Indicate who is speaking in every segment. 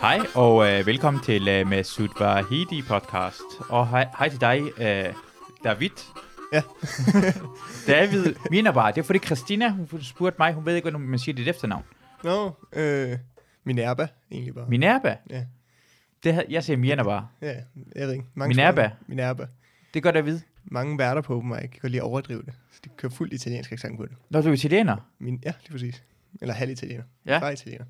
Speaker 1: Hej og øh, velkommen til øh, Masud Vahidi podcast. Og hej, hej til dig, øh, David.
Speaker 2: Ja.
Speaker 1: David Minerbar. Det er fordi Christina, hun spurgte mig, hun ved ikke, hvordan man siger dit efternavn.
Speaker 2: Nå, no, øh, Minerva egentlig bare.
Speaker 1: Minerba.
Speaker 2: Ja.
Speaker 1: Det, havde- jeg siger Minerbar.
Speaker 2: ja, jeg ved ikke.
Speaker 1: Minerva.
Speaker 2: sprog- Minerva.
Speaker 1: Det gør David.
Speaker 2: Mange værter på open mic kan godt lide at overdrive det. Så de kører fuldt italiensk accent på det.
Speaker 1: Når du er italiener.
Speaker 2: Min, ja, lige præcis. Eller halv italiener.
Speaker 1: Ja.
Speaker 2: Far italiener.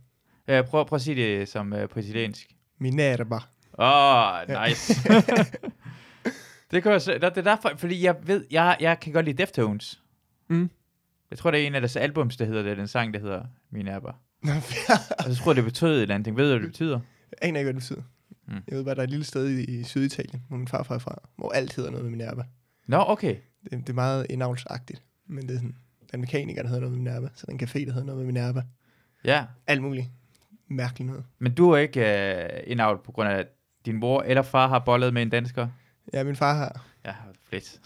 Speaker 1: Øh, prøv, prøv at sige det som øh, på italiensk.
Speaker 2: Minerva.
Speaker 1: Åh, oh, nice. det, kan jeg, se- det er derfor, fordi jeg ved, jeg, jeg kan godt lide Deftones.
Speaker 2: Mm.
Speaker 1: Jeg tror, det er en af deres albums, der hedder det, den sang, der hedder Mine Apper.
Speaker 2: Nå, jeg
Speaker 1: Og Altså, så tror jeg, det betød et eller andet. ting. Ved du, hvad det betyder?
Speaker 2: aner ikke, hvad det betyder.
Speaker 1: Mm.
Speaker 2: Mm. Jeg ved bare, der er et lille sted i, i Syditalien, hvor min far er fra, hvor alt hedder noget med Minerva.
Speaker 1: Nå, okay.
Speaker 2: Det, det er meget indavnsagtigt, men det er sådan, der er en mekaniker, der hedder noget med Minerva, så er der er en café, der hedder noget med Minerva.
Speaker 1: Ja.
Speaker 2: Alt muligt. Mærkeligt noget.
Speaker 1: Men du er ikke øh, indavlet på grund af, at din mor eller far har bollet med en dansker?
Speaker 2: Ja, min far har.
Speaker 1: Ja, fedt.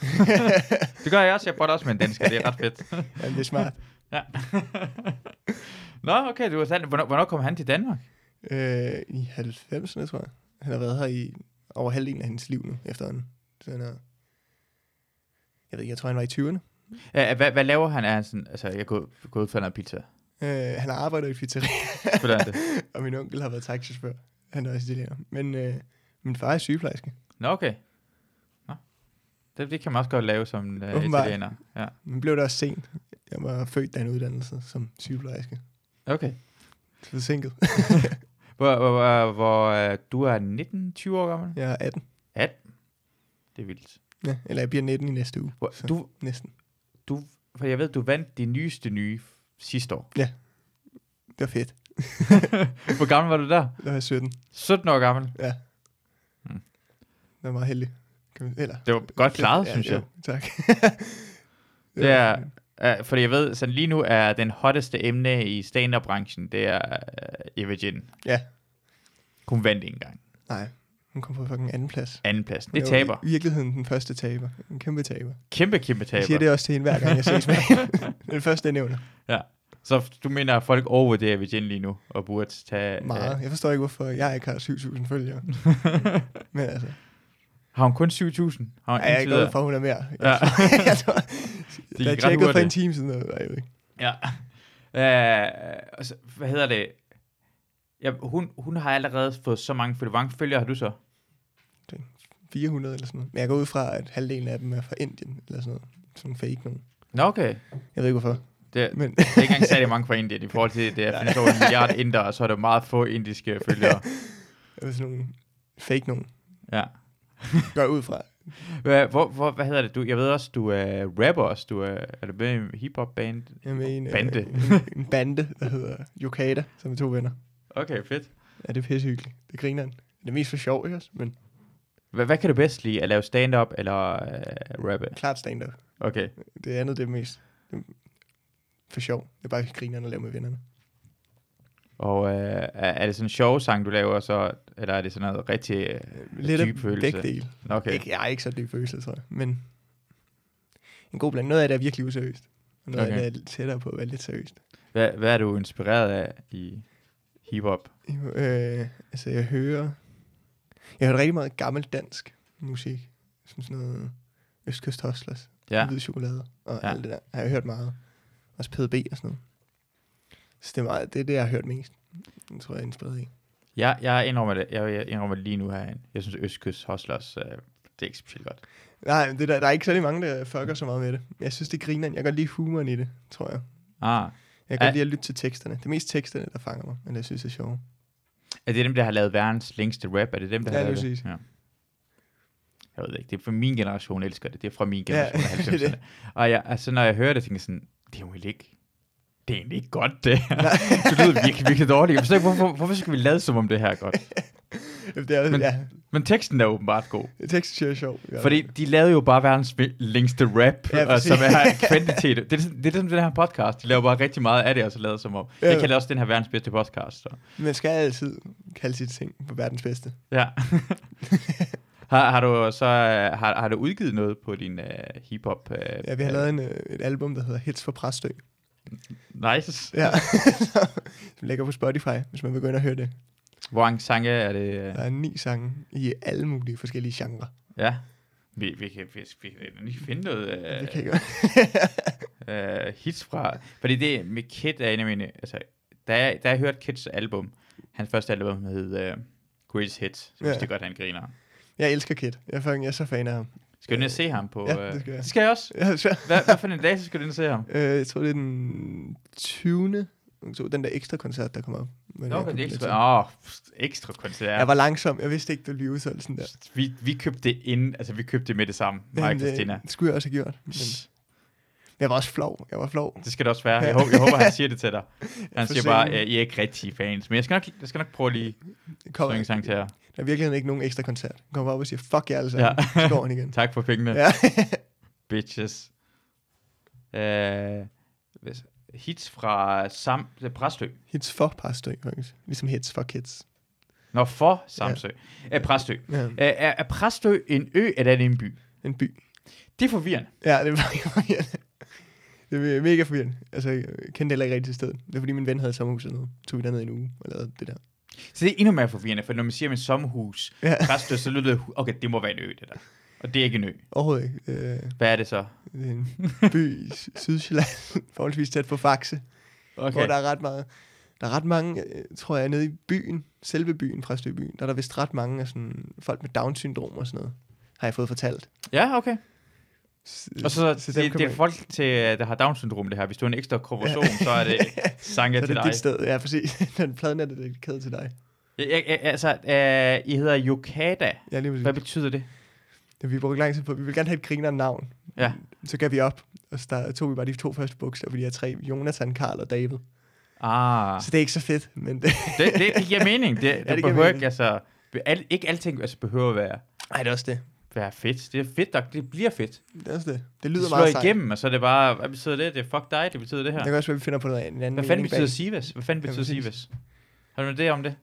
Speaker 1: det gør jeg også. Jeg boller også med en dansker. Det er ret fedt.
Speaker 2: Jamen, det er smart.
Speaker 1: ja. Nå, okay. Du var sandt. Hvornår, hvornår kom han til Danmark?
Speaker 2: Øh, I 90'erne, tror jeg. Han har været her i over halvdelen af hans liv nu, efterhånden. Så han er... Jeg ved ikke, jeg tror, han var i 20'erne.
Speaker 1: Ja, hvad, hvad laver han? Er han sådan, altså, jeg går, går ud for noget pizza.
Speaker 2: Øh, han har arbejdet i et pizzeria,
Speaker 1: Hvordan er det?
Speaker 2: og min onkel har været taxichauffør. Han er også italiener. Men øh, min far er sygeplejerske.
Speaker 1: Nå, okay. Nå. Det, det kan man også godt lave som uh,
Speaker 2: Åbenbart.
Speaker 1: italiener. Ja.
Speaker 2: Men blev det også sent. Jeg var født af en uddannelse som sygeplejerske.
Speaker 1: Okay.
Speaker 2: Så forsinket.
Speaker 1: Hvor, hvor, hvor, hvor øh, du er 19-20 år gammel?
Speaker 2: Jeg er 18.
Speaker 1: Det er vildt.
Speaker 2: Ja, eller jeg bliver 19 i næste uge.
Speaker 1: Hvor,
Speaker 2: Så.
Speaker 1: du,
Speaker 2: Næsten.
Speaker 1: for jeg ved, du vandt det nyeste nye f- sidste år.
Speaker 2: Det var fedt.
Speaker 1: Hvor gammel var du der?
Speaker 2: Der var jeg 17.
Speaker 1: 17 år gammel.
Speaker 2: Ja.
Speaker 1: Mm.
Speaker 2: Det var meget heldig. Kan man, eller,
Speaker 1: Det var godt klaret, synes jeg.
Speaker 2: Jo, tak.
Speaker 1: Det er, uh, fordi jeg ved, sådan lige nu er den hotteste emne i stand-up-branchen, det er uh, Eva Jin.
Speaker 2: Ja.
Speaker 1: Hun vandt ikke engang.
Speaker 2: Nej, hun kom på fucking anden plads.
Speaker 1: Andenpladsen. Det
Speaker 2: var
Speaker 1: taber.
Speaker 2: I virkeligheden den første taber. En kæmpe taber.
Speaker 1: Kæmpe, kæmpe
Speaker 2: Jeg
Speaker 1: taber.
Speaker 2: siger det også til hende hver gang, jeg ses med hende. den første, jeg nævner.
Speaker 1: Så du mener, at folk overvurderer Virgin lige nu, og burde tage... øh,
Speaker 2: Meget. Jeg forstår ikke, hvorfor jeg ikke har 7.000 følgere. Men altså,
Speaker 1: har hun kun 7.000? Har hun
Speaker 2: ej, jeg er
Speaker 1: indtil
Speaker 2: glad
Speaker 1: videre-
Speaker 2: for, at hun er mere.
Speaker 1: Ja.
Speaker 2: Jeg tror, jeg tror,
Speaker 1: gik
Speaker 2: jeg
Speaker 1: ret
Speaker 2: tjekkede for en
Speaker 1: hurtigt.
Speaker 2: time siden. Og, ej, jeg ved ikke.
Speaker 1: Ja. Øh, og så, hvad hedder det? Ja, hun, hun har allerede fået så mange følgere. Hvor mange følgere har du så?
Speaker 2: 400 eller sådan noget. Men jeg går ud fra, at halvdelen af dem er fra Indien eller sådan noget. Sådan fake nogen.
Speaker 1: Nå, okay.
Speaker 2: Jeg ved ikke, hvorfor.
Speaker 1: Det,
Speaker 2: Men
Speaker 1: det er ikke engang særlig mange fra Indien i forhold til, at der findes over en milliard indere, og så er der meget få indiske følgere.
Speaker 2: jeg ved sådan nogle fake nogen.
Speaker 1: Ja.
Speaker 2: Går jeg ud fra.
Speaker 1: Hvad, hvor, hvor, hvad hedder det? Du, jeg ved også, du er rapper også. Du er, er du med i en hip-hop band?
Speaker 2: Jeg mener,
Speaker 1: Bande.
Speaker 2: øh, en bande, der hedder Yokata, som er to venner.
Speaker 1: Okay, fedt.
Speaker 2: Ja, det er pissehyggeligt. Det griner han. Det er mest for sjov, ikke også? Men
Speaker 1: Hvad, hvad kan du bedst lide? At lave stand-up eller øh, rappe?
Speaker 2: klart stand-up.
Speaker 1: Okay.
Speaker 2: Det andet, det er mest det er for sjov. Det er bare grinerne at lave med vennerne.
Speaker 1: Og øh, er, er det sådan en sjov sang, du laver så, eller er det sådan noget rigtig øh,
Speaker 2: Lidt
Speaker 1: dyb
Speaker 2: af
Speaker 1: følelse?
Speaker 2: begge dele.
Speaker 1: Okay.
Speaker 2: Ikke, jeg er ikke så dyb følelse, tror jeg. Men en god blanding. Noget af det er virkelig useriøst. Og noget okay.
Speaker 1: Okay.
Speaker 2: af det er lidt tættere på at være lidt seriøst.
Speaker 1: Hvad, hvad er du inspireret af i hiphop?
Speaker 2: Jo, Øh, altså, jeg hører... Jeg hører rigtig meget gammel dansk musik. Som sådan noget Østkyst Hustlers. ja.
Speaker 1: Ja.
Speaker 2: hvide chokolade og
Speaker 1: Ja.
Speaker 2: ja. alt det der. Har jeg hørt meget. Også PDB og sådan noget. Så det er, meget, det, er det, jeg har hørt mest. Det tror jeg, jeg er inspireret i.
Speaker 1: Jeg, jeg indrømmer det. Jeg, jeg indrømmer det lige nu herinde. Jeg synes, Østkyst Hustlers, øh, det er ikke specielt godt.
Speaker 2: Nej, men det der, der er ikke særlig mange, der fucker så meget med det. Jeg synes, det griner. Jeg kan godt lide humoren i det, tror jeg.
Speaker 1: Ah,
Speaker 2: Jeg kan
Speaker 1: Ja.
Speaker 2: godt lide at lytte til teksterne. Det er mest teksterne, der fanger mig, men jeg synes, det er sjovt.
Speaker 1: er det dem, der har lavet verdens længste rap? Er det dem, der
Speaker 2: Ja,
Speaker 1: har lavet
Speaker 2: lige
Speaker 1: det?
Speaker 2: præcis.
Speaker 1: Ja. Jeg ved det ikke. Det er fra min generation, elsker det. Det er fra min
Speaker 2: Ja,
Speaker 1: generation ja,
Speaker 2: det er
Speaker 1: 90'erne. Og jeg, altså, når jeg hører det, tænker jeg sådan, det er jo egentlig ikke, det er egentlig ikke godt, det her. det lyder virkelig, virkelig dårligt. Jeg forstår ikke, hvorfor, hvorfor skal vi lade som om det her er godt?
Speaker 2: Det er,
Speaker 1: Men-
Speaker 2: men, ja,
Speaker 1: Men teksten er åbenbart god.
Speaker 2: teksten synes jeg er sjov. i hvert
Speaker 1: Fordi de lavede jo bare verdens mi- længste rap,
Speaker 2: Ja,
Speaker 1: ja, og
Speaker 2: præcis.
Speaker 1: som er kvantitet. Det er, sådan- det er ligesom den her podcast. De laver bare rigtig meget af det, og så lader som om.
Speaker 2: Ja.
Speaker 1: Jeg kalder også den her verdens bedste podcast. Så.
Speaker 2: fald. Man skal altid kalde sit ting på verdens bedste.
Speaker 1: Ja. har, har, du så, øh, har, har du udgivet noget på din uh, hiphop? Uh,
Speaker 2: Ja, vi har lavet en, øh, et album, der hedder Hits for Præstø.
Speaker 1: Nice.
Speaker 2: Ja. Som ligger på Spotify, hvis man vil gå ind og høre det.
Speaker 1: Hvor mange sange er det? øh,
Speaker 2: Der er ni sange i alle mulige forskellige genrer.
Speaker 1: Ja. Vi, vi, kan, vi, vi kan lige finde noget
Speaker 2: Øh, det
Speaker 1: øh,
Speaker 2: kan jeg godt.
Speaker 1: øh, hits fra... Fordi det med Kid er en af mine... Altså, da jeg, da jeg hørte Kids album, hans første album hed øh, Greatest Hits, så vidste
Speaker 2: Ja.
Speaker 1: jeg godt, han griner.
Speaker 2: Jeg elsker Kid. Jeg er, fucking, jeg er så fan af ham.
Speaker 1: Skal du ned og se ham på...
Speaker 2: Ja, det skal
Speaker 1: øh,
Speaker 2: jeg.
Speaker 1: det skal jeg også.
Speaker 2: Jeg, er så-
Speaker 1: Hvad, hvad for en dag, så skal du ned og se ham?
Speaker 2: øh, jeg tror, det er den 20. oktober, den der ekstra koncert, der kom op. Men
Speaker 1: Nå,
Speaker 2: jeg
Speaker 1: okay,
Speaker 2: købte
Speaker 1: det er
Speaker 2: billet
Speaker 1: ekstra,
Speaker 2: til.
Speaker 1: åh, pst, ekstra koncert.
Speaker 2: Jeg var langsom. Jeg vidste ikke, det blev udsolgt sådan der.
Speaker 1: Pst, Vi, vi købte det inden, altså vi købte det med det samme, mig og
Speaker 2: Men, øh,
Speaker 1: Christina.
Speaker 2: Det skulle jeg også have gjort. Men
Speaker 1: Pst,
Speaker 2: jeg var også flov. Jeg var flov.
Speaker 1: Det skal det også være.
Speaker 2: Ja.
Speaker 1: Jeg håber, jeg håber han siger det til dig. Han
Speaker 2: For
Speaker 1: siger bare,
Speaker 2: sent.
Speaker 1: at I er ikke rigtig fans. Men jeg skal nok, jeg skal nok prøve at lige
Speaker 2: Det
Speaker 1: synge en sang til jer.
Speaker 2: Der er virkelig ikke nogen ekstra koncert. Han kommer op og siger, fuck jer alle sammen.
Speaker 1: Ja.
Speaker 2: Ja. Så går han igen.
Speaker 1: Tak for pengene, ja.
Speaker 2: ja.
Speaker 1: bitches. Uh, hits fra Sam, det er Præstø.
Speaker 2: Hits for Præstø, faktisk. Ligesom hits for kids.
Speaker 1: Nå, for Samsø. Ja. Uh, Præstø. Uh,
Speaker 2: Ja.
Speaker 1: er, er Præstø en ø, eller er det en by?
Speaker 2: En by.
Speaker 1: Det er forvirrende.
Speaker 2: Ja, det var forvirrende. Det er mega forvirrende. Altså, jeg kendte heller ikke rigtig til stedet. Det er fordi, min ven havde et sommerhus dernede. Tog vi derned i en uge og lavede det der.
Speaker 1: Så det er endnu mere forvirrende, for når man siger med sommerhus,
Speaker 2: Ja,
Speaker 1: Præstø, så lyder det, okay, det må være en ø, det der. Og det er ikke en ø.
Speaker 2: overhovedet ikke. Øh,
Speaker 1: Hvad er det så?
Speaker 2: det er en by i Sy- Sydsjælland, forholdsvis tæt på Faxe, okay. hvor der er ret meget. Der er ret mange, øh, tror jeg, nede i byen, selve byen, Præstøbyen, der er der vist ret mange af sådan, folk med Down-syndrom og sådan noget, har jeg fået fortalt.
Speaker 1: Ja, okay.
Speaker 2: S-
Speaker 1: Og så, så
Speaker 2: så dem
Speaker 1: det,
Speaker 2: kan
Speaker 1: det er
Speaker 2: man-
Speaker 1: folk, til, øh, der har Down-syndrom, det her. Hvis du har en ekstra kromosom, så er det
Speaker 2: så
Speaker 1: sanger
Speaker 2: er
Speaker 1: til
Speaker 2: det
Speaker 1: dig.
Speaker 2: dit sted. Ja, præcis. Den pladen er det dedikeret til dig.
Speaker 1: Jeg, jeg, jeg, altså, øh, I hedder Yokada.
Speaker 2: Ja, lige præcis.
Speaker 1: Hvad betyder det?
Speaker 2: Det, vi brugte lang tid på. Vi ville gerne have et griner navn.
Speaker 1: Ja.
Speaker 2: Så gav vi op, og så der tog vi bare de to første bogstaver, fordi jeg er tre. Jonathan, Karl og David.
Speaker 1: Ah,
Speaker 2: Så det er ikke så fedt, men det,
Speaker 1: det, det, det giver mening. Det, ja,
Speaker 2: det
Speaker 1: det
Speaker 2: giver
Speaker 1: behøver
Speaker 2: mening.
Speaker 1: ikke, altså, be- al, ikke alting altså, behøver at være,
Speaker 2: Ej, det er også det.
Speaker 1: være fedt. Det er fedt, nok. det bliver fedt.
Speaker 2: Det er også det. Det
Speaker 1: Det
Speaker 2: lyder
Speaker 1: slår
Speaker 2: meget sejt.
Speaker 1: igennem, og så er det bare, hvad betyder det? Det er fuck dig, det betyder det
Speaker 2: Det
Speaker 1: her.
Speaker 2: kan også være, vi finder på noget en anden
Speaker 1: Hvad fanden
Speaker 2: mening
Speaker 1: betyder
Speaker 2: bag.
Speaker 1: Sivas? Hvad fanden
Speaker 2: Ja,
Speaker 1: betyder
Speaker 2: præcis.
Speaker 1: Sivas? Har du en idé om det?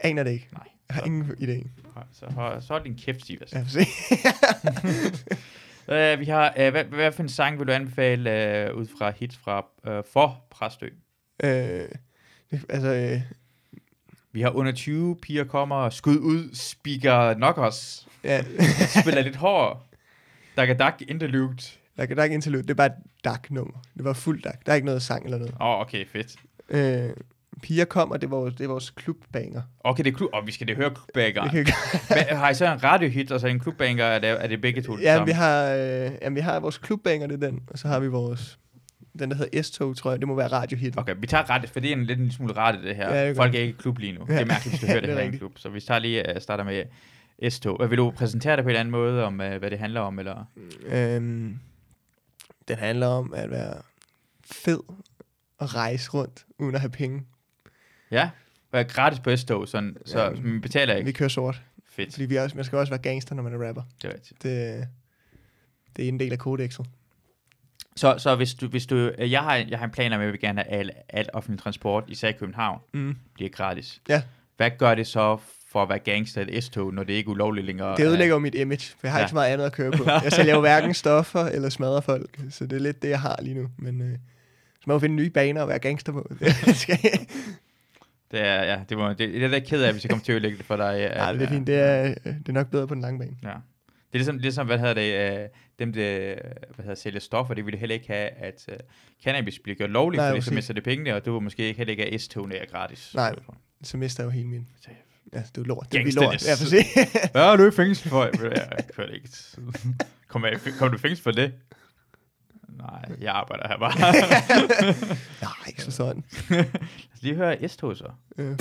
Speaker 2: Aner det ikke.
Speaker 1: Nej.
Speaker 2: Jeg har ingen idé.
Speaker 1: Så, hold- så hold din kæft, Sivas.
Speaker 2: Ja, se.
Speaker 1: Øh, vi har, øh, hvad, hvad for en sang vil du anbefale øh, ud fra hits fra øh, for Præstø?
Speaker 2: øh, det- altså, øh,
Speaker 1: Vi har under 20 piger kommer, skud ud, speaker nok os,
Speaker 2: ja.
Speaker 1: spiller lidt hård. Dak dak interlude.
Speaker 2: der, kan- der er ikke interlude. Det er bare et dak-nummer. Det var fuldt dak. Der er ikke noget sang eller noget.
Speaker 1: Åh, oh, okay, fedt.
Speaker 2: Øh, Piger kom, og det var, vores- det er vores klubbanger.
Speaker 1: Okay, det er klub, og vi skal det høre
Speaker 2: Det
Speaker 1: klubbangeren.
Speaker 2: kan
Speaker 1: Hvad, har I så en radiohit og så en klubbanger, er det, er det begge to det
Speaker 2: Ja,
Speaker 1: samme?
Speaker 2: vi har, øh, jamen, vi har vores klubbanger, det er den, og så har vi vores, den der hedder S-tog, tror jeg, det må være radiohit.
Speaker 1: Okay, vi tager rette, for det er en lidt en smule rette, det her.
Speaker 2: Ja, det er
Speaker 1: Ja, det Folk er ikke i klub lige nu. Det
Speaker 2: Ja,
Speaker 1: er mærkeligt, hvis du hører
Speaker 2: det
Speaker 1: det,
Speaker 2: er
Speaker 1: her i en
Speaker 2: rigtigt.
Speaker 1: klub. Så vi tager lige uh, starter med S-tog. Hvad Vil du præsentere det på en eller anden måde, om uh, hvad det handler om? Eller?
Speaker 2: Øhm, den handler om at være fed og rejse rundt, uden at have penge.
Speaker 1: Ja, og er gratis på S-tog, sådan, så
Speaker 2: Ja.
Speaker 1: ja, man betaler ikke.
Speaker 2: Vi kører sort,
Speaker 1: Fedt,
Speaker 2: fordi vi er også, man skal også være gangster, når man er rapper.
Speaker 1: det er rigtigt.
Speaker 2: Det, det er en del af kodexet.
Speaker 1: Så, så hvis du, hvis du, øh, jeg, har, jeg har en plan om, at jeg vil gerne have al, al offentlig transport, især i København,
Speaker 2: Mm.
Speaker 1: bliver gratis.
Speaker 2: Ja.
Speaker 1: Hvad gør det så for at være gangster i et S-tog, når det ikke er ulovligt længere?
Speaker 2: Det ødelægger jo mit image, for jeg har
Speaker 1: Ja.
Speaker 2: ikke så meget andet at køre på. Jeg sælger jo hverken stoffer eller smadrer folk, så det er lidt det, jeg har lige nu. Men øh, så må jeg jo finde nye baner at være gangster på. Det skal,
Speaker 1: Det er, ja, det, må, det, det er jeg da ked af, hvis jeg kommer til at ødelægge det for dig. Ja,
Speaker 2: Ja, det er fint. Det er, øh, det er nok bedre på den lange bane.
Speaker 1: Ja. Det er ligesom, ligesom hvad hedder det, øh, dem, der hvad hedder, sælger stoffer, det ville heller ikke have, at øh, cannabis bliver gjort lovligt,
Speaker 2: Nej,
Speaker 1: fordi så
Speaker 2: præcis.
Speaker 1: mister det pengene, og du vil måske ikke heller ikke have S-togene er gratis.
Speaker 2: Nej. Så mister jeg jo hele min...
Speaker 1: Så-
Speaker 2: Ja, det er jo lort. Det er jo lort.
Speaker 1: Gangsterness.
Speaker 2: Ja, for se.
Speaker 1: Hvad har du i fængsel for? Jeg kører ikke. Kom, jeg, kom du i fængsel for det? Nej, jeg arbejder her bare.
Speaker 2: Nej, ikke så sådan.
Speaker 1: Lad os lige høre S-tog så.
Speaker 2: Øh,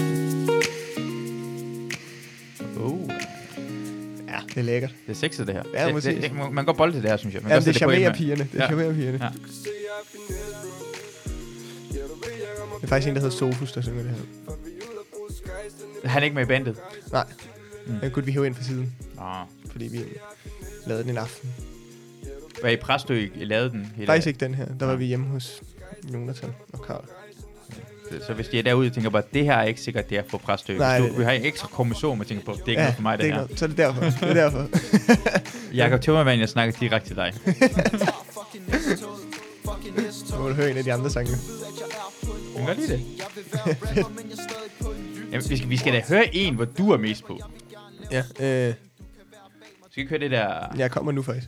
Speaker 1: Oh,
Speaker 2: Ja, det er lækkert.
Speaker 1: det er sexet det her.
Speaker 2: Ja,
Speaker 1: det,
Speaker 2: præcis.
Speaker 1: det, det, man, man går bolde det her, synes jeg. Man
Speaker 2: Ja,
Speaker 1: kan
Speaker 2: det, det
Speaker 1: godt sætte på en
Speaker 2: charmerer
Speaker 1: med-
Speaker 2: pigerne. Det
Speaker 1: Ja.
Speaker 2: charmerer pigerne.
Speaker 1: Ja.
Speaker 2: Det er faktisk en, der hedder Sofus, der synger det her.
Speaker 1: Han er ikke med i bandet.
Speaker 2: Nej,
Speaker 1: Mm.
Speaker 2: den kunne vi hæve ind fra siden,
Speaker 1: Nå.
Speaker 2: fordi vi lavede den en aften.
Speaker 1: Var I Præstø, I lavede den? Hele
Speaker 2: Faktisk ikke den her. Der var vi hjemme hos Jonathan og Karl.
Speaker 1: Så hvis de er derude og tænker bare, det her er ikke sikkert, det er for Præstø.
Speaker 2: Nej,
Speaker 1: Nej, hvis
Speaker 2: det-
Speaker 1: du vi har en ekstra kromosom og tænker på, det er ikke ja, noget for mig, det,
Speaker 2: det er
Speaker 1: det
Speaker 2: ikke
Speaker 1: her.
Speaker 2: noget. Så er det derfor. Det er derfor.
Speaker 1: Jakob Timmermann, jeg snakker direkte til dig.
Speaker 2: Nu må du høre en af de andre sange.
Speaker 1: Kan godt lide det? Jamen, vi, skal, vi skal da høre en, hvor du er mest på.
Speaker 2: Ja, øh,
Speaker 1: Skal vi ikke høre det der...
Speaker 2: jeg kommer nu faktisk.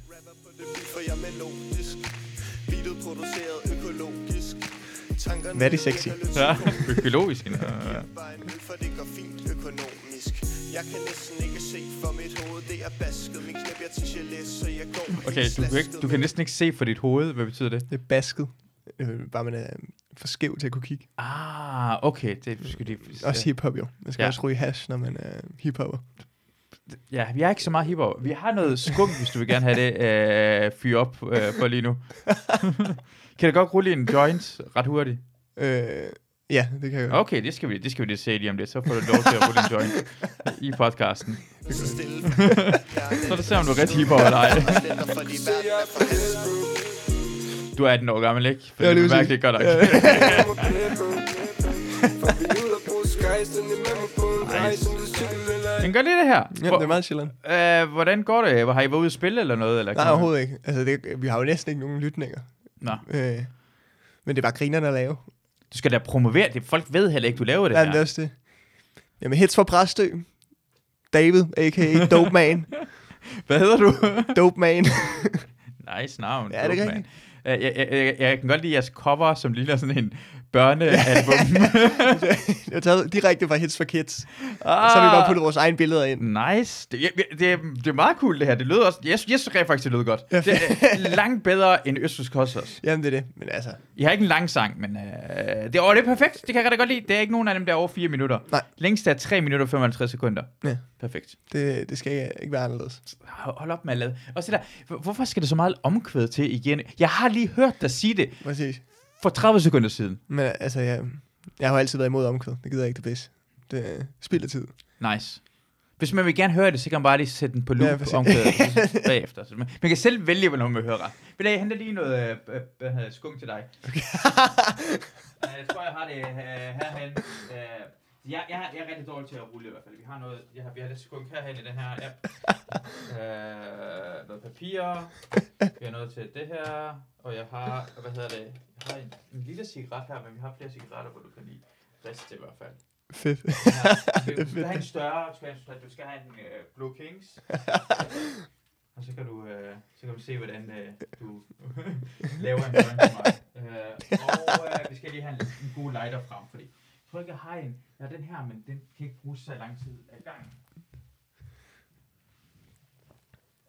Speaker 2: Hvad er det sexy?
Speaker 1: Ja. Økologisk. Ja. Okay, du kan, ikke, du kan næsten ikke se for dit hoved. Hvad betyder det?
Speaker 2: Det er basket. Øh, bare man er for skæv til at kunne kigge.
Speaker 1: Ah, okay. Det skal de...
Speaker 2: Også hiphop jo. Man skal
Speaker 1: Ja.
Speaker 2: ja. også ryge hash, når man er hiphopper.
Speaker 1: Ja, vi er ikke så meget hiphop. Vi har noget skum, hvis du vil gerne have det øh, fyre op øh, for lige nu. kan du godt rulle en joint ret hurtigt?
Speaker 2: Øh, ja, det kan jeg godt.
Speaker 1: Okay, det skal vi, det skal vi lige se lige om lidt. Så får du lov til at rulle en joint i podcasten. Så det ser om du er rigtig hiphop eller ej. Du er 18 år gammel, ikke? For
Speaker 2: Ja,
Speaker 1: det
Speaker 2: lige
Speaker 1: er
Speaker 2: præcis.
Speaker 1: mærkeligt godt nok. Men gør lige det her.
Speaker 2: Ja, det er meget chilleren.
Speaker 1: Hvor, øh, hvordan går det? Har I været ude at spille eller noget? Eller
Speaker 2: Nej, overhovedet ikke. Altså, det, vi har jo næsten ikke nogen lytninger.
Speaker 1: Nå.
Speaker 2: Øh, men det er bare grinerne at lave.
Speaker 1: Du skal da promovere det. Folk ved heller ikke, du laver det
Speaker 2: Ja, men det er
Speaker 1: her.
Speaker 2: også det. Jamen, hits fra Præstø. David, a.k.a. Dope Man.
Speaker 1: Hvad hedder du?
Speaker 2: Dope Man.
Speaker 1: nice navn.
Speaker 2: Ja, det er
Speaker 1: Dope, man. Øh, Jeg, jeg, jeg, jeg kan godt lide jeres cover, som ligner sådan en børnealbum.
Speaker 2: det er taget direkte fra Hits for Kids. Og så har vi bare puttet vores egne billeder ind.
Speaker 1: Ah. Nice. Det, jeg- det, det er meget cool, det her. Det lød også... Jeg, sy- jeg synes rent faktisk, det lød godt.
Speaker 2: Ja.
Speaker 1: Det er langt bedre end Østers Kostos.
Speaker 2: Jamen, det er det. Men altså,
Speaker 1: Jeg har ikke en lang sang, men øh, det, åh, det er perfekt. Det kan jeg rigtig godt lide. Det er ikke nogen af dem, der er over 4 minutter.
Speaker 2: Nej.
Speaker 1: Længst er 3 minutter og 55 sekunder.
Speaker 2: Ja.
Speaker 1: Perfekt.
Speaker 2: det, det skal ikke- ikke være anderledes.
Speaker 1: Hold op med at lade. Og så der, hvor- hvorfor skal der så meget omkvæd til igen? Jeg har lige hørt dig sige det
Speaker 2: Præcis.
Speaker 1: for 30 sekunder siden.
Speaker 2: Men altså, jeg, jeg har jo altid været imod omkvæd. Det gider jeg ikke det bedste. Det er spild af tid.
Speaker 1: Nice. Hvis man vil gerne høre det, så kan man bare lige sætte den på
Speaker 2: Ja,
Speaker 1: loop
Speaker 2: præcis.
Speaker 1: ja, omkvædet bagefter. Så man, man kan selv vælge, hvornår man vil høre ret. Vil jeg hente lige noget øh, øh, hvad hedder det, skum til dig? Okay. jeg tror, jeg har det øh, herhen. Øh, jeg, jeg, har- jeg er rigtig dårlig til at rulle i hvert fald. Vi har, noget, jeg har, vi har lidt skum herhen i den her app. Øh, noget papir. Vi har noget til det her. Og jeg har, hvad hedder det? Jeg har en, en lille cigaret her, men vi har flere cigaretter, hvor du kan lide. Rest i hvert fald.
Speaker 2: Fedt.
Speaker 1: Ja, du
Speaker 2: er
Speaker 1: skal
Speaker 2: fedt.
Speaker 1: have en større, du skal have, en- du skal have en øh, Blue Kings. og så kan du, øh, så kan du se, hvordan øh, du laver en joint for mig. Øh, og øh, vi skal lige have en, en god lighter frem, fordi jeg tror ikke, jeg har en. Jeg har den her, men den kan ikke bruges så lang tid ad gangen.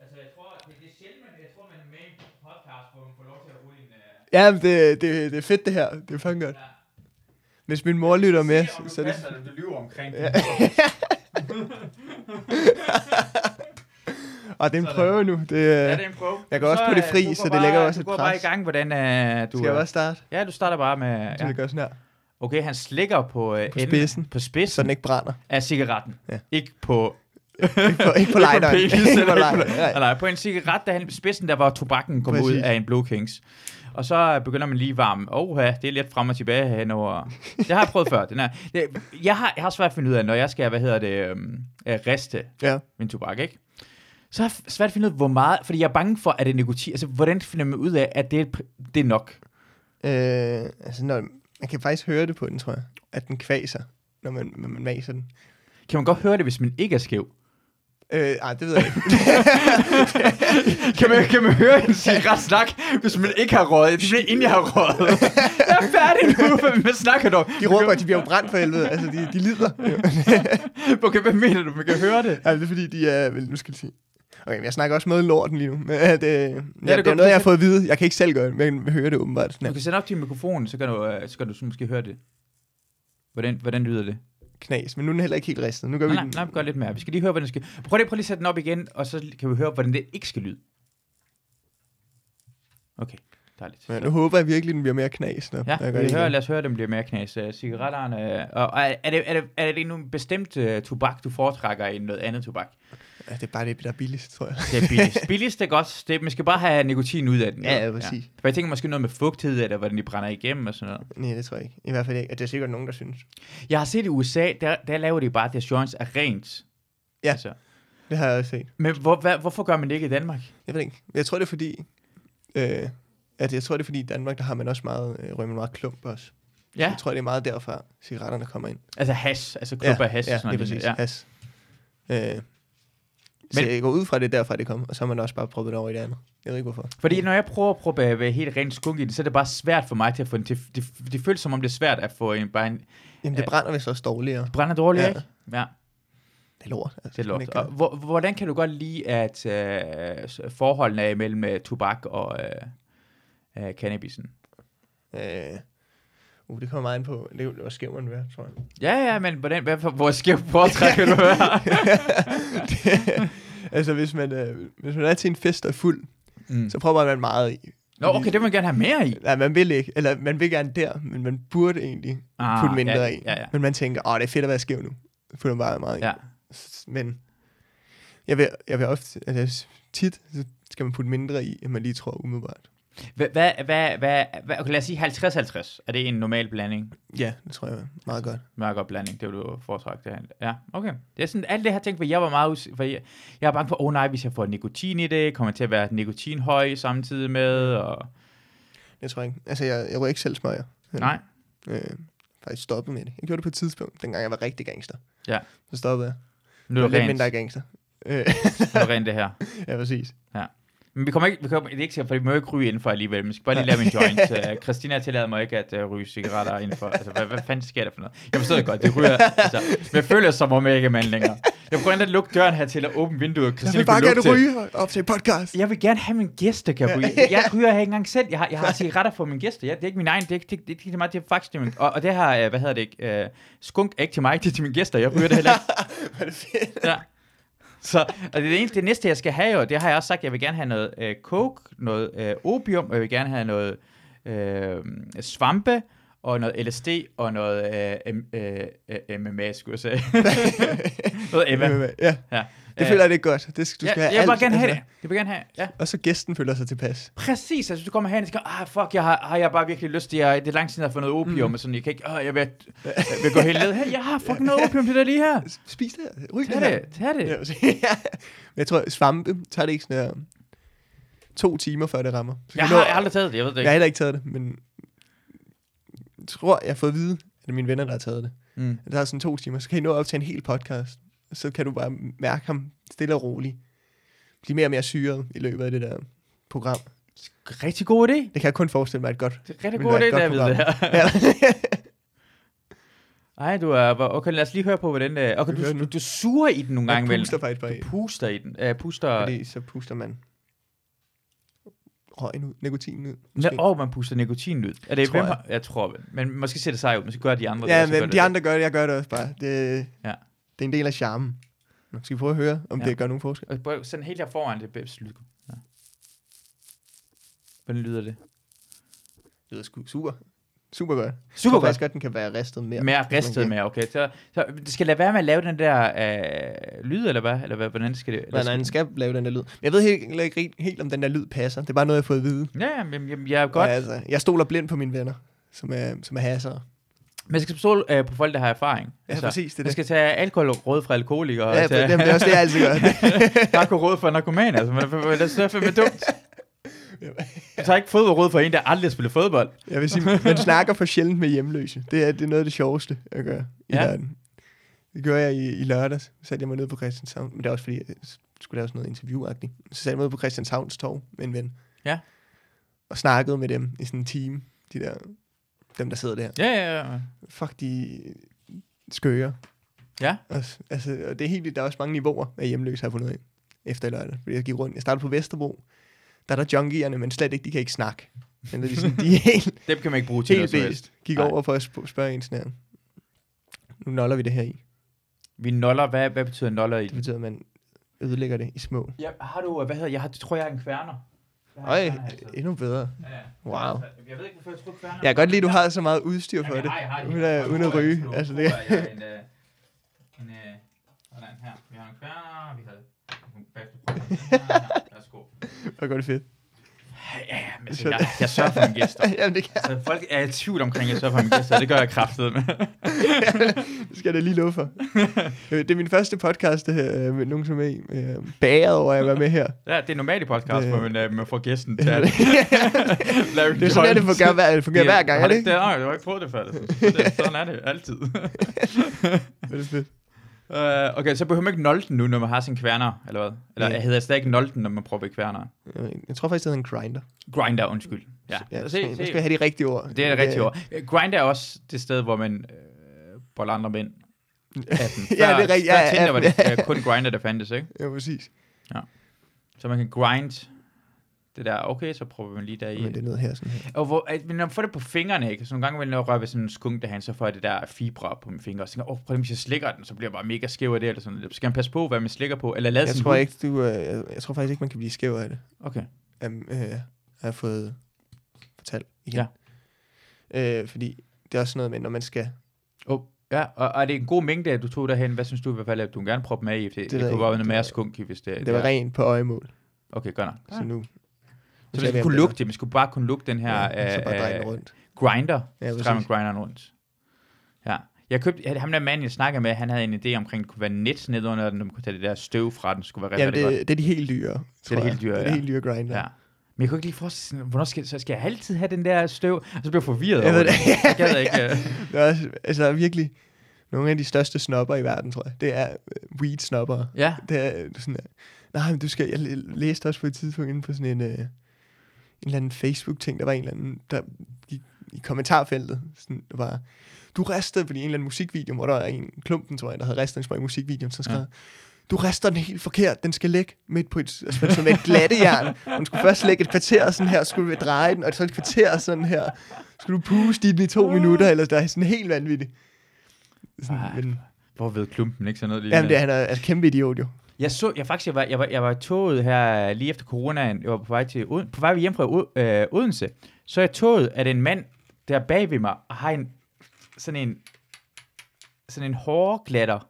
Speaker 1: Altså, jeg tror, det, det er sjældent, men jeg tror, man er med i en podcast, hvor man får lov til at rulle en... Øh,
Speaker 2: Ja, men det, det, det er fedt det her. Det er fucking godt.
Speaker 1: ja.
Speaker 2: Hvis min mor lytter med,
Speaker 1: Se, om
Speaker 2: så,
Speaker 1: du
Speaker 2: så er det...
Speaker 1: passer, når du lyver omkring det.
Speaker 2: Og det er en
Speaker 1: Sådan.
Speaker 2: prøve nu. Det,
Speaker 1: Ja,
Speaker 2: øh,
Speaker 1: det er en prøve.
Speaker 2: Jeg går også
Speaker 1: Så,
Speaker 2: på det
Speaker 1: øh,
Speaker 2: fri,
Speaker 1: du går
Speaker 2: så det
Speaker 1: bare-
Speaker 2: lægger også
Speaker 1: du
Speaker 2: et
Speaker 1: går bare i
Speaker 2: pres.
Speaker 1: gang, hvordan øh, du...
Speaker 2: skal jeg
Speaker 1: øh,
Speaker 2: også starte?
Speaker 1: Ja, du starter bare med...
Speaker 2: Så
Speaker 1: Ja.
Speaker 2: det gør sådan her.
Speaker 1: Okay, han slikker på, øh,
Speaker 2: På
Speaker 1: enden-
Speaker 2: spidsen.
Speaker 1: på spidsen
Speaker 2: Så den ikke brænder.
Speaker 1: af cigaretten.
Speaker 2: Ja.
Speaker 1: Ikke på...
Speaker 2: Ikke på, ikke på lighteren.
Speaker 1: penis,
Speaker 2: Ikke på
Speaker 1: eller ikke
Speaker 2: lighteren.
Speaker 1: Nej, nej, på en cigaret, der han, spidsen, der var tobakken kom ud
Speaker 2: Præcis.
Speaker 1: af en Blue Kings. Og så øh, begynder man lige at varme. Åh, det er lidt frem og tilbage henover. Det har jeg prøvet før. Den er, det, jeg, har, jeg har svært at finde ud af, når jeg skal, hvad hedder det, øhm, øh, riste
Speaker 2: Ja.
Speaker 1: min tobak, ikke? Så har jeg f- svært at finde ud af, hvor meget, fordi jeg er bange for, at det er nikotin. Altså, hvordan finder man ud af, at det er, pr- det er nok?
Speaker 2: Øh, altså, når, man kan faktisk høre det på den, tror jeg. At den kvaser, når man, når man maser den.
Speaker 1: Kan man godt høre det, hvis man ikke er skæv?
Speaker 2: Øh, ej, det ved jeg ikke.
Speaker 1: Kan man, kan man høre en cigaret snak, hvis man ikke har røget? Det er inden jeg har røget. Jeg er færdig nu, men hvad snakker du om?
Speaker 2: De råber, at de bliver jo brændt for helvede. Altså, de, de lider.
Speaker 1: Okay, hvad mener du? Man kan høre det.
Speaker 2: altså, det er fordi, de er... Vel, nu skal jeg sige. Okay, men jeg snakker også med lorten lige nu. Men, øh, det, ja, det, det er
Speaker 1: godt,
Speaker 2: noget, jeg
Speaker 1: det-
Speaker 2: har fået at vide. Jeg kan ikke selv gøre det, men jeg hører det åbenbart. Sådan
Speaker 1: Du
Speaker 2: her.
Speaker 1: kan sætte op til mikrofonen, så kan du, øh, så kan du så måske høre det. Hvordan, hvordan lyder det?
Speaker 2: Knas. Men nu er den heller ikke helt ristet. Nu gør
Speaker 1: Nej,
Speaker 2: vi
Speaker 1: nej,
Speaker 2: den.
Speaker 1: nej, gør lidt mere. Vi skal lige høre, hvordan det skal... Prøv lige, prøv lige at sætte den op igen, og så kan vi høre, hvordan det ikke skal lyde. Okay, dejligt.
Speaker 2: Men nu håber jeg virkelig, den bliver mere knas. Når
Speaker 1: Ja,
Speaker 2: jeg
Speaker 1: vi
Speaker 2: det
Speaker 1: hører,
Speaker 2: igen.
Speaker 1: lad os høre, dem bliver mere knas. Øh, Cigaretterne... øh, Og, og er, er, det, er, det, er det nogen bestemt uh, tobak, du foretrækker end noget andet tobak?
Speaker 2: ja, det er bare det, der er billigst, tror jeg.
Speaker 1: Det er billigst. billigst er godt. Det, man skal bare have nikotin ud af den.
Speaker 2: Ja, ja, præcis.
Speaker 1: For jeg tænker måske noget med fugtighed, eller hvordan de brænder igennem og sådan noget.
Speaker 2: Nej, det tror jeg ikke. I hvert fald ikke. Og det er sikkert nogen, der synes.
Speaker 1: Jeg har set i USA, der, der laver de bare, at deres joints er rent.
Speaker 2: Ja.
Speaker 1: Altså.
Speaker 2: Det har jeg også set.
Speaker 1: Men hvor, hvad, hvorfor gør man det ikke i Danmark?
Speaker 2: Jeg ved ikke. Jeg tror, det er fordi... Øh, at jeg tror, det er fordi i Danmark, der har man også meget, øh, ryger man meget klump også. Ja.
Speaker 1: Ja.
Speaker 2: Jeg tror, det er meget derfra, cigaretterne kommer ind.
Speaker 1: Altså hash, altså klub af hash.
Speaker 2: ja,
Speaker 1: og sådan
Speaker 2: det er
Speaker 1: noget
Speaker 2: præcis.
Speaker 1: lignende.
Speaker 2: Ja. Has. Øh, så
Speaker 1: Men-
Speaker 2: jeg går ud fra, det er derfra, det kom, og så har man også bare proppet det over i det andet. Jeg ved ikke, hvorfor.
Speaker 1: Fordi når jeg prøver at prøve at være helt rent skunk i det, så er det bare svært for mig til at få en til... Det, det føles som om det er svært at få en, bare en
Speaker 2: Jamen, det brænder vist også dårligere.
Speaker 1: brænder dårligt,
Speaker 2: Ja.
Speaker 1: ja. ikke? Ja,
Speaker 2: Det er lort. Altså,
Speaker 1: det er
Speaker 2: man
Speaker 1: lort.
Speaker 2: kan-
Speaker 1: Og hvor, hvordan kan du godt lide, at øh, s- forholdene er mellem øh, tobak og øh, øh, cannabisen?
Speaker 2: Øh, uh, det kommer meget ind på, det er jo- det var skæv man være, tror jeg.
Speaker 1: Ja, ja, men hvordan, hvad for, hvor skæv foretrækker du være?
Speaker 2: Det- altså, hvis man, øh, hvis man er til en fest og er fuld,
Speaker 1: Mm.
Speaker 2: så prøver man meget i.
Speaker 1: Nå, okay, det vil jeg gerne have mere i.
Speaker 2: Nej, man vil ikke, eller man vil gerne der, men man burde egentlig ah,
Speaker 1: Ah,
Speaker 2: putte mindre
Speaker 1: ja,
Speaker 2: i.
Speaker 1: ja, ja.
Speaker 2: Men man tænker, åh, det er fedt at være skæv nu. Så Putter man bare meget i.
Speaker 1: Ja.
Speaker 2: S- Men jeg vil, jeg vil ofte, altså tit, så skal man putte mindre i, end man lige tror umiddelbart.
Speaker 1: Hvad, hvad, hvad, hvad, hvad, okay, lad os sige 50-50. Er det en normal blanding?
Speaker 2: Ja, det tror jeg er meget godt.
Speaker 1: mørk opblanding, det vil du foretrække derhen. Ja, okay. Det er sådan, alt det her ting, for jeg var meget us- for jeg, jeg er bange for, åh oh, nej, hvis jeg får nikotin i det, kommer jeg til at være nikotinhøj samtidig med, og
Speaker 2: Mm. Jeg tror jeg ikke. Altså, jeg, jeg rører ikke selv smøger. Men,
Speaker 1: nej.
Speaker 2: Øh, faktisk stoppet med det. Jeg gjorde det på et tidspunkt, dengang jeg var rigtig gangster.
Speaker 1: Ja.
Speaker 2: Så stoppede jeg.
Speaker 1: Nu er det
Speaker 2: Jeg var lidt
Speaker 1: rent,
Speaker 2: mindre gangster. Øh,
Speaker 1: nu er det rent det her.
Speaker 2: ja, præcis.
Speaker 1: Men vi kommer ikke, vi kommer, det er ikke sikkert, for vi må jo ikke ryge indenfor alligevel. Vi skal bare lige lave min joint. Uh, Christina tillader mig ikke at uh, ryge cigaretter indenfor. Altså, hvad, hvad fanden sker der for noget? Jeg forstår det godt, det ryger. Altså, men jeg føler som om jeg ikke er mand længere. Jeg prøver endda at lukke døren her til og åbne vinduet.
Speaker 2: Jeg
Speaker 1: Christina
Speaker 2: vil bare
Speaker 1: kunne lugte
Speaker 2: gerne
Speaker 1: det.
Speaker 2: ryge og optage podcast.
Speaker 1: Jeg vil gerne have min gæster, kan
Speaker 2: Ja.
Speaker 1: ryge. Jeg ryger her ikke engang selv. Jeg har, jeg har cigaretter for mine gæster. Jeg, det er ikke min egen. Det er, ikke, det, det, det er meget, det er faktisk det er min. Og, og det her, øh, hvad hedder det ikke? Øh, skunk er ikke til mig, det er til mine gæster. Jeg ryger det heller ikke.
Speaker 2: Hvor er det fedt.
Speaker 1: Ja. Så og det, er det, eneste, det næste, jeg skal have, og det har jeg også sagt, jeg vil gerne have noget øh, coke, noget øh, opium, og jeg vil gerne have noget øh, svampe, og noget LSD, og noget øh, M- øh, øh, MMA, skulle jeg sige. noget Emma.
Speaker 2: Ja, ja.
Speaker 1: Ja.
Speaker 2: Det
Speaker 1: Øh,
Speaker 2: føler jeg, det er godt. Det skal, du
Speaker 1: ja,
Speaker 2: skal have
Speaker 1: jeg vil
Speaker 2: alt.
Speaker 1: bare gerne have det.
Speaker 2: altså.
Speaker 1: Jeg vil gerne have, ja.
Speaker 2: Og så gæsten føler sig tilpas.
Speaker 1: Præcis, altså du kommer herhen og tænker, ah fuck, jeg har, har jeg bare virkelig lyst til, jeg, det er lang tid, siden, jeg har fået noget opium, mm. og sådan, jeg kan ikke, ah, jeg vil, jeg vil gå helt ned, hey, jeg har fucking noget opium til dig lige her.
Speaker 2: S- Spis det. her. Ryg
Speaker 1: Tag
Speaker 2: det her.
Speaker 1: det, tag det.
Speaker 2: Ja, præcis. Ja. Men jeg tror, svampe tager det ikke sådan her to timer, før det rammer. Så
Speaker 1: Jeg
Speaker 2: kan du
Speaker 1: har
Speaker 2: nå-
Speaker 1: aldrig taget det, jeg ved det
Speaker 2: jeg
Speaker 1: ikke.
Speaker 2: har heller ikke taget det, men jeg tror, jeg har fået at vide, at det er mine venner, der har taget det.
Speaker 1: Mm.
Speaker 2: Det tager sådan to timer, så kan I nå op til en hel podcast. Så kan du bare mærke ham stille og roligt. Blive mere og mere syret i løbet af det der program.
Speaker 1: Rigtig god idé.
Speaker 2: Det kan jeg kun forestille mig er et godt.
Speaker 1: Det er rigtig
Speaker 2: Vil
Speaker 1: god
Speaker 2: være
Speaker 1: idé,
Speaker 2: et godt
Speaker 1: David.
Speaker 2: program.
Speaker 1: det her.
Speaker 2: Ja.
Speaker 1: Ej, du er, hvor- okay, lad os lige høre på, hvordan det Okay,
Speaker 2: Vi hører
Speaker 1: du,
Speaker 2: nu.
Speaker 1: du, du suger i den nogle gange,
Speaker 2: jeg
Speaker 1: vel?
Speaker 2: puster faktisk bare i,
Speaker 1: Du puster i den. Uh, puster...
Speaker 2: fordi så puster man røgen ud, nikotinen ud.
Speaker 1: Nå,
Speaker 2: måske.
Speaker 1: og man puster nikotin ud. Er det,
Speaker 2: Tror
Speaker 1: hvem
Speaker 2: jeg.
Speaker 1: har- jeg. tror, vel. men måske ser det sej ud. Måske gør de andre det,
Speaker 2: Ja,
Speaker 1: og så gør
Speaker 2: men
Speaker 1: det
Speaker 2: de
Speaker 1: det.
Speaker 2: andre gør det, jeg gør det også bare. Det,
Speaker 1: Ja.
Speaker 2: det er en del af charmen. Nu skal vi prøve at høre, om
Speaker 1: Ja.
Speaker 2: det gør nogen forskel.
Speaker 1: Og prøv sådan helt her foran det bæbs lyd. Ja. Hvordan lyder det?
Speaker 2: Det lyder sgu super. Super godt. Jeg
Speaker 1: Super
Speaker 2: tror faktisk
Speaker 1: godt.
Speaker 2: godt, den kan være ristet mere.
Speaker 1: Mere
Speaker 2: hvis man
Speaker 1: ristet
Speaker 2: kan.
Speaker 1: mere, okay. Så, så det skal lade være med at lave den der øh, lyd, eller hvad? Eller hvad, hvordan skal det? Eller
Speaker 2: Nej, nej, den skal lave den der lyd. Men jeg ved helt, heller ikke ri- helt, om den der lyd passer. Det er bare noget, jeg har fået at vide.
Speaker 1: Ja, ja, men jamen, jeg er godt.
Speaker 2: Og
Speaker 1: Ja.
Speaker 2: altså, jeg stoler blind på mine venner, som er, som er hasser.
Speaker 1: Men jeg skal stole øh, på folk, der har erfaring.
Speaker 2: Ja, præcis, det er
Speaker 1: Man
Speaker 2: det.
Speaker 1: Altså, skal tage alkohol råd fra alkoholikere.
Speaker 2: Ja,
Speaker 1: og tage,
Speaker 2: jamen, det er også det, jeg altid gør.
Speaker 1: narko råd fra narkomaner. Altså, man, man, det er så fandme dumt. Du tager ikke fodboldråd fra en, der aldrig har spillet fodbold.
Speaker 2: Jeg vil sige, man snakker for sjældent med hjemløse. Det er, det er noget af det sjoveste, jeg gør i ja.
Speaker 1: Ja.
Speaker 2: verden. Det gør jeg i, i lørdags. Så satte jeg mig ned på Christianshavn. Men det er også fordi, jeg skulle lave sådan noget interviewagtigt. Så satte jeg mig ned på Christianshavns torv med en ven.
Speaker 1: Ja.
Speaker 2: Og snakkede med dem i sådan en time. De der, dem der sidder der.
Speaker 1: Ja, ja, ja.
Speaker 2: Fuck, de skøger.
Speaker 1: Ja.
Speaker 2: Og, s- altså, og det er helt vildt, der er også mange niveauer af hjemløse, har jeg fundet ud af efter i lørdag. Fordi jeg gik rundt. Jeg startede på Vesterbro. Der er der junkierne, men slet ikke, de kan ikke snakke. Men det er ligesom, de er helt,
Speaker 1: Dem kan man ikke bruge til noget
Speaker 2: helt
Speaker 1: som helst.
Speaker 2: bedst. Gik
Speaker 1: Nej.
Speaker 2: over for at sp- spørge en sådan her. Nu noller vi det her i.
Speaker 1: Vi noller. Hvad, hvad betyder noller i
Speaker 2: Det betyder, at man ødelægger det i små.
Speaker 1: Ja, har du, øh, hvad hedder, jeg har, jeg tror, jeg er en kværner. Jeg har
Speaker 2: Øj,
Speaker 1: en kværner altid.
Speaker 2: endnu bedere.
Speaker 1: Ja, ja.
Speaker 2: Wow.
Speaker 1: Jeg ved ikke, hvorfor jeg tror kværner.
Speaker 2: Jeg kan godt lide, at du har så meget udstyr
Speaker 1: Jamen,
Speaker 2: for det.
Speaker 1: har- jeg har
Speaker 2: Uden at, uden at ryge. Altså, det,
Speaker 1: Jeg har en, øh, en, øh, sådan her. Vi har en kværner, vi havde en bagefter. Værsgo.
Speaker 2: var godt fedt.
Speaker 1: Ja, ja, men altså, jeg, jeg sørger for mine gæster.
Speaker 2: Jamen, det kan
Speaker 1: Altså, folk er i tvivl omkring, at jeg sørger for mine gæster. Det gør jeg kraftet med.
Speaker 2: Det skal jeg da lige love for. Øh, Det er min første podcast, det her, øh, med nogen som er i. Øh, Bæret over at være med her.
Speaker 1: Ja, det er normalt i podcast,
Speaker 2: Det-
Speaker 1: hvor man, øh, man får gæsten til
Speaker 2: Ja,
Speaker 1: at
Speaker 2: det
Speaker 1: Larry
Speaker 2: det er sådan, at det
Speaker 1: Jones.
Speaker 2: fungerer hver, det fungerer hver gang,
Speaker 1: har
Speaker 2: er
Speaker 1: du
Speaker 2: det ikke?
Speaker 1: Nej, du har ikke prøvet det før. altså. Det- Sådan er det altid.
Speaker 2: Det er fedt.
Speaker 1: uh, okay, så behøver man ikke nolten nu, når man har sin kværner, eller hvad? Eller
Speaker 2: Ja.
Speaker 1: yeah. hedder det stadig ikke nolten, når man prøver kværner?
Speaker 2: Jeg ved ikke, Jeg tror faktisk, det hedder en grinder.
Speaker 1: Grinder, undskyld. Ja,
Speaker 2: Ja,
Speaker 1: ja
Speaker 2: se,
Speaker 1: se,
Speaker 2: man
Speaker 1: se.
Speaker 2: skal have de rigtige ord.
Speaker 1: Det er det rigtige ord. Øh, Grind er også det sted, hvor man øh, boller andre mænd. Appen.
Speaker 2: Ja, det er rigtigt.
Speaker 1: Før
Speaker 2: Ja,
Speaker 1: Tinder var det
Speaker 2: appen.
Speaker 1: øh, kun grinder, der fandtes, ikke?
Speaker 2: Ja, præcis.
Speaker 1: Så man kan grind det der. Okay, så prøver man lige der i.
Speaker 2: Men det er ned her sådan her.
Speaker 1: Og hvor, at, men når man får det på fingrene, ikke? Så nogle gange, når jeg rører ved sådan en skunk derhen, så får jeg det der fibre op på mine fingre. Og så tænker jeg, åh, prøv lige, hvis jeg slikker den, så bliver jeg bare mega skæv af det. Eller sådan. noget. Skal man passe på, hvad man slikker på? Eller lade
Speaker 2: Jeg
Speaker 1: sin
Speaker 2: tror
Speaker 1: hud?
Speaker 2: ikke, du... øh, jeg- Jeg tror faktisk ikke, man kan blive skæv af det.
Speaker 1: Okay.
Speaker 2: Am, øh, jeg har fået fortalt igen. Ja. Øh, fordi det er også noget med, når man skal...
Speaker 1: Oh, ja, og, og, er det en god mængde, at du tog derhen? Hvad synes du i hvert fald, at du vil gerne proppe med i? Det, det,
Speaker 2: ved
Speaker 1: det
Speaker 2: jeg
Speaker 1: kunne
Speaker 2: ikke.
Speaker 1: bare være noget mere skunk, i, hvis det,
Speaker 2: Det var
Speaker 1: er-
Speaker 2: rent på øjemål,
Speaker 1: Okay, godt nok.
Speaker 2: så nu...
Speaker 1: Så
Speaker 2: skal
Speaker 1: hvis
Speaker 2: vi
Speaker 1: man
Speaker 2: have
Speaker 1: kunne
Speaker 2: bedre.
Speaker 1: lugte det, man skulle bare kunne lugte den her
Speaker 2: Ja, så bare
Speaker 1: øh,
Speaker 2: dreje den
Speaker 1: øh,
Speaker 2: rundt.
Speaker 1: grinder,
Speaker 2: Ja,
Speaker 1: så drejer man
Speaker 2: præcis.
Speaker 1: grinderen rundt. Ja. Jeg købte, ja, ham der mand, jeg snakkede med, han havde en idé omkring, at det kunne være net ned under den, når man kunne tage det der støv fra den, skulle være rigtig,
Speaker 2: Jamen,
Speaker 1: rigtig godt.
Speaker 2: det, det er de helt dyre, tror
Speaker 1: de
Speaker 2: jeg.
Speaker 1: helt dyre,
Speaker 2: Det er
Speaker 1: ja.
Speaker 2: de helt dyre grinder.
Speaker 1: Ja. Men jeg kunne ikke lige forestille mig, hvornår skal, så skal jeg altid have den der støv? Og så bliver jeg forvirret
Speaker 2: Jeg
Speaker 1: over
Speaker 2: ved
Speaker 1: det.
Speaker 2: det.
Speaker 1: Jeg gad ikke. øh.
Speaker 2: Det er også, altså virkelig nogle af de største snopper i verden, tror jeg. Det er øh, weed snopper.
Speaker 1: Ja,
Speaker 2: Det er øh, sådan, øh, nej, men du skal, jeg læ- læste også på et tidspunkt inde på sådan en, øh, en eller anden Facebook-ting, der var en eller anden, der gik i kommentarfeltet, sådan, der var, du ristede, fordi en eller anden musikvideo, hvor der var en klumpen, tror jeg, der havde ristet en sprøj i musikvideoen, så skrev,
Speaker 1: Ja.
Speaker 2: ja. du rister den helt forkert, den skal ligge midt på et, altså, som et glattejern. Og den skulle først lægge et kvarter sådan her, så skulle du dreje den, og så et kvarter sådan her, så skulle du puste i den i
Speaker 1: Ah.
Speaker 2: to minutter, eller der er sådan helt vanvittigt. Sådan,
Speaker 1: Ej,
Speaker 2: men,
Speaker 1: hvor ved klumpen, ikke sådan noget.
Speaker 2: jamen, det er,
Speaker 1: lignende.
Speaker 2: han er, er kæmpe idiot jo.
Speaker 1: Jeg så, jeg faktisk, jeg var, jeg var, jeg var i toget her lige efter coronaen, jeg var på vej, til, Oden- på vej hjem fra Od- øh, Odense, så jeg toget, at en mand der bag ved mig har en, sådan en, sådan en hårglatter,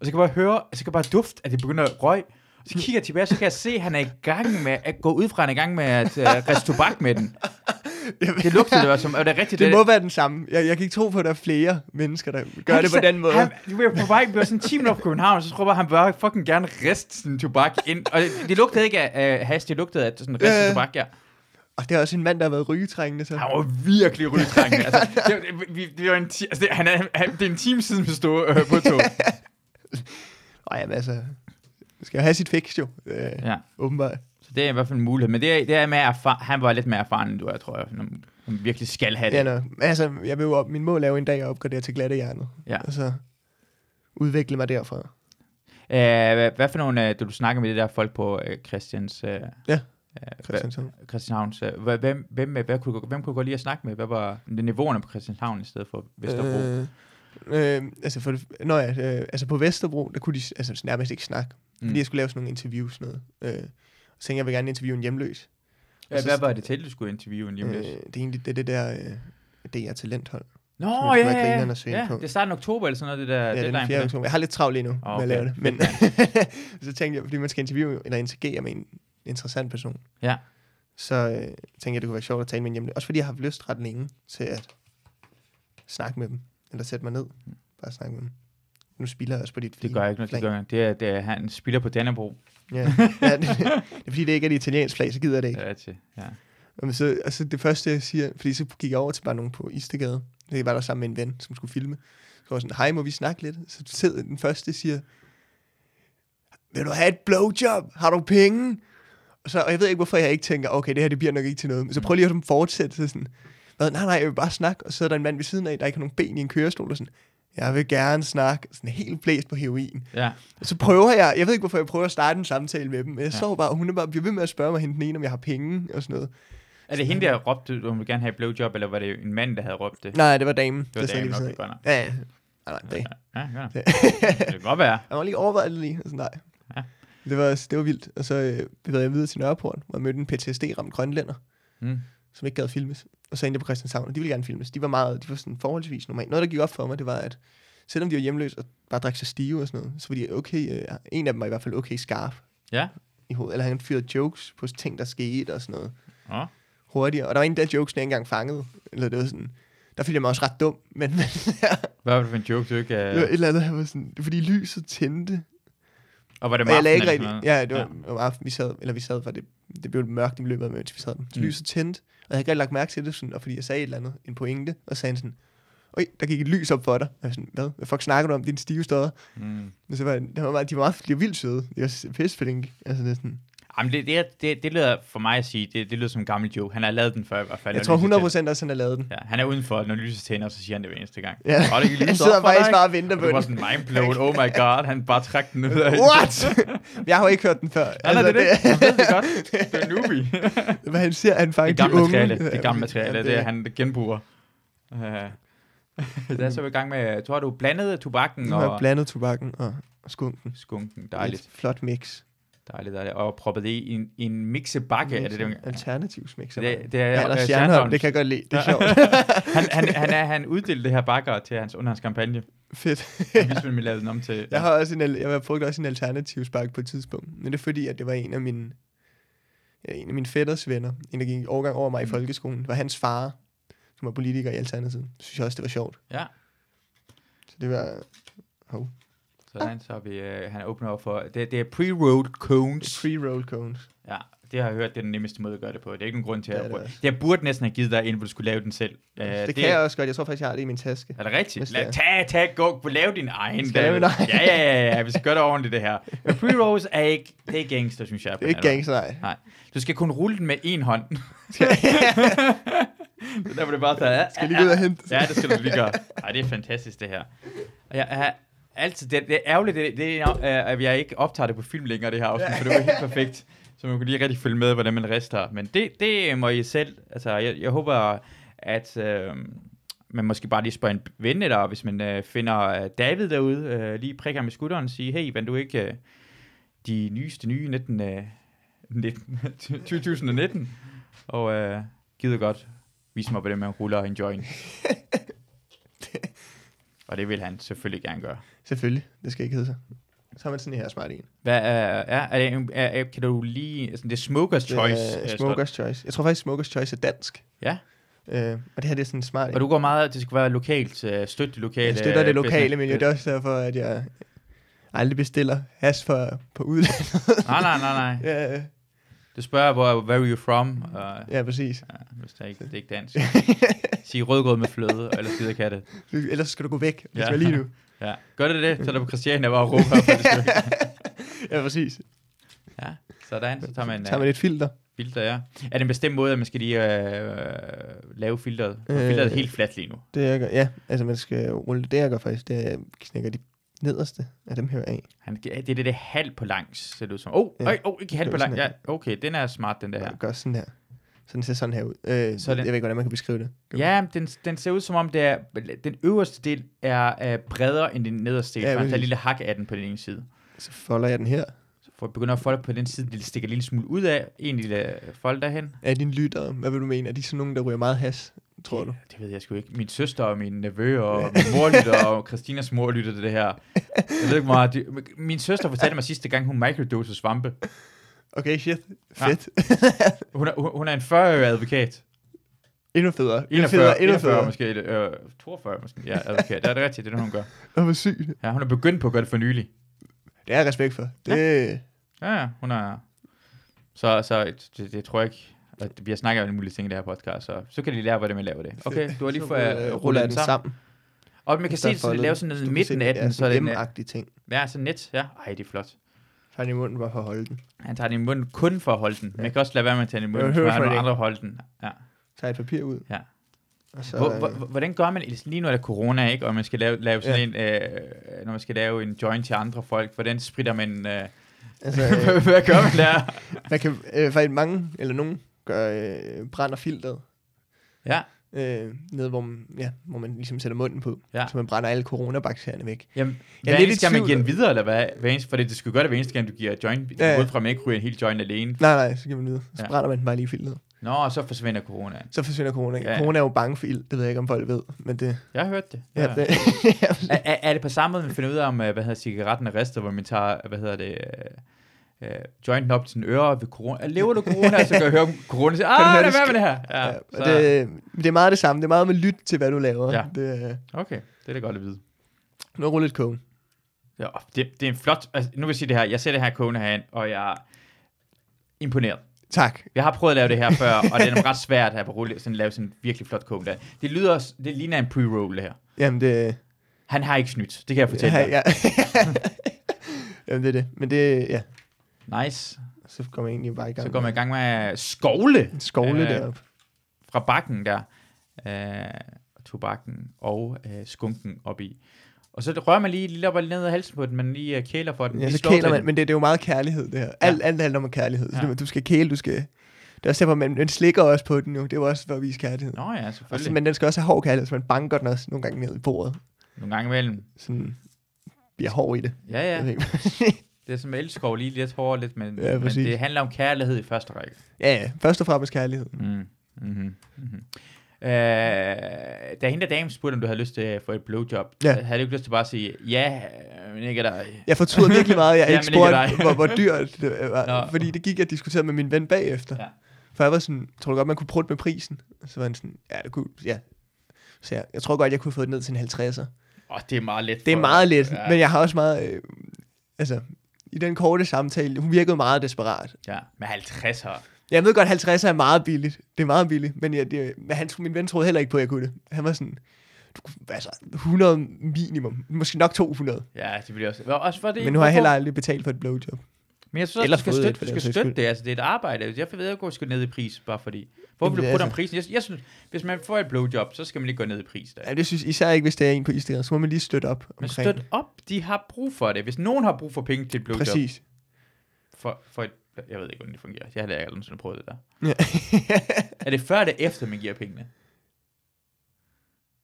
Speaker 1: og så kan jeg bare høre, så kan jeg bare dufte, at det begynder at røg, og så kigger jeg tilbage, så kan jeg se, at han er i gang med at gå ud fra, at han er i gang med at øh, riste tobak med den. Det lugtede det var som, og det er rigtigt,
Speaker 2: Det, det må være den samme. Jeg, jeg kan ikke tro på, at der er flere mennesker, der gør
Speaker 1: Han
Speaker 2: det på
Speaker 1: sa-
Speaker 2: den måde.
Speaker 1: Han, du var på vej, vi var sådan 10 minutter på København, så tror jeg, bare, han bare fucking gerne riste sin tobak ind. Og det, det lugtede ikke af uh, hash, det lugtede af sådan ristet
Speaker 2: Ja, ja.
Speaker 1: tobak, ja.
Speaker 2: Og det er også en mand, der har været rygetrængende. Så.
Speaker 1: Han var virkelig rygtrængende. altså, det, det, vi, det, var en ti, altså, det, han, er- han, det er en time siden, vi stod øh, på tog.
Speaker 2: Ej, jamen, altså, man skal jo have sit fix jo, øh, ja.
Speaker 1: Ja,
Speaker 2: åbenbart.
Speaker 1: så det er i hvert fald en mulighed. Men det, er- det er med erfar- han var lidt mere erfaren, end du er, tror jeg, når man- når man virkelig skal have det.
Speaker 2: Ja, nå. altså, jeg vil jo op, min mål er jo en dag at opgradere til glatte hjernet.
Speaker 1: Ja.
Speaker 2: Og så udvikle mig derfra.
Speaker 1: Æh, hvad, hvad for nogle, øh, da du snakker med det der folk på øh, Christians... Øh,
Speaker 2: Ja,
Speaker 1: øh, hvad-
Speaker 2: Christian
Speaker 1: Christianshavns. øh, hva- Hvem, hvem, øh, hvad kunne, du- hvem kunne du godt lide at snakke med? Hvad var det niveauerne på Christianshavn i stedet for Vesterbro? Øh,
Speaker 2: Øh, øh, altså, for det, nå ja, øh, altså på Vesterbro, der kunne de altså, nærmest ikke snakke. Mm. Fordi jeg skulle lave sådan nogle interviews. Noget. Øh, og så tænkte jeg, jeg vil gerne interviewe en hjemløs.
Speaker 1: ja, Altså, hvad var det til, du skulle interviewe lige om
Speaker 2: altså, Øh,
Speaker 1: lidt?
Speaker 2: det er egentlig det, er det der øh, DR Talenthold.
Speaker 1: Nå,
Speaker 2: var
Speaker 1: ja, ja,
Speaker 2: grineren at søge
Speaker 1: ja.
Speaker 2: ind på.
Speaker 1: Det er starten af oktober eller sådan noget, det der
Speaker 2: Ja, den
Speaker 1: deadline.
Speaker 2: 4.
Speaker 1: for det.
Speaker 2: oktober. Jeg har lidt travlt lige nu
Speaker 1: Åh,
Speaker 2: okay. med at lave det.
Speaker 1: okay.
Speaker 2: Men så tænkte jeg, fordi man skal interviewe eller interagere med en interessant person.
Speaker 1: Ja.
Speaker 2: Så øh, tænkte jeg, det kunne være sjovt at tale med en hjemme. Også fordi jeg har haft lyst ret længe til at snakke med dem. Eller sætte mig ned. Bare snakke med dem. Nu spilder jeg også på dit
Speaker 1: Det gør jeg ikke noget, det gør jeg ikke. Det er, det er han spiller på Dannebro.
Speaker 2: Ja. ja det, det, er fordi, det ikke er et italiensk flag, så gider jeg det ikke.
Speaker 1: Det er til. Ja.
Speaker 2: Og så, altså det første, jeg siger, fordi så gik jeg over til bare nogen på Istegade. Jeg var der sammen med en ven, som skulle filme. Så var jeg sådan, hej, må vi snakke lidt? Så sidder den første siger, vil du have et blowjob? Har du penge? Og, så, og jeg ved ikke, hvorfor jeg ikke tænker, okay, det her det bliver nok ikke til noget. Men så prøv lige at sådan fortsætte. Så sådan, hvad? Nej, nej, jeg vil bare snakke. Og så er der en mand ved siden af, der ikke har nogen ben i en kørestol. Og sådan, jeg vil gerne snakke. Sådan helt blæst på heroin.
Speaker 1: ja.
Speaker 2: Og så prøver jeg, jeg ved ikke, hvorfor jeg prøver at starte en samtale med dem. Men jeg
Speaker 1: Ja.
Speaker 2: ja. så bare, og hun er bare, bliver ved med at spørge mig hende den ene, om jeg har penge og sådan noget.
Speaker 1: Er det hende, der råbte, at hun ville gerne have et blowjob, eller var det en mand, der havde råbt det?
Speaker 2: Nej, det var damen.
Speaker 1: det var
Speaker 2: der sad
Speaker 1: damen,
Speaker 2: lige ved
Speaker 1: okay,
Speaker 2: siden
Speaker 1: godt nok.
Speaker 2: af. Ja, ja. Nej, nej, det.
Speaker 1: Ja, godt nok.
Speaker 2: Det-
Speaker 1: Det kan godt være.
Speaker 2: Jeg var lige overvejet det lige. og Sådan, nej.
Speaker 1: Ja.
Speaker 2: Det var, det var vildt. Og så øh, bevægede jeg videre til Nørreport, hvor jeg mødte en PTSD-ramt grønlænder,
Speaker 1: Mm.
Speaker 2: som ikke gad filmes. Og så endte jeg på Christianshavn, og de ville gerne filmes. De var meget, de var sådan forholdsvis normalt. Noget, der gik op for mig, det var, at selvom de var hjemløse og bare drak sig stive og sådan noget, så var de okay, øh, en af dem var i hvert fald okay skarp
Speaker 1: Ja.
Speaker 2: i hovedet. Eller han fyrede jokes på ting, der skete og sådan noget.
Speaker 1: Nå.
Speaker 2: hurtigere. Og der var en der jokes, jeg ikke engang fangede. Eller det var sådan, der følte jeg mig også ret dum, men, men
Speaker 1: Hvad var det for en joke, du ikke...
Speaker 2: det var et
Speaker 1: Øh...
Speaker 2: eller andet, han var sådan, det var fordi lyset tændte.
Speaker 1: Og var det
Speaker 2: Og jeg lagde ikke
Speaker 1: eller
Speaker 2: rigtig,
Speaker 1: sådan noget?
Speaker 2: ja, det var ja. om aftenen, vi sad, eller vi sad, for det, det blev mørkt i løbet af mens vi sad. Så
Speaker 1: Mm.
Speaker 2: mm. lyset tændte, og jeg havde ikke rigtig lagt mærke til det, sådan, og fordi jeg sagde et eller andet, en pointe, og så sagde han sådan, Øj, der gik et lys op for dig. Og jeg var sådan, hvad? Hvad fuck snakker du om? Din stive støder.
Speaker 1: Mm.
Speaker 2: Men så var jeg, de var, meget, de var meget, de var vildt søde. De var pisseflink. Altså næsten.
Speaker 1: Jamen, det, det, er- det, det lyder for mig at sige, det, det lyder som en gammel joke. Han har lavet den før i hvert fald.
Speaker 2: Jeg
Speaker 1: og
Speaker 2: tror
Speaker 1: lyset
Speaker 2: 100% også, han har lavet den.
Speaker 1: tænder. Ja, han er udenfor, når lyset tænder, så siger han det hver eneste gang.
Speaker 2: Ja.
Speaker 1: Og det gik
Speaker 2: Jeg
Speaker 1: lyset
Speaker 2: sidder
Speaker 1: op for
Speaker 2: faktisk
Speaker 1: dig.
Speaker 2: bare og venter
Speaker 1: Og
Speaker 2: på
Speaker 1: det var
Speaker 2: det.
Speaker 1: sådan mindblown, oh my god, han bare trak den ud af...
Speaker 2: What? Altså, jeg har jo ikke hørt den før.
Speaker 1: Nej, nej, det er det. Han ved det godt. Det er en newbie.
Speaker 2: det. Hvad han ser, han
Speaker 1: Det
Speaker 2: faktisk
Speaker 1: er gammelt
Speaker 2: de
Speaker 1: materiale.
Speaker 2: unge.
Speaker 1: Det er gammelt materiale.
Speaker 2: Ja,
Speaker 1: Det er, han genbruger. Uh, der er så vi i gang med... Tror du blandede tobakken
Speaker 2: Nu har jeg
Speaker 1: og
Speaker 2: blandet tobakken og og skunken.
Speaker 1: skunken? Dejligt.
Speaker 2: Et flot mix.
Speaker 1: Dejligt, dejligt. Og proppet det i en, i en mixebakke, er det det? man-
Speaker 2: Alternativ mix.
Speaker 1: Det, det er
Speaker 2: Ja, Anders
Speaker 1: øh,
Speaker 2: Stjernholm,
Speaker 1: Stjernholms.
Speaker 2: det kan jeg godt lide. Det er
Speaker 1: Ja.
Speaker 2: sjovt.
Speaker 1: han, han, han, er, han uddelte det her bakker til hans, under hans kampagne.
Speaker 2: Fedt.
Speaker 1: Og vi skulle lave den om til...
Speaker 2: Jeg har også en, al- jeg brugte også en alternativ spark på et tidspunkt. Men det er fordi, at det var en af mine, ja, en af mine fætters venner, en der gik i årgang over mig i
Speaker 1: Mm.
Speaker 2: folkeskolen. Det var hans far, som var politiker i Alternativet. Det synes jeg også, det var sjovt.
Speaker 1: Ja.
Speaker 2: Så det var
Speaker 1: Sådan, så har vi, øh, han åbner op for... Det, det er pre-rolled cones.
Speaker 2: pre-roll cones.
Speaker 1: Ja, det har jeg hørt, det er den nemmeste måde at gøre det på. Det er ikke nogen grund til
Speaker 2: Det
Speaker 1: at...
Speaker 2: er det
Speaker 1: Det,
Speaker 2: også.
Speaker 1: jeg burde næsten have givet dig en, hvor du skulle lave den selv. Uh,
Speaker 2: det, det kan jeg også godt. Jeg tror faktisk, jeg har det i min taske.
Speaker 1: Er det rigtigt?
Speaker 2: Hvis
Speaker 1: Lad,
Speaker 2: det
Speaker 1: tag, tag, gå, lave din egen.
Speaker 2: Skal jeg lave min egen?
Speaker 1: Ja, ja, ja, ja, vi skal gøre det ordentligt, det her. Men pre-rolls er ikke, det er ikke gangster, synes jeg.
Speaker 2: Det er ikke gangster, nej.
Speaker 1: Du skal kun rulle den med en hånd. Så der var det bare taget.
Speaker 2: Skal jeg lige gå ud og hente?
Speaker 1: Ja, det skal du lige gøre. Ej, det er fantastisk, det her. Og jeg er altid, det, det er ærgerligt, det, det er, øh, at jeg ikke optager det på film længere, det her afsnit, for det var helt perfekt. Så man kunne lige rigtig følge med, hvordan man rister. Men det, det må I selv, altså jeg, jeg håber, at øh, man måske bare lige spørger en ven, eller hvis man øh, finder øh, David derude, øh, lige prikker ham i skulderen og siger, hey, vandt du ikke øh, de nyeste nye 19, øh, 19, 2019? Og øh, gider godt vise mig, hvordan man ruller en joint. Og det vil han selvfølgelig gerne gøre.
Speaker 2: Selvfølgelig. Det skal ikke hedde sig. Så har man sådan en her smart en.
Speaker 1: Hvad er, er, er, det en- er, er kan du lige, sådan, det er Smoker's Choice.
Speaker 2: Øh,
Speaker 1: øh, står-
Speaker 2: smokers Choice. Jeg tror faktisk, Smokers Choice er dansk.
Speaker 1: Ja.
Speaker 2: Øh, og det her det er sådan en smart en.
Speaker 1: Og du går meget, det skal være lokalt, øh, støtte det lokale.
Speaker 2: Jeg støtter det
Speaker 1: øh, business.
Speaker 2: lokale miljø. Det er også derfor, at jeg aldrig bestiller has for, på udlandet.
Speaker 1: Nej, nej, nej, nej.
Speaker 2: ja, ja.
Speaker 1: Du spørger, hvor, where are you from? Og,
Speaker 2: ja, præcis.
Speaker 1: ja, hvis det er ikke, det er ikke dansk. Sig rødgrød med fløde, eller skider katte.
Speaker 2: Ellers skal du gå væk, hvis
Speaker 1: Ja.
Speaker 2: ja. lige nu.
Speaker 1: Ja. Gør det det, så er der på Christiania bare råber. for det skal-
Speaker 2: ja, præcis.
Speaker 1: ja, sådan, så tager man, øh,
Speaker 2: Tager man et filter.
Speaker 1: filter, ja. Er det en bestemt måde, at man skal lige øh, lave filteret? For
Speaker 2: Øh,
Speaker 1: filteret er helt fladt lige nu.
Speaker 2: Det jeg gør. Ja, altså man skal rulle det, jeg gør faktisk. Det er, at jeg knækker de nederste af dem her af.
Speaker 1: Han, det er det, det er halv på langs, ser det ud som. Åh, oh,
Speaker 2: Ja.
Speaker 1: ja. oh, ikke halv
Speaker 2: Det
Speaker 1: på
Speaker 2: var
Speaker 1: langs. Ja,
Speaker 2: sådan
Speaker 1: okay, den er smart, den der
Speaker 2: Ja.
Speaker 1: her.
Speaker 2: Jeg gør sådan her. Så den ser sådan her ud. Øh,
Speaker 1: Så
Speaker 2: så
Speaker 1: den-
Speaker 2: den... Jeg ved ikke, hvordan man kan beskrive det.
Speaker 1: Ja, men den, den ser ud som om, det er, den øverste del er øh, bredere end den nederste del.
Speaker 2: Ja,
Speaker 1: Ja, der er
Speaker 2: præcis.
Speaker 1: en lille hak af den på den ene side.
Speaker 2: Så folder jeg den her.
Speaker 1: Så for, begynder at folde på den side, det stikker en lille smule ud af. En lille øh, fold derhen.
Speaker 2: Er dine lyttere, hvad vil du mene? Er de sådan nogen, der ryger meget has, tror du?
Speaker 1: Det ved jeg sgu ikke. Min søster og min nevø og min mor lytter, og Christinas mor lytter til det her. Jeg ved ikke hvor meget. de- Min søster fortalte mig sidste gang, hun microdosede svampe.
Speaker 2: Okay, shit.
Speaker 1: Ja.
Speaker 2: Fedt.
Speaker 1: Hun er, hun hun er en 40-årig advokat.
Speaker 2: Endnu federe. Endnu
Speaker 1: 41,
Speaker 2: federe. Endnu
Speaker 1: 41
Speaker 2: federe.
Speaker 1: måske, øh, 42 måske, ja, advokat. Det er det rigtigt, det er det, hun gør.
Speaker 2: Åh, hvor sygt.
Speaker 1: Ja, hun er begyndt på at gøre det for nylig.
Speaker 2: Det har jeg respekt for. Det, ja.
Speaker 1: Ja, ja, hun er... Så, så det, det tror jeg ikke, at vi har snakket om alle mulige ting i det her podcast, så, så kan de lære, hvordan man laver det. Okay, du har lige fået øh, rullet den sammen. Og man kan
Speaker 2: Så
Speaker 1: se, at
Speaker 2: foldet
Speaker 1: de
Speaker 2: den.
Speaker 1: laver sådan
Speaker 2: Du
Speaker 1: noget
Speaker 2: kan
Speaker 1: midten
Speaker 2: se,
Speaker 1: af
Speaker 2: det
Speaker 1: den,
Speaker 2: er
Speaker 1: så
Speaker 2: sådan
Speaker 1: den øh,
Speaker 2: en
Speaker 1: er
Speaker 2: M-agtig ting.
Speaker 1: ja, sådan net. Ja, ej, det er flot.
Speaker 2: Tag den i munden bare for at holde den.
Speaker 1: Han tager den i munden kun for at holde den. Man kan også lade være med at tage den i munden,
Speaker 2: Jeg
Speaker 1: for
Speaker 2: hører
Speaker 1: han
Speaker 2: for
Speaker 1: har
Speaker 2: det.
Speaker 1: andre holde den. Ja.
Speaker 2: Tag et papir ud.
Speaker 1: Ja.
Speaker 2: Og så, øh,
Speaker 1: Hvor, hvor, hvordan gør man, lige nu er der corona, ikke? Og man skal lave, lave sådan en, øh, når man skal lave en joint til andre folk, hvordan spritter man... Øh,
Speaker 2: altså,
Speaker 1: Hvad-
Speaker 2: øh,
Speaker 1: Hvad gør man der?
Speaker 2: man kan øh, faktisk mange, eller nogen, gør øh, brænder filteret.
Speaker 1: Ja.
Speaker 2: Øh, nede, hvor man, ja, hvor man ligesom sætter munden på.
Speaker 1: Ja.
Speaker 2: Så man brænder alle coronabakterierne væk.
Speaker 1: Jamen,
Speaker 2: Jeg
Speaker 1: jeg
Speaker 2: er
Speaker 1: hver
Speaker 2: lidt i
Speaker 1: eneste gang, man
Speaker 2: tvivl.
Speaker 1: giver den videre, eller hvad? Hver eneste, for det, det skal jo gøre det hver eneste gang, du giver joint. Ja,
Speaker 2: Ja,
Speaker 1: ja.
Speaker 2: ja.
Speaker 1: Ud fra, at man ikke ryger en hel joint alene.
Speaker 2: Nej, nej, så kan man nyde. Så
Speaker 1: Ja.
Speaker 2: brænder man den bare lige i filteret.
Speaker 1: Nå, og så forsvinder corona.
Speaker 2: Så forsvinder corona.
Speaker 1: Ja, ja.
Speaker 2: Ja. Corona er jo bange for ild. Det ved jeg ikke, om folk ved. Men det...
Speaker 1: Jeg har hørt det.
Speaker 2: Ja,
Speaker 1: Ja.
Speaker 2: det
Speaker 1: Er, er, er det på samme måde, man finder ud af, om øh, hvad hedder cigaretten er ristet, hvor man tager, øh, hvad hedder det, øh, øh, jointen op til sine ører ved corona. Øh, Lever du corona? så kan jeg høre om corona. Så, ah,
Speaker 2: høre
Speaker 1: lad
Speaker 2: det
Speaker 1: være med det her.
Speaker 2: Ja,
Speaker 1: Ja,
Speaker 2: og det, det er meget det samme. Det er meget med lyt til, hvad du laver.
Speaker 1: Ja.
Speaker 2: Det, er-
Speaker 1: Okay, det er da godt at vide.
Speaker 2: nu ruller lidt kog.
Speaker 1: Ja, og det, det er en flot... Altså, nu vil jeg sige det her. Jeg ser det her kogende herhen, og jeg er imponeret.
Speaker 2: Tak.
Speaker 1: Jeg har prøvet at lave det her før, og det er nok ret svært at rulle, sådan, lave sådan en virkelig flot kog der. Det lyder... også- Det ligner en pre-roll, det her.
Speaker 2: Jamen, det,
Speaker 1: Han har ikke snydt, det kan jeg fortælle
Speaker 2: ja,
Speaker 1: dig.
Speaker 2: ja. Jamen, det er det. Men det, ja.
Speaker 1: Nice.
Speaker 2: Så går man egentlig bare i gang.
Speaker 1: Så går man i gang med at skovle
Speaker 2: med skovle
Speaker 1: Øh,
Speaker 2: derop.
Speaker 1: fra bakken der. Øh, tobakken og øh, skunken op i. Og så rører man lige lidt op og ned af halsen på den, man lige øh, kæler for den.
Speaker 2: Ja,
Speaker 1: lige
Speaker 2: så
Speaker 1: slår
Speaker 2: kæler
Speaker 1: til
Speaker 2: man,
Speaker 1: den.
Speaker 2: men det, det er jo meget kærlighed, det her. Alt, alt handler om kærlighed. Så
Speaker 1: Ja.
Speaker 2: det- du skal kæle, du skal... Det er også derfor, man, man slikker også på den jo. Det er jo også for at vise kærlighed.
Speaker 1: Nå ja,
Speaker 2: Og så,
Speaker 1: selvfølgelig.
Speaker 2: Altså, men den skal også have hård kærlighed, så man banker den også nogle gange ned i bordet.
Speaker 1: Nogle gange imellem.
Speaker 2: Sådan bliver hård i det.
Speaker 1: Ja,
Speaker 2: Jeg
Speaker 1: ja.
Speaker 2: ved ikke.
Speaker 1: Det er som elskov lige lidt hårdere lidt, men,
Speaker 2: Ja,
Speaker 1: men
Speaker 2: præcis.
Speaker 1: det handler om kærlighed i første række.
Speaker 2: ja, ja. Først og fremmest kærlighed.
Speaker 1: Mm. Mm-hmm. Mm-hmm. Øh, da hende der dame spurgte, om du havde lyst til at få et blowjob,
Speaker 2: Ja.
Speaker 1: havde du ikke lyst til bare at sige, ja, øh, men ikke dig.
Speaker 2: Jeg fortryder virkelig meget, at jeg
Speaker 1: Ja,
Speaker 2: ikke
Speaker 1: men ikke
Speaker 2: spurgte,
Speaker 1: dig.
Speaker 2: hvor, hvor dyrt det var.
Speaker 1: Nå.
Speaker 2: Fordi det gik, jeg diskuterede med min ven bagefter.
Speaker 1: Ja.
Speaker 2: For jeg var sådan, tror du godt, man kunne prutte med prisen? Og Så var han sådan, ja, det kunne, ja. Så jeg, jeg tror godt, jeg kunne få det ned til en 50'er.
Speaker 1: Åh, oh, det er meget let.
Speaker 2: Det er
Speaker 1: for-
Speaker 2: meget lidt,
Speaker 1: Ja.
Speaker 2: ja. men jeg har også meget... Øh, altså, i den korte samtale, hun virkede meget desperat.
Speaker 1: Ja, med 50 her.
Speaker 2: Jeg ved godt, 50 er meget billigt. Det er meget billigt, men, jeg, det, men han, min ven troede heller ikke på, at jeg kunne det. Han var sådan, du, kunne- altså 100 minimum, måske nok 200.
Speaker 1: Ja, det vil jeg også. Hvor- også for det,
Speaker 2: Men nu har jeg
Speaker 1: hvorfor-
Speaker 2: heller aldrig betalt for et blowjob.
Speaker 1: Men jeg synes også,
Speaker 2: Eller
Speaker 1: du skal
Speaker 2: fået et,
Speaker 1: støtte,
Speaker 2: for
Speaker 1: du
Speaker 2: den
Speaker 1: skal
Speaker 2: sags
Speaker 1: støtte
Speaker 2: skyld.
Speaker 1: det. Altså, det er et arbejde. Jeg ved ikke, at gå ned i pris, bare fordi. Hvorfor vil
Speaker 2: Jamen,
Speaker 1: du putte om
Speaker 2: altså-
Speaker 1: prisen? Jeg, jeg synes, hvis man får et blowjob, så skal man ikke gå ned i pris. Da.
Speaker 2: Ja, det synes især ikke, hvis det er en på Instagram. Så må man lige støtte op
Speaker 1: Men
Speaker 2: omkring.
Speaker 1: støt op, de har brug for det. Hvis nogen har brug for penge til et blowjob,
Speaker 2: Præcis.
Speaker 1: For, for et, jeg ved ikke, hvordan det fungerer. Jeg har da aldrig nogensinde prøvet det der.
Speaker 2: Ja.
Speaker 1: Er det før eller efter, man giver pengene?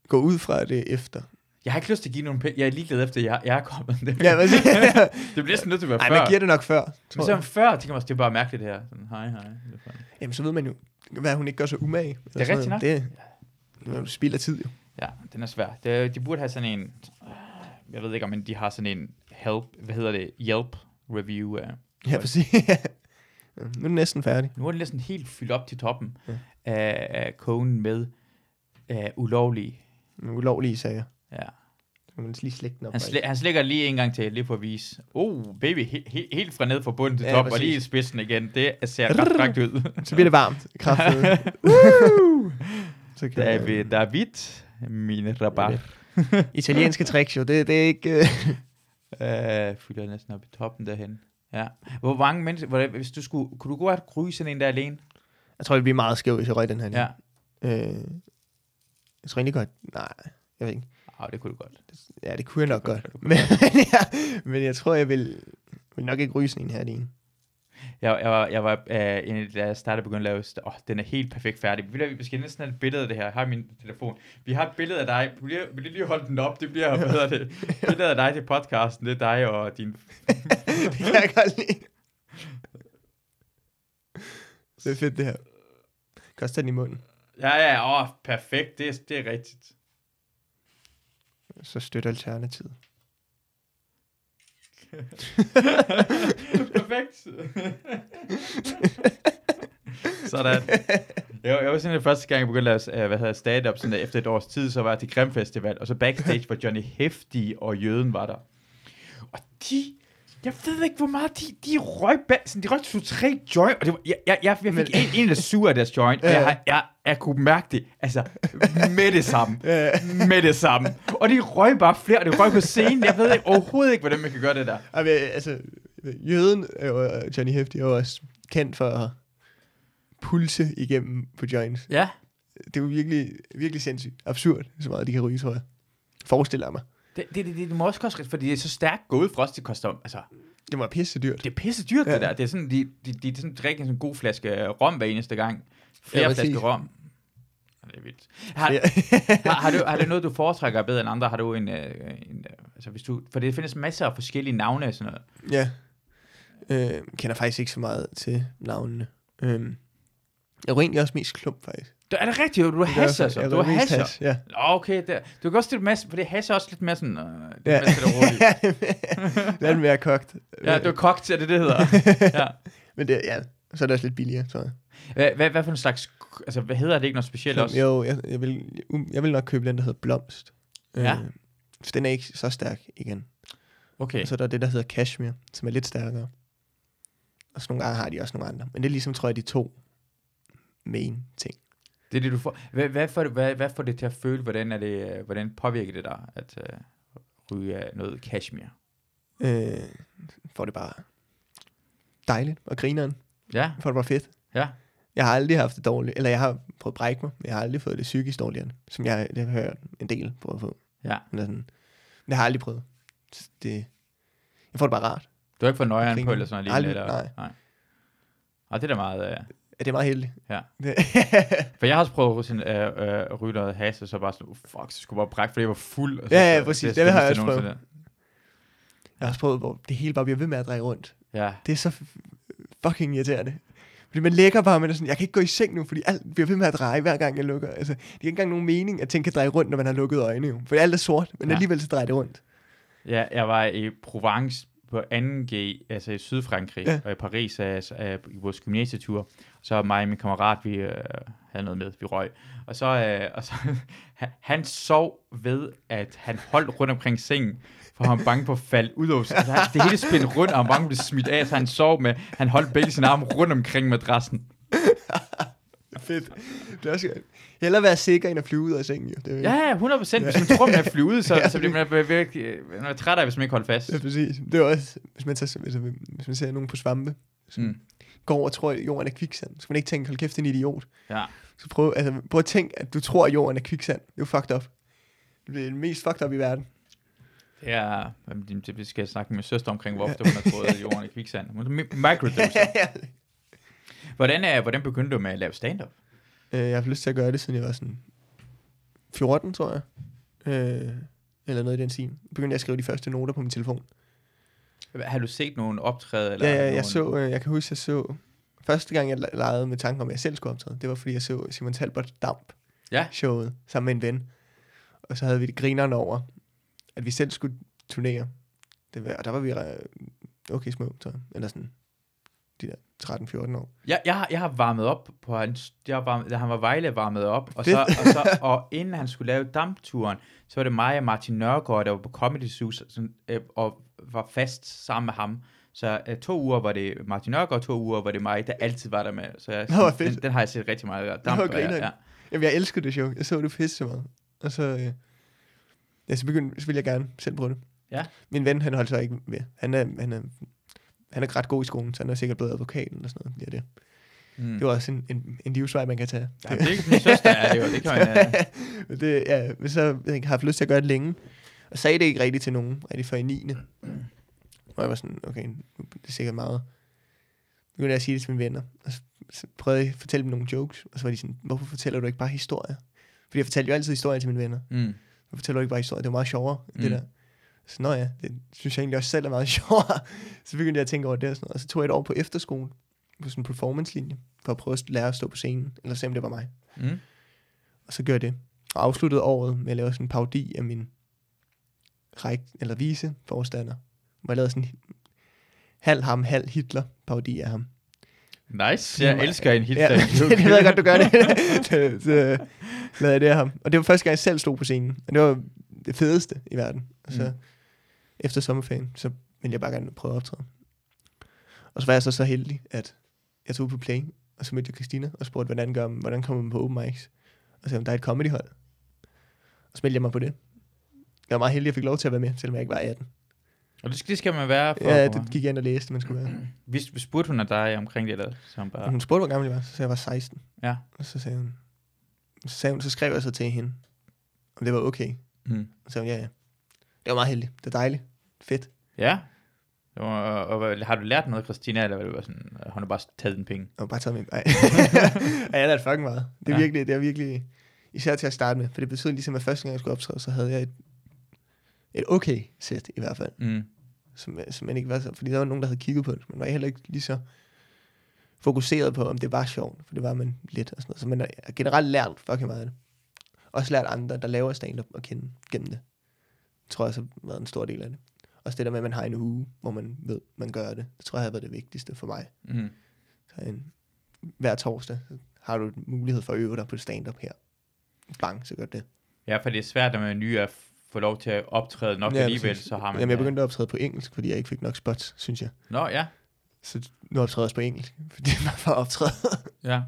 Speaker 2: Gå ud fra det efter.
Speaker 1: Jeg har ikke lyst til at give nogen penge. Jeg er ligeglad efter, jeg, jeg er kommet. Det,
Speaker 2: Ja, hvad siger jeg?
Speaker 1: det bliver sådan nødt til at være
Speaker 2: Ej,
Speaker 1: før.
Speaker 2: man giver det nok før.
Speaker 1: Men
Speaker 2: Tror
Speaker 1: så er man
Speaker 2: jeg.
Speaker 1: før, tænker man også, det er bare mærkeligt det her. Sådan, hej, hej. Det er fandme-
Speaker 2: Jamen, så ved man jo, hvad hun ikke gør så umage. Eller
Speaker 1: Det er
Speaker 2: sådan
Speaker 1: rigtigt
Speaker 2: noget. Det, det, du spilder tid jo.
Speaker 1: Ja, den er svær. De, de burde have sådan en, jeg ved ikke om de har sådan en help, hvad hedder det, Yelp review. Uh.
Speaker 2: Ja, præcis. nu er den næsten færdig.
Speaker 1: Nu er den næsten helt fyldt op til toppen af, af kogen med uh, ulovlige.
Speaker 2: Nogle Ulovlige sager.
Speaker 1: Ja.
Speaker 2: Så må man lige slægte den op.
Speaker 1: Han,
Speaker 2: faktisk.
Speaker 1: sli- han slikker lige en gang til, lige for at vise. Oh, baby, he- he- helt fra ned fra bunden til
Speaker 2: Ja,
Speaker 1: top, og
Speaker 2: præcis.
Speaker 1: lige i spidsen igen. Det ser ret frækt ud.
Speaker 2: Så bliver det varmt. Kraftigt. så
Speaker 1: der,
Speaker 2: kan
Speaker 1: er
Speaker 2: man-
Speaker 1: vi, der er hvidt, mine
Speaker 2: Det
Speaker 1: rabat.
Speaker 2: Italienske tricks jo, det, det er ikke... øh,
Speaker 1: Øh, fylder næsten op i toppen derhen. Ja. Hvor mange mennesker, hvordan, hvis du skulle, kunne du godt ryge sådan en der alene?
Speaker 2: jeg tror, det bliver meget skævt, hvis jeg røg den her.
Speaker 1: Ja.
Speaker 2: Øh, jeg tror egentlig godt... Nej, jeg ved ikke.
Speaker 1: Ah, det kunne du godt.
Speaker 2: Ja, det kunne jeg nok godt. Men, men, jeg, men jeg tror, jeg vil, vil nok ikke ryge sådan en her alene.
Speaker 1: Jeg, jeg var, jeg var øh, en, da jeg startede begyndte at lave, st- åh, den er helt perfekt færdig. Vi, vi skal næsten have et billede af det her. Jeg har min telefon. Vi har et billede af dig. Vil du, vil du lige holde den op? Det bliver, hvad hedder det? Billedet af dig til podcasten. Det er dig og din...
Speaker 2: det kan jeg godt lide. Det er fedt, det her. Koster den i munden,
Speaker 1: Ja, ja, åh, perfekt. Det, er- det er rigtigt.
Speaker 2: så støtter Alternativet.
Speaker 1: Perfekt. sådan. Jeg, jeg var sådan, at første gang, jeg begyndte at lave, øh, hvad hedder det, stand-up, sådan, at efter et års tid, så var jeg til Grim Festival, og så backstage, hvor Johnny Hefti og Jøden var der. Og de, jeg ved ikke, hvor meget de, de røg bag, sådan, de røg to tre joint, og det var, jeg, jeg, jeg, jeg fik en, en eller sur af deres joint, og jeg, har- jeg, jeg kunne mærke det, altså, med det samme
Speaker 2: Øh,
Speaker 1: med det samme. Og de røg bare flere, og de røg på scenen. Jeg ved ikke, overhovedet ikke, hvordan man kan gøre det der.
Speaker 2: og vi- altså, jøden, er jo, øh, Johnny Hefti, er jo også kendt for at pulse igennem på joints.
Speaker 1: Ja.
Speaker 2: Det er jo virkelig, virkelig sindssygt absurd, så meget de kan ryge, tror jeg. Forestiller jeg mig.
Speaker 1: Det, det, det, det, det må også koste, fordi det er så stærkt gået for os, det koster, altså,
Speaker 2: Det var pisse dyrt.
Speaker 1: det er pisse dyrt, ja.
Speaker 2: Ja.
Speaker 1: det der. Det er sådan, de, de, de, de sådan, drikker sådan en god flaske øh, rom hver eneste gang. Flere
Speaker 2: Ja,
Speaker 1: ja,
Speaker 2: præcis.
Speaker 1: flasker rom. Ja, Det er vildt. Har,
Speaker 2: Ja.
Speaker 1: har, har, du, har du noget, du foretrækker bedre end andre? Har du en, øh, en øh, altså hvis du, for det findes masser af forskellige navne og sådan noget.
Speaker 2: Ja. Øhm, Øh, kender faktisk ikke så meget til navnene. Øh, jeg var egentlig også mest klump, faktisk.
Speaker 1: Det er det rigtigt? Du har
Speaker 2: Det er
Speaker 1: hasser,
Speaker 2: derfor,
Speaker 1: så.
Speaker 2: jeg
Speaker 1: Du har
Speaker 2: røg mest
Speaker 1: hasser.
Speaker 2: hash, Ja.
Speaker 1: Nå, okay. Der. Du kan også stille masse, for det hash er også lidt mere sådan, øh, det er
Speaker 2: Ja.
Speaker 1: mere stille og roligt.
Speaker 2: det er den mere kogt.
Speaker 1: ja, det var kogt, er det det hedder. ja.
Speaker 2: Men det, ja, så er det også lidt billigere, tror jeg.
Speaker 1: Hvad, hvad, hvad for en slags, altså hvad hedder det ikke noget specielt også?
Speaker 2: Jo, jeg, jeg, vil, um, jeg vil nok købe den, der hedder Blomst.
Speaker 1: Ja.
Speaker 2: Øh, for den er ikke så stærk igen.
Speaker 1: Okay.
Speaker 2: Og så er der det, der hedder Cashmere, som er lidt stærkere. Og så nogle gange har de også nogle andre. Men det er ligesom, tror jeg, de to main ting.
Speaker 1: Det er det, du får. Hvad, hvad, får, det- hvad, hvad får det til at føle? Hvordan, er det, øh, hvordan påvirker det dig at øh, ryge af noget cashmere?
Speaker 2: Øh, får det bare dejligt og grineren.
Speaker 1: Ja,
Speaker 2: Får det bare fedt.
Speaker 1: Ja.
Speaker 2: Jeg har aldrig haft det dårligt, eller jeg har prøvet at brække mig, men jeg har aldrig fået det psykisk dårligere, som jeg, jeg har hørt en del prøve at få.
Speaker 1: Ja.
Speaker 2: Eller sådan. Men jeg har aldrig prøvet. Så Det, jeg får det bare rart.
Speaker 1: du har ikke fået nøjeren på
Speaker 2: Griner.
Speaker 1: eller sådan noget
Speaker 2: Aldrig,
Speaker 1: lignende? eller?
Speaker 2: nej.
Speaker 1: nej. Og det er da meget... Øh,
Speaker 2: Ja, det er meget heldigt.
Speaker 1: Ja.
Speaker 2: Det,
Speaker 1: for jeg har også prøvet at ryge sådan, øh, øh, ryge noget has, og så bare sådan, oh, fuck, så skulle jeg bare brække, fordi jeg var fuld. Og så,
Speaker 2: Ja, ja,
Speaker 1: så-
Speaker 2: præcis.
Speaker 1: er
Speaker 2: Det har jeg
Speaker 1: skønneste
Speaker 2: også prøvet.
Speaker 1: nogensinde.
Speaker 2: jeg har også prøvet, hvor det hele bare bliver ved med at dreje rundt.
Speaker 1: Ja.
Speaker 2: Det er så f- fucking irriterende. Fordi man lægger bare, men er sådan, jeg kan ikke gå i seng nu, fordi alt bliver ved med at dreje, hver gang jeg lukker. Altså, det er ikke engang nogen mening, at ting kan dreje rundt, når man har lukket øjnene. Jo. For alt er sort, men
Speaker 1: Ja.
Speaker 2: ja. alligevel så drejer det rundt.
Speaker 1: Ja, jeg var i Provence på 2G, altså i Sydfrankrig, ja.
Speaker 2: Ja.
Speaker 1: og i Paris altså, øh, i vores gymnasietur. Så mig og min kammerat, vi øh, havde noget med, vi røg. Og så, øh, og så han- han sov ved, at han holdt rundt omkring sengen, for han var bange på at falde ud af. Altså, han- det hele spændte rundt, og han var bange på at blive smidt af, så han sov med, han holdt begge sine arme rundt omkring madrassen.
Speaker 2: Fedt. Det er også, hellere være sikker, end at flyve ud af sengen. Jo. Det er,
Speaker 1: Ja, ja, 100 procent. Hvis man tror, man er flyet, så,
Speaker 2: Ja,
Speaker 1: så bliver man virkelig øh, man er træt af, hvis man ikke holder fast.
Speaker 2: ja, præcis. Det er også, hvis man, tager, altså, hvis man ser nogen på svampe,
Speaker 1: Mm.
Speaker 2: går over og tror, at jorden er kviksand, så kan man ikke tænke, hold kæft, det er en idiot.
Speaker 1: Ja.
Speaker 2: Så prøv, altså, prøv at tænke, at du tror, at jorden er kviksand. Det er jo fucked up. Det bliver det mest fucked up i verden.
Speaker 1: Det er, jamen, det, det skal jeg snakke med min søster omkring, hvor ofte hun har troet, at jorden er kviksand. Hun er mi- microdoser. Hvordan, er, hvordan begyndte du med at lave stand-up?
Speaker 2: Øh, jeg har haft lyst til at gøre det, siden jeg var sådan 14, tror jeg. Øh, eller noget i den stil. Begyndte jeg at skrive de første noter på min telefon.
Speaker 1: Har du set nogen optræde? Eller
Speaker 2: Eller ja, ja,
Speaker 1: nogen...
Speaker 2: jeg så, øh, jeg kan huske, jeg så, første gang jeg le- legede med tanken om, at jeg selv skulle optræde, det var fordi, jeg så Simon Talbot Damp
Speaker 1: Ja.
Speaker 2: showet sammen med en ven. Og så havde vi det grineren over, at vi selv skulle turnere. Det var, og der var vi øh, okay små, tror jeg. Eller sådan de der 13-14 år.
Speaker 1: Jeg, jeg, har, jeg har varmet op på hans... Jeg har varmet, da han var Vejle varmet op, og, så,
Speaker 2: Fedt.
Speaker 1: og, så, og inden han skulle lave dampturen, så var det mig og Martin Nørgaard, der var på Comedy Zoo, sådan, øh, og var fast sammen med ham. Så øh, to uger var det Martin Nørgaard, to uger var det mig, der altid var der med. Så jeg,
Speaker 2: Nå, hvor fedt.
Speaker 1: den, den, har jeg set rigtig meget.
Speaker 2: Nå,
Speaker 1: Damp,
Speaker 2: hvor
Speaker 1: og jeg,
Speaker 2: grineren.
Speaker 1: ja.
Speaker 2: Jamen, jeg elskede det show. Jeg så det pisse så meget. Og så, øh, ja, så, begyndte, så ville jeg gerne selv prøve det.
Speaker 1: Ja.
Speaker 2: Min ven, han holdt så ikke med. Han er, han er, han er ikke ret god i skolen, så han er sikkert blevet advokat eller sådan noget. Ja, det.
Speaker 1: Mm.
Speaker 2: Det var også en, en, en livsvej, man kan tage.
Speaker 1: Ja, det er ikke min søster, er det jo. Det kan man, øh,
Speaker 2: Men det, ja, men så har jeg haft lyst til at gøre det længe. Og sagde det ikke rigtigt til nogen, rigtig før i 9. Og jeg var sådan, okay, nu er det er sikkert meget. Nu begyndte jeg at sige det til mine venner. Og så, så prøvede jeg at fortælle dem nogle jokes. Og så var de sådan, hvorfor fortæller du ikke bare historier? Fordi jeg fortalte jo altid historier til mine venner.
Speaker 1: mm.
Speaker 2: Hvorfor fortæller du ikke bare historier? Det var meget sjovere, mm.
Speaker 1: Mm.
Speaker 2: det der. Så nå ja, det synes jeg egentlig også selv er meget sjovere. så begyndte jeg at tænke over det og sådan noget. Og så tog jeg et år på efterskole, på sådan en performance-linje, for at prøve at lære at stå på scenen, eller se om det var mig.
Speaker 1: Mm.
Speaker 2: Og så gjorde jeg det. Og afsluttede året med at lave sådan en parodi af min ræk, eller vise forstander. Hvor jeg lavede sådan en halv ham, halv Hitler parodi af ham.
Speaker 1: Nice.
Speaker 2: Det er
Speaker 1: Jeg
Speaker 2: meget-
Speaker 1: elsker en helt
Speaker 2: Ja, det ved jeg godt, du gør det. så, så lavede jeg det af ham. Og det var første gang, jeg selv stod på scenen. Og det var det fedeste i verden. Og så
Speaker 1: Mm.
Speaker 2: mm. efter sommerferien, så ville jeg bare gerne prøve at optræde. Og så var jeg så så heldig, at jeg tog på play, og så mødte jeg Christina og spurgte, hvordan, gør, man- hvordan kommer man på open mics? Og sagde, om der er et comedyhold. Og så meldte jeg mig på det. Jeg var meget heldig, at jeg fik lov til at være med, selvom jeg ikke var 18.
Speaker 1: Og det skal, det skal man være for.
Speaker 2: Ja, det gik jeg ind og læste, man skulle være.
Speaker 1: Vi, vi spurgte hun af dig omkring det, eller så hun
Speaker 2: Og
Speaker 1: bare...
Speaker 2: hun spurgte, hvor gammel jeg var, så sagde jeg, jeg var 16.
Speaker 1: Ja.
Speaker 2: Og så sagde hun, så, sagde hun, så skrev jeg så til hende, om det var okay.
Speaker 1: Mm.
Speaker 2: Og så sagde hun, ja, ja. Det var meget heldigt. Det er dejligt. Fedt.
Speaker 1: Ja. Og, og, og, har du lært noget, Christina, eller var det bare sådan, at hun har bare taget den penge?
Speaker 2: Og bare taget med. Ej. Ej, jeg lærte fucking meget. Det er
Speaker 1: Ja.
Speaker 2: ja. virkelig, det er virkelig, især til at starte med. For det betød ligesom, at første gang jeg skulle optræde, så havde jeg et, et okay sæt i hvert fald.
Speaker 1: Mm.
Speaker 2: Som, som end ikke var så, fordi der var nogen, der havde kigget på det. Man var heller ikke lige så fokuseret på, om det var sjovt, for det var man lidt og sådan noget. Så man har generelt lært fucking meget af det. Også lært andre, der laver stand-up at kende gennem det. Det tror jeg så har været en stor del af det. Også det der med, at man har en uge, hvor man ved, man gør det. Det tror jeg har været det vigtigste for mig.
Speaker 1: Mm.
Speaker 2: Så en, hver torsdag så har du mulighed for at øve dig på stand-up her. Bang, så gør det.
Speaker 1: Ja, for det er svært, når man er ny at få lov til at optræde nok ja,
Speaker 2: Ja,
Speaker 1: alligevel,
Speaker 2: præcis.
Speaker 1: så har man...
Speaker 2: Jamen, jeg begyndte at optræde på engelsk, fordi jeg ikke fik nok spots, synes jeg.
Speaker 1: Nå, ja.
Speaker 2: Så nu optræder jeg også på engelsk, fordi jeg var for at optræde.
Speaker 1: ja.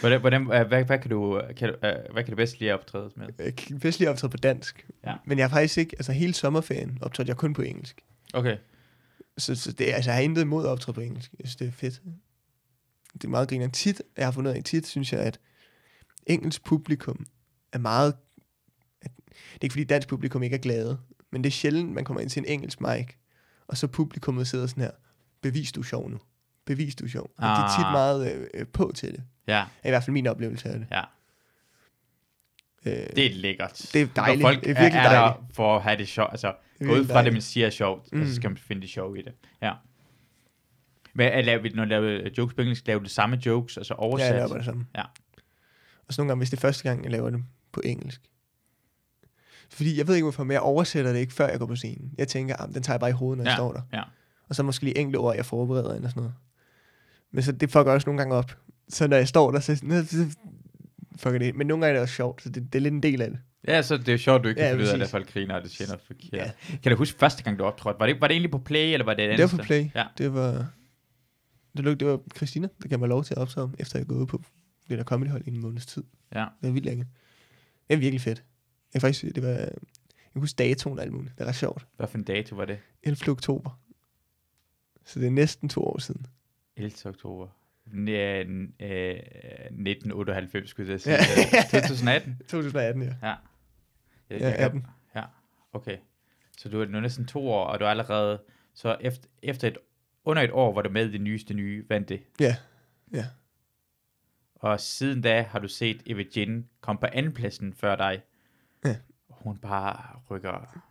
Speaker 1: Hvordan, hvordan, øh, hvad, hvad, kan du, øh, kan du, øh, hvad kan du bedst lide at optræde med?
Speaker 2: Jeg kan bedst lige optræde på dansk.
Speaker 1: Ja.
Speaker 2: Men jeg har faktisk ikke, altså hele sommerferien optrådte jeg kun på engelsk.
Speaker 1: Okay.
Speaker 2: Så, så det, altså, jeg har intet imod at optræde på engelsk. Jeg synes, det er fedt. Det er meget griner. Tit, jeg har fundet ud af tit, synes jeg, at engelsk publikum er meget... At, det er ikke fordi dansk publikum ikke er glade, men det er sjældent, man kommer ind til en engelsk mic, og så publikummet sidder sådan her, bevis du er sjov nu. Bevis du er sjov. Ah. Og de er tit
Speaker 1: Ah.
Speaker 2: meget øh, øh, på til det.
Speaker 1: Ja,
Speaker 2: Er i hvert fald min oplevelse af det.
Speaker 1: ja.
Speaker 2: Øh,
Speaker 1: Det er lækkert.
Speaker 2: det er dejligt.
Speaker 1: Når folk
Speaker 2: det er virkelig
Speaker 1: er,
Speaker 2: dejligt.
Speaker 1: der for at have det sjovt. Altså,
Speaker 2: Det
Speaker 1: gå
Speaker 2: er
Speaker 1: ud
Speaker 2: virkelig
Speaker 1: fra det,
Speaker 2: dejligt.
Speaker 1: man siger er sjovt, mm. og så
Speaker 2: Mm.
Speaker 1: skal man finde det sjove i det. Ja. Men at lave, når du laver jokes på engelsk, laver du de samme jokes, og så
Speaker 2: Ja,
Speaker 1: oversat?
Speaker 2: jeg laver bare det samme.
Speaker 1: Ja.
Speaker 2: Og så nogle gange, hvis det er første gang, jeg laver det på engelsk. Fordi jeg ved ikke, hvorfor, men jeg oversætter det ikke, før jeg går på scenen. Jeg tænker, ah, den tager jeg bare i hovedet, når ja.
Speaker 1: Ja,
Speaker 2: jeg står der.
Speaker 1: ja.
Speaker 2: Og så måske lige enkelte ord, jeg forbereder eller sådan noget. Men så det fucker også nogle gange op. Så når jeg står der, så, så- så fucker det. Men nogle gange er det også sjovt, så det, det er lidt en del af det.
Speaker 1: Ja, så det er sjovt, du ikke
Speaker 2: Ja,
Speaker 1: kan finde ud af,
Speaker 2: præcis.
Speaker 1: at folk griner, og det siger noget forkert.
Speaker 2: Ja.
Speaker 1: Kan du huske første gang, du optrådte? Var det, var det egentlig på Play, eller var det et andet
Speaker 2: Det var på
Speaker 1: sted?
Speaker 2: Play.
Speaker 1: Ja.
Speaker 2: Det var... Det, lå- det var Christina, der gav mig lov til at optræde, efter jeg gået på det der comedy hold i en måneds tid.
Speaker 1: Ja.
Speaker 2: Det var vildt længe. Det var virkelig fedt. Jeg kan faktisk, det var... Jeg husker datoen og alt muligt. Det er ret sjovt.
Speaker 1: Hvad for en dato var det?
Speaker 2: 11. oktober. Så det er næsten to år siden.
Speaker 1: 11. oktober. Næ- n- øh, 1998, skulle jeg til
Speaker 2: Ja.
Speaker 1: at sige. Øh, 2018?
Speaker 2: 2018, ja.
Speaker 1: Jeg-
Speaker 2: Ja,
Speaker 1: jeg kan-
Speaker 2: 18.
Speaker 1: Ja, okay. Så du er nu næsten to år, og du er allerede... Så efter, efter et, under et år var du med i det nyeste nye, vandt det.
Speaker 2: Ja, ja.
Speaker 1: Og siden da har du set Eva Jin komme på andenpladsen før dig.
Speaker 2: Ja.
Speaker 1: Hun bare rykker...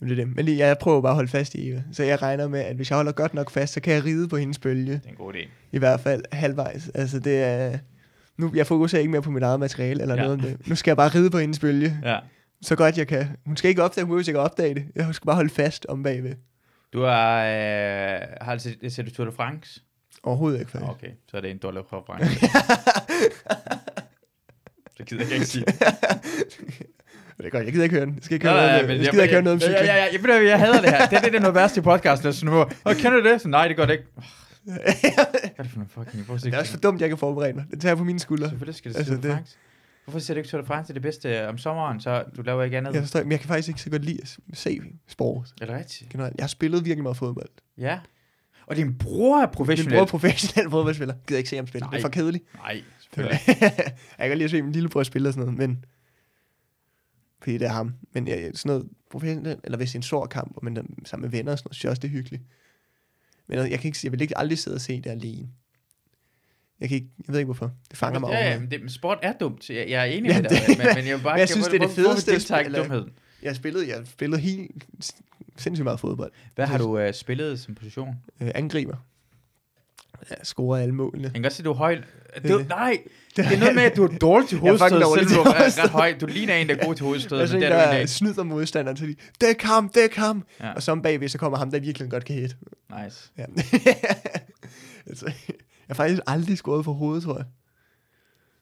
Speaker 2: Jamen, det er det. Men lige, jeg prøver bare at holde fast i Eva. Så jeg regner med, at hvis jeg holder godt nok fast, så kan jeg ride på hendes bølge.
Speaker 1: Det er en god idé.
Speaker 2: I hvert fald halvvejs. Altså, det er... Nu, jeg fokuserer ikke mere på mit eget materiale eller
Speaker 1: Ja.
Speaker 2: ja. noget om det. Nu skal jeg bare ride på hendes bølge.
Speaker 1: Ja.
Speaker 2: så godt jeg kan. Hun skal ikke opdage, hun behøver ikke at opdage det. Jeg skal bare holde fast om bagved.
Speaker 1: Du har, øh, har du set, set du Tour de France?
Speaker 2: Overhovedet ikke,
Speaker 1: Nå,
Speaker 2: faktisk.
Speaker 1: Okay, så er det en dårlig fra France. så gider jeg ikke sige.
Speaker 2: Det er godt, jeg gider ikke høre den. Jeg skal ikke
Speaker 1: Nå,
Speaker 2: høre
Speaker 1: nej,
Speaker 2: noget, om-
Speaker 1: men
Speaker 2: jeg, gider ikke høre noget om
Speaker 1: Ja,
Speaker 2: cykling.
Speaker 1: ja, ja, jeg, ved du hvad, jeg hader det her. Det, er det der er noget værste i podcasten. Og sådan, hvor, og kender du det? Så, nej, det gør det ikke. Åh, Hvad er det for en fucking... Hvorfor
Speaker 2: det er også for dumt, jeg kan forberede mig. Det tager jeg på mine skuldre.
Speaker 1: Selvfølgelig skal det
Speaker 2: Altså,
Speaker 1: altså, Tour de
Speaker 2: det-
Speaker 1: France. Hvorfor ser du ikke Tour de France? Det er det bedste øh, om sommeren, så du laver ikke andet.
Speaker 2: Jeg forstår, ikke, men jeg kan faktisk ikke så godt lide at se sport
Speaker 1: Er det rigtigt?
Speaker 2: generelt. Jeg har spillet virkelig meget fodbold.
Speaker 1: Ja. Og din bror er
Speaker 2: Min
Speaker 1: professionel.
Speaker 2: bror er professionel fodboldspiller. Jeg gider ikke se ham spille. Det er
Speaker 1: Nej.
Speaker 2: for kedeligt.
Speaker 1: Nej,
Speaker 2: jeg
Speaker 1: selvfølgelig.
Speaker 2: kan godt lide at se min lillebror spille og sådan noget, men... Fordi det er ham. Men jeg, jeg- sådan noget professionelt, eller hvis det er en stor kamp, og man er sammen med venner og sådan noget, synes jeg også, det er hyggeligt. Men jeg, kan ikke, jeg vil ikke aldrig sidde og se det alene. Jeg, kan ikke, jeg ved ikke hvorfor. Det fanger mig
Speaker 1: ja, ja,
Speaker 2: over.
Speaker 1: men det, men sport er dumt. Jeg, jeg er enig
Speaker 2: Ja,
Speaker 1: med dig,
Speaker 2: det-
Speaker 1: men, men jeg vil bare...
Speaker 2: Men jeg synes, det er det
Speaker 1: hvorfor- hvorfor
Speaker 2: fedeste
Speaker 1: deltager ikke
Speaker 2: spil, eller-
Speaker 1: dumheden?
Speaker 2: Jeg spillede, jeg spillede helt sindssygt meget fodbold.
Speaker 1: Hvad har du øh, spillet som position?
Speaker 2: Øh, angriber. Jeg scorer alle målene.
Speaker 1: Jeg kan godt se, du er høj. Det,
Speaker 2: det.
Speaker 1: nej, det er noget med, at du er dårlig til
Speaker 2: Jeg er
Speaker 1: hovedstød,
Speaker 2: fucking dårlig
Speaker 1: selvom
Speaker 2: til
Speaker 1: du er
Speaker 2: hovedstød.
Speaker 1: ret høj. Du ligner en, der er god til hovedstød,
Speaker 2: Jeg er
Speaker 1: men
Speaker 2: sådan
Speaker 1: det
Speaker 2: en,
Speaker 1: er du
Speaker 2: der
Speaker 1: ikke.
Speaker 2: snyder modstanderen, så de, det er ham, det er ham.
Speaker 1: Ja.
Speaker 2: Ja. Og så om bagved, så kommer ham, der virkelig godt kan hætte.
Speaker 1: Nice.
Speaker 2: Ja. altså, jeg har faktisk aldrig scoret for hovedet, tror jeg.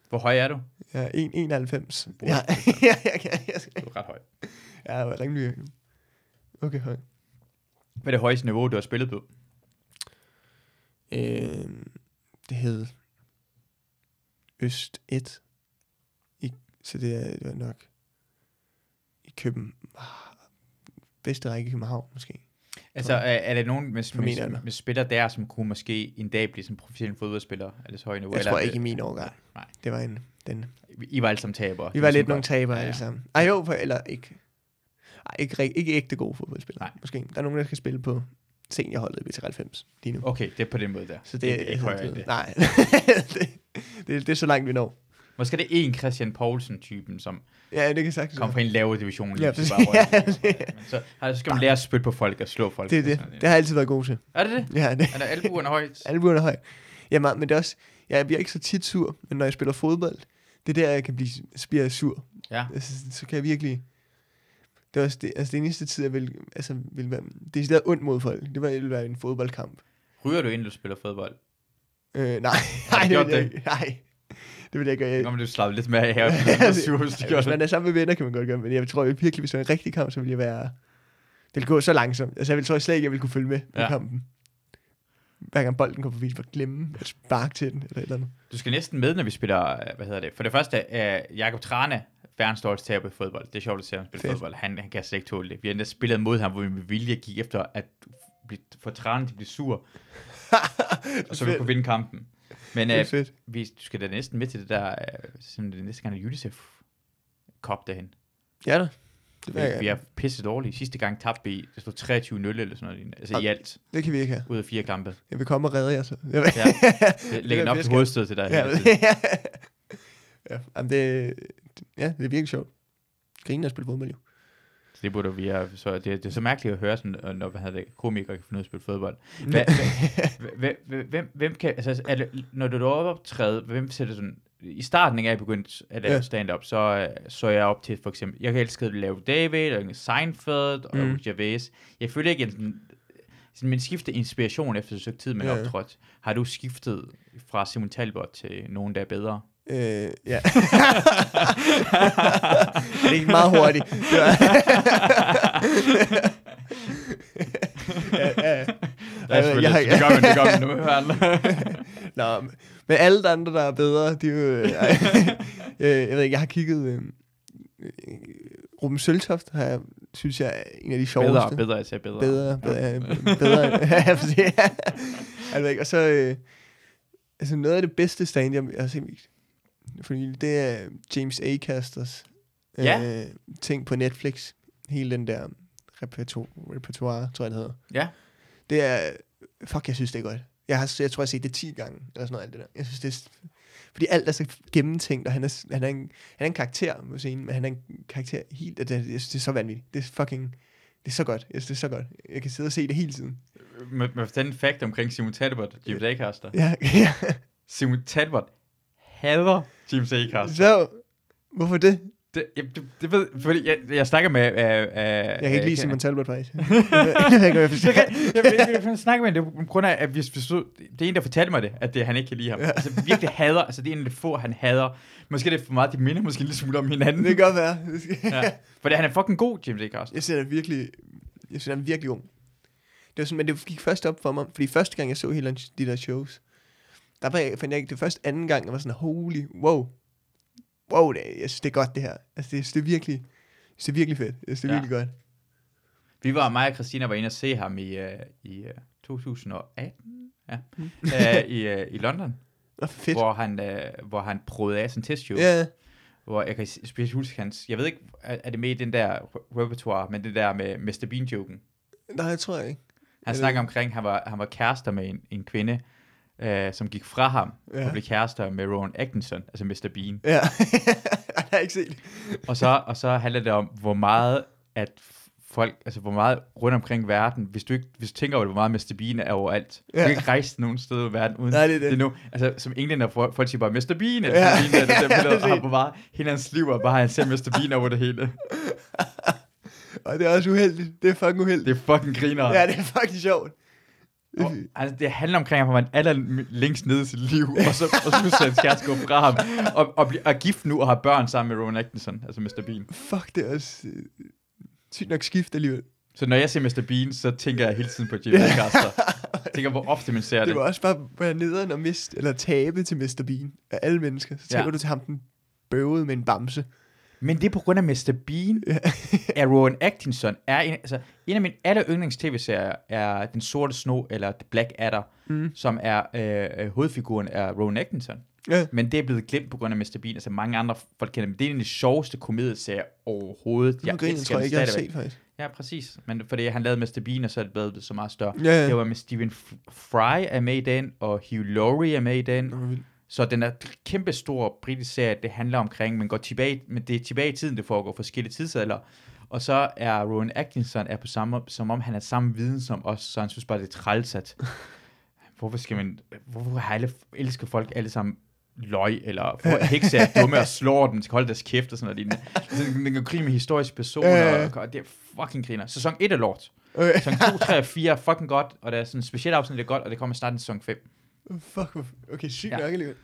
Speaker 1: Hvor høj er du?
Speaker 2: Jeg er 1, 91.
Speaker 1: Wow.
Speaker 2: Ja, ja, jeg, jeg, jeg,
Speaker 1: Du er ret høj.
Speaker 2: jeg er rimelig... Okay, høj.
Speaker 1: Hvad er det højeste niveau, du har spillet på?
Speaker 2: Øh, det hed Øst 1. I, så det, er, det var nok i København. Bedste række i København, måske.
Speaker 1: Altså, er, er der nogen med,
Speaker 2: min alder.
Speaker 1: med, med spillere der, som kunne måske en dag blive som professionel fodboldspiller? Er det så højt niveau?
Speaker 2: Jeg
Speaker 1: Eller
Speaker 2: tror
Speaker 1: er det-
Speaker 2: ikke i min årgang.
Speaker 1: Nej.
Speaker 2: Det var en, den
Speaker 1: I var alle sammen tabere.
Speaker 2: Vi
Speaker 1: Det
Speaker 2: var
Speaker 1: sådan
Speaker 2: lidt
Speaker 1: godt.
Speaker 2: nogle tabere
Speaker 1: Ja,
Speaker 2: ja,
Speaker 1: ja.
Speaker 2: alle sammen. Ej jo, for, eller ikke. Ej, ikke, rig- ikke ægte gode fodboldspillere.
Speaker 1: Nej.
Speaker 2: Måske. Der er nogen, der skal spille på seniorholdet i 93 lige nu.
Speaker 1: Okay, det er på den måde der.
Speaker 2: Så
Speaker 1: det, det er ikke højere end det.
Speaker 2: Nej, det, det, det, er så langt, vi når.
Speaker 1: Måske er det en Christian Poulsen-typen, som
Speaker 2: Ja, det kan sagtens
Speaker 1: kom
Speaker 2: være.
Speaker 1: fra en lavere division. lige
Speaker 2: Ja,
Speaker 1: pludselig
Speaker 2: præcis.
Speaker 1: bare røg
Speaker 2: Ja,
Speaker 1: ned. Men så, altså, så skal man lære at spytte på folk og slå folk.
Speaker 2: Det er det.
Speaker 1: Sådan,
Speaker 2: Det har jeg altid været god til.
Speaker 1: Er det det?
Speaker 2: Ja, det.
Speaker 1: Er der albuerne højt?
Speaker 2: Albuen er høj. Jamen, men det er også, ja, jeg bliver ikke så tit sur, men når jeg spiller fodbold, det er der, jeg kan blive bliver sur.
Speaker 1: Ja.
Speaker 2: Altså, så kan jeg virkelig... Det var også det, altså det eneste tid, jeg ville, altså, ville være... Det er stadig ondt mod folk. Det var, det ville være en fodboldkamp.
Speaker 1: Ryger du inden du spiller fodbold?
Speaker 2: Øh, nej,
Speaker 1: du
Speaker 2: nej, det
Speaker 1: gjort
Speaker 2: ville jeg
Speaker 1: det?
Speaker 2: ikke. Nej, det ville jeg ikke gøre.
Speaker 1: Nu
Speaker 2: Jeg,
Speaker 1: kommer du slappe lidt mere af her, hvis
Speaker 2: Øh, Ja,
Speaker 1: du er
Speaker 2: det-
Speaker 1: sur, hvis du
Speaker 2: altså,
Speaker 1: gjorde
Speaker 2: hvis
Speaker 1: det.
Speaker 2: man er sammen med venner, kan man godt gøre, men jeg tror virkelig, hvis det var en rigtig kamp, så ville jeg være... Det ville gå så langsomt. Altså, jeg ville, tror jeg slet ikke, jeg ville kunne følge med ja.
Speaker 1: Ja.
Speaker 2: i kampen. Hver gang bolden kom forbi, så bare glemme at sparke til den, eller et eller andet.
Speaker 1: Du skal næsten med, når vi spiller, øh, hvad hedder det? For det første, uh, Jakob Trane, verdens største taber i fodbold. Det er sjovt at se ham spille
Speaker 2: Fedt.
Speaker 1: fodbold. Han, han kan slet ikke tåle det. Vi har endda spillet mod ham, hvor vi med vilje gik efter at blive, få Trane til at blive sur, og så vi
Speaker 2: Fedt.
Speaker 1: kunne vinde kampen. Men
Speaker 2: Det er
Speaker 1: uh,
Speaker 2: fedt.
Speaker 1: vi, du skal da næsten med til det der, uh, sådan det er næste gang er UNICEF Cup derhen. Øh,
Speaker 2: Ja da. Det, vil jeg
Speaker 1: Vi, vi
Speaker 2: gerne.
Speaker 1: er pisse dårlige. Sidste gang tabte vi, det stod 23-0 eller sådan noget. lignende. Altså i
Speaker 2: Jamen.
Speaker 1: alt,
Speaker 2: det kan vi ikke have.
Speaker 1: ud af fire kampe.
Speaker 2: Jeg vil komme og redde jer så. Jeg vil...
Speaker 1: Ja. Jeg lægger den op til
Speaker 2: pisker.
Speaker 1: hovedstød til dig.
Speaker 2: Ja,
Speaker 1: hele tiden.
Speaker 2: ja. Jamen, det, ja, det er virkelig sjovt. Griner at spille fodbold jo.
Speaker 1: Så det burde vi have, så det, det er så mærkeligt at høre, sådan, øh, når hvad hedder det, komikere kan finde ud af at spille fodbold. Hva, hva, hva, hvem, hvem kan, altså, er det, når du er optræde, hvem sætter sådan, i starten, ikke, jeg begyndte at lave
Speaker 2: Ja.
Speaker 1: stand-up, så øh, så jeg op til for eksempel, jeg kan elske at lave David, og Seinfeld, og
Speaker 2: Mm.
Speaker 1: mm. Gervais. Jeg føler ikke, at sådan, sådan, man skifter inspiration efter så tid, man
Speaker 2: Ja,
Speaker 1: ja.
Speaker 2: ja.
Speaker 1: optrådt. Har du skiftet fra Simon Talbot til nogen, der er bedre?
Speaker 2: Øh, ja. det gik meget hurtigt. Det var... ja, ja, ja.
Speaker 1: Der er selvfølgelig,
Speaker 2: jeg har
Speaker 1: jeg,
Speaker 2: ikke-
Speaker 1: det gør man, det gør man nu. Hørn.
Speaker 2: Nå, men alle de andre, der er bedre, de er jo... Øh, øh, jeg ved ikke, jeg har kigget... Øh, øh, Ruben Søltoft har jeg, synes jeg, er en af de sjoveste.
Speaker 1: Bedre, bedre, jeg sagde bedre.
Speaker 2: bedre, bedre, ja. bedre. Ja, præcis. altså, ikke? og så, øh, altså noget af det bedste stand, jeg har set, for nylig, det er James Acasters øh,
Speaker 1: Ja.
Speaker 2: ting på Netflix. Hele den der repertoire, repertoire tror jeg, det hedder.
Speaker 1: Ja.
Speaker 2: Det er, fuck, jeg synes, det er godt. Jeg, har, jeg tror, jeg har set det 10 gange, eller sådan noget, alt det der. Jeg synes, det er, s- fordi alt er så gennemtænkt, og han er, han er, en, han er en karakter på scenen, men han er en karakter helt, det, jeg synes, det er så vanvittigt. Det er fucking, det er så godt. Jeg synes, det er så godt. Jeg kan sidde og se det hele tiden.
Speaker 1: Med, med den fact omkring Simon Talbot, James Acaster.
Speaker 2: Ja, ja.
Speaker 1: Simon Talbot hader James Acaster.
Speaker 2: Så, hvorfor det?
Speaker 1: Det, jeg, det, det ved, fordi jeg, jeg snakker med... Øh, øh, jeg
Speaker 2: Jeg kan ikke lide Simon Talbot, faktisk. Jeg ved ikke, hvad jeg
Speaker 1: Jeg,
Speaker 2: forstår.
Speaker 1: kan, jeg, jeg, jeg, jeg snakker med ham, det er på grund af, at hvis, hvis du, det er en, der fortalte mig det, at det, han ikke kan lide ham. Ja. Altså virkelig hader, altså det er en af de få, han hader. Måske er det for meget, de minder måske en lille smule om hinanden.
Speaker 2: Det kan godt være. Det skal-
Speaker 1: ja. Fordi han er fucking god, James Acaster.
Speaker 2: Jeg ser det virkelig, jeg synes, han er virkelig god. Det var sådan, men det gik først op for mig, fordi første gang, jeg så hele de der shows, der var jeg, fandt jeg ikke, det var først anden gang, jeg var sådan, holy, wow, wow, det, jeg synes, det er godt, det her. Altså, det, jeg synes, det er virkelig, jeg synes, det er virkelig fedt. Jeg synes, det er
Speaker 1: Ja.
Speaker 2: virkelig godt.
Speaker 1: Vi var, mig og Christina var inde og se ham i, øh, i øh, 2018 ja. øh, i, øh, i London.
Speaker 2: Nå, Mm. fedt.
Speaker 1: hvor han, øh, hvor han prøvede af sin testshow. Yeah.
Speaker 2: Ja,
Speaker 1: Hvor jeg kan s- specielt huske hans, jeg ved ikke, er, er det med i den der re- repertoire, men det der med Mr. Bean-joken.
Speaker 2: nej, jeg tror jeg ikke.
Speaker 1: Han
Speaker 2: det-
Speaker 1: snakker omkring, han var, han var kærester med en, en kvinde, øh, som gik fra ham
Speaker 2: Ja.
Speaker 1: yeah. og blev kærester med Rowan Atkinson, altså Mr. Bean.
Speaker 2: Ja, jeg har ikke set det.
Speaker 1: Og så, og så handler det om, hvor meget at f- folk, altså hvor meget rundt omkring verden, hvis du ikke hvis du tænker over, det, hvor meget Mr. Bean er overalt. Du
Speaker 2: Ja.
Speaker 1: kan ikke rejse nogen steder i verden uden
Speaker 2: Nej, det er det.
Speaker 1: nu. Altså, som englænder, folk folk siger bare, Mr. Bean, eller
Speaker 2: Ja.
Speaker 1: ja. Bean, eller
Speaker 2: Ja,
Speaker 1: det der billede,
Speaker 2: præcis.
Speaker 1: og han var bare hele hans liv, og bare han ser Mr. Bean over det hele.
Speaker 2: Og det er også uheldigt. Det er fucking uheldigt.
Speaker 1: Det er fucking griner.
Speaker 2: Ja, det er fucking sjovt.
Speaker 1: Og, altså, det handler omkring, at han var aller længst nede i sit liv, og så, og så pludselig hans kæreste går fra ham, og, og, bliver, og er gift nu, og har børn sammen med Rowan Atkinson, altså Mr. Bean.
Speaker 2: Fuck, det er også øh, sygt nok skift alligevel.
Speaker 1: Så når jeg ser Mr. Bean, så tænker jeg hele tiden på Jimmy Caster. Jeg tænker, hvor ofte man ser det.
Speaker 2: Det var også bare være nederen og miste, eller tabe til Mr. Bean af alle mennesker. Så
Speaker 1: Ja.
Speaker 2: taber du til ham, den bøvede med en bamse.
Speaker 1: Men det er på grund af Mr. Bean, at Rowan Atkinson er en, altså, en af mine aller yndlings tv-serier, er Den Sorte Sno, eller The Black Adder,
Speaker 2: Mm.
Speaker 1: mm. som er øh, øh, hovedfiguren af Rowan Atkinson.
Speaker 2: Ja.
Speaker 1: Men det er blevet glemt på grund af Mr. Bean, altså mange andre folk kender dem. Det er en af de sjoveste komedieserie overhovedet.
Speaker 2: Jeg griner, tror jeg
Speaker 1: den
Speaker 2: ikke, jeg har
Speaker 1: stadigvæk.
Speaker 2: set faktisk.
Speaker 1: Ja, præcis. Men fordi han lavede Mr. Bean, og så er det blevet så meget større.
Speaker 2: Ja, ja.
Speaker 1: Det var med Stephen F- Fry er med i den, og Hugh Laurie er med i den.
Speaker 2: Nå, hvor vildt.
Speaker 1: Så den er kæmpe stor britisk serie, det handler omkring, men går tilbage, men det er tilbage i tiden, det foregår forskellige tidsalder. Og så er Rowan Atkinson er på samme, som om han er samme viden som os, så han synes bare, det er trælsat. hvorfor skal man, hvorfor har alle, elsker folk alle sammen løg, eller folk hekse er dumme og slår dem, skal holde deres kæft og sådan noget. Altså, Den, den kan grine med historiske personer,
Speaker 2: Ja, ja.
Speaker 1: og, og det er fucking griner. Sæson 1 er lort.
Speaker 2: Okay.
Speaker 1: Sæson 2, 3 og 4 er fucking godt, og der er sådan specielt afsnit, der er godt, og det kommer snart i sæson 5.
Speaker 2: Fuck, hvor- okay, sygt
Speaker 1: Ja.
Speaker 2: ja. nok alligevel.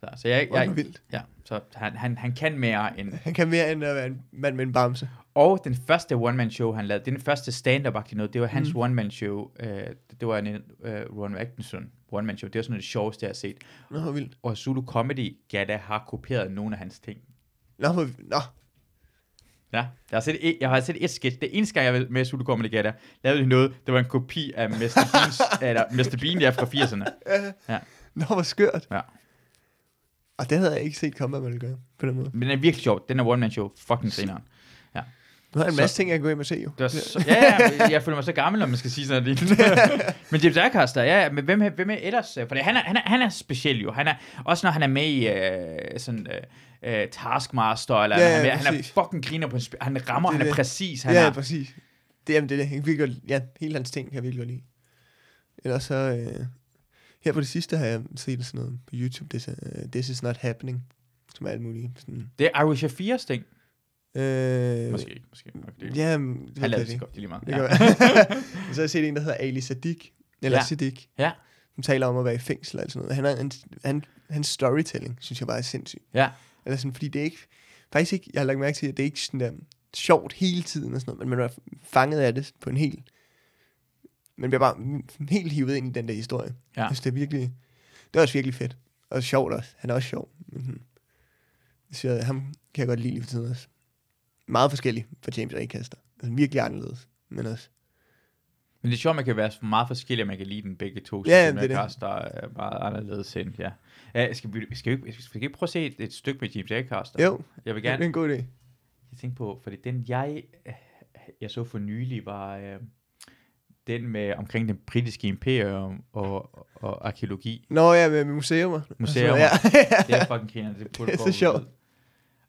Speaker 1: Så, så jeg,
Speaker 2: Hvor er det
Speaker 1: jeg,
Speaker 2: vildt.
Speaker 1: ja, så han, han, han kan mere end...
Speaker 2: Han kan mere end at være en mand med en bamse.
Speaker 1: Og den første one-man-show, han lavede, det er den første stand-up-agtige noget, det var hans mm. one-man-show. Øh, det var en øh, Ron Atkinson one-man-show. Det var sådan det sjoveste, jeg har set.
Speaker 2: Nå, hvor vildt.
Speaker 1: Og Zulu Comedy Gada har kopieret nogle af hans ting.
Speaker 2: Nå, hvor, nå.
Speaker 1: Ja, jeg har set et, jeg har set et sketch. Det eneste gang, jeg var med Zulu Comedy Gada, lavede de noget, det var en kopi af Mr. Bean's, eller Mr. Bean der fra 80'erne.
Speaker 2: Nå, hvor skørt.
Speaker 1: Ja.
Speaker 2: Og det havde jeg ikke set komme, at man ville gøre på den måde.
Speaker 1: Men den er virkelig sjov. Den er one-man-show. Fucking grineren.
Speaker 2: Nu har jeg en
Speaker 1: Så-
Speaker 2: masse ting, jeg kan gå hjem og se jo.
Speaker 1: Det var så, ja, ja, jeg føler mig så gammel, om man skal sige sådan noget. men James Acaster, ja, men hvem, hvem er ellers? For han er, han, er, han er speciel jo. Han er, også når han er med i øh, sådan, øh, øh, Taskmaster, eller
Speaker 2: Ja,
Speaker 1: ja, han, er
Speaker 2: ja,
Speaker 1: med, han er
Speaker 2: præcis.
Speaker 1: fucking griner på en sp- Han rammer,
Speaker 2: Det er
Speaker 1: han er
Speaker 2: det.
Speaker 1: præcis. Han
Speaker 2: Ja, ja,
Speaker 1: er,
Speaker 2: præcis. Det, jamen, det er det. Jeg kan virkelig godt, ja, hele hans ting kan jeg virkelig godt lide. Ellers så... Øh, her på det sidste har jeg set sådan noget på YouTube. This, uh, this is not happening. Som er alt muligt. Sådan,
Speaker 1: det er Irish Shafirs ting.
Speaker 2: øh,
Speaker 1: Måske ikke, måske nok det.
Speaker 2: Ja, men,
Speaker 1: Han
Speaker 2: det ved
Speaker 1: lavede
Speaker 2: jeg
Speaker 1: det så
Speaker 2: ikke.
Speaker 1: godt, det er lige meget.
Speaker 2: Det
Speaker 1: Ja.
Speaker 2: kan være. så har jeg set en, der hedder Ali Sadik. Eller
Speaker 1: Ja.
Speaker 2: ja. Sadik.
Speaker 1: Ja.
Speaker 2: Som taler om at være i fængsel og sådan noget. Han er, han, han, hans storytelling, synes jeg bare er sindssyg.
Speaker 1: Ja.
Speaker 2: Eller sådan, fordi det er ikke... Faktisk ikke, jeg har lagt mærke til, at det er ikke sådan der sjovt hele tiden og sådan noget, men man er fanget af det på en helt... Man bliver bare mm, helt hivet ind i den der historie.
Speaker 1: Ja.
Speaker 2: Jeg synes, det er virkelig... Det er også virkelig fedt. Og sjovt også. Han er også sjov. Mm-hmm. Så ham kan jeg godt lide lige for tiden også. Meget forskellig fra James Acaster. Altså virkelig anderledes. Men også...
Speaker 1: Men det er sjovt, man kan være så meget forskellig, at man kan lide den begge to.
Speaker 2: Ja,
Speaker 1: synes jeg,
Speaker 2: det er
Speaker 1: James Acaster er meget anderledes end, ja. ja skal, vi, skal, vi, skal vi ikke prøve at se et, et stykke med James Acaster?
Speaker 2: Jo,
Speaker 1: Jeg vil
Speaker 2: det er
Speaker 1: gerne,
Speaker 2: en god idé.
Speaker 1: Jeg tænkte på, fordi den jeg, øh, jeg så for nylig var øh, den med omkring den britiske imperium og, og, og arkeologi.
Speaker 2: Nå ja, med, med museumer.
Speaker 1: Museumer.
Speaker 2: Ja.
Speaker 1: Det er fucking kender, det burde
Speaker 2: Det er
Speaker 1: gå
Speaker 2: så sjovt.
Speaker 1: ud.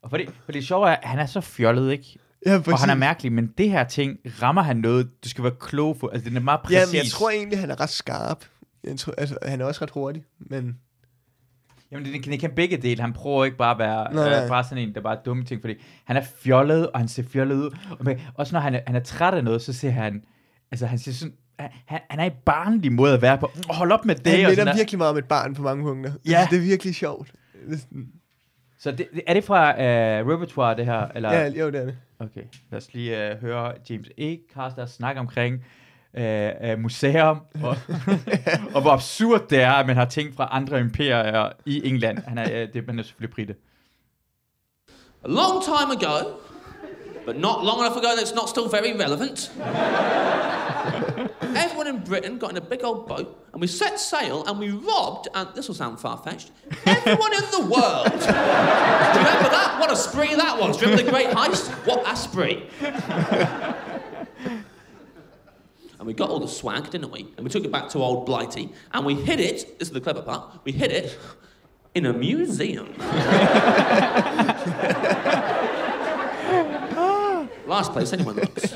Speaker 1: Og fordi, fordi det sjove er, at han er så fjollet, ikke?
Speaker 2: ja,
Speaker 1: Og han er
Speaker 2: præcis.
Speaker 1: mærkelig, men det her ting, rammer han noget, du skal være klog på. Altså, den er meget præcis.
Speaker 2: Ja, men jeg tror egentlig, han er ret skarp. Jeg tror, altså, han er også ret hurtig, men...
Speaker 1: Jamen, det, det kan begge dele. Han prøver ikke bare at være
Speaker 2: Nej,
Speaker 1: nej,
Speaker 2: nej.
Speaker 1: bare sådan en, der bare er dumme ting, fordi han er fjollet, og han ser fjollet ud. Og men, også når han er, han er træt af noget, så ser han, altså han ser sådan, han- han, han er i barnlig måde at være på. Oh, hold op med det.
Speaker 2: Det han
Speaker 1: og sådan
Speaker 2: minder
Speaker 1: der.
Speaker 2: virkelig meget om et barn på mange punkter.
Speaker 1: Ja.
Speaker 2: Altså, det er virkelig sjovt. Det er sådan-
Speaker 1: Så det, det- er det fra uh, repertoire, det her? Eller?
Speaker 2: Ja, jo, det er det.
Speaker 1: Okay, lad os lige uh, høre James A. Carster snakke omkring uh, uh, museum, og, og hvor absurd det er, at man har ting fra andre imperier i England. Han er, uh, det, man er selvfølgelig brite.
Speaker 3: A long time ago, but not long enough ago that it's not still very relevant. Everyone in Britain got in a big old boat and we set sail and we robbed, and this will sound far fetched, everyone in the world. Do you remember that? What a spree that was. Do you remember the great heist? What a spree. And we got all the swag, didn't we? And we took it back to old Blighty and we hid it, this is the clever part, we hid it in a museum. Last place anyone looks.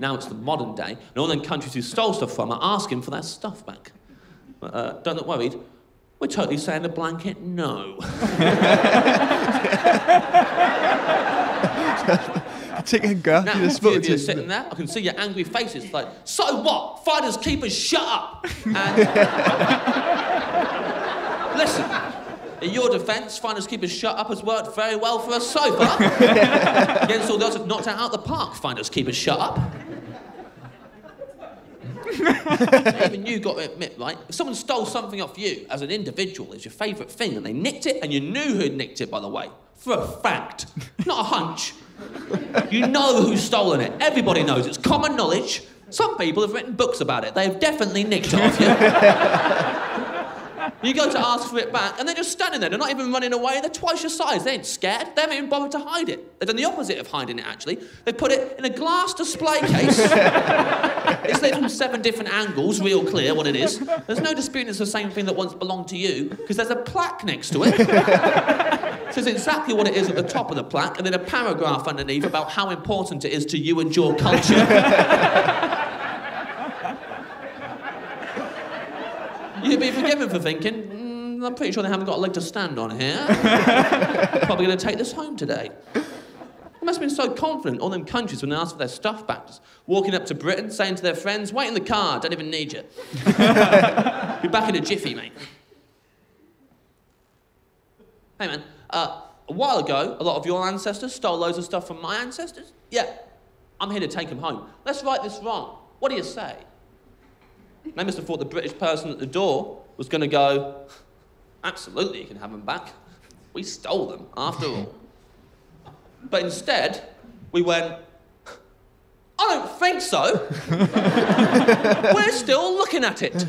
Speaker 3: now it's the modern day, and all them countries who stole stuff from are asking for their stuff back. But, uh, don't look worried. We're totally saying a blanket no.
Speaker 2: Jeg tænker, han gør
Speaker 3: now,
Speaker 2: de der små
Speaker 3: you're, you're
Speaker 2: ting.
Speaker 3: sitting there, I can see your angry faces. Like, so what? Fighters, keepers, shut up! And listen, in your defence, fighters, keepers, shut up has worked very well for us so far. Against all those, it's knocked it out of the park. Finders, keepers, shut up. Even you got to admit, right? If someone stole something off you as an individual, it's your favourite thing, and they nicked it, and you knew who nicked it, by the way, for a fact, not a hunch. You know who's stolen it. Everybody knows. It's common knowledge. Some people have written books about it. They have definitely nicked it off you. You go to ask for it back, and they're just standing there. They're not even running away. They're twice your size. They ain't scared. They haven't even bothered to hide it. They've done the opposite of hiding it, actually. They put it in a glass display case. it's lit from seven different angles, real clear what it is. There's no disputing it's the same thing that once belonged to you, because there's a plaque next to it says exactly what it is at the top of the plaque, and then a paragraph underneath about how important it is to you and your culture. forgiven for thinking, mm, I'm pretty sure they haven't got a leg to stand on here. Probably going to take this home today. They must have been so confident all them countries when they asked for their stuff back. Just walking up to Britain, saying to their friends, wait in the car, don't even need you. Be back in a jiffy, mate. Hey, man. Uh, a while ago, a lot of your ancestors stole loads of stuff from my ancestors. Yeah, I'm here to take them home. Let's right this wrong. What do you say? They must have thought the British person at the door was going to go, absolutely, you can have them back. We stole them, after all. But instead, we went, I don't think so. We're still looking at it.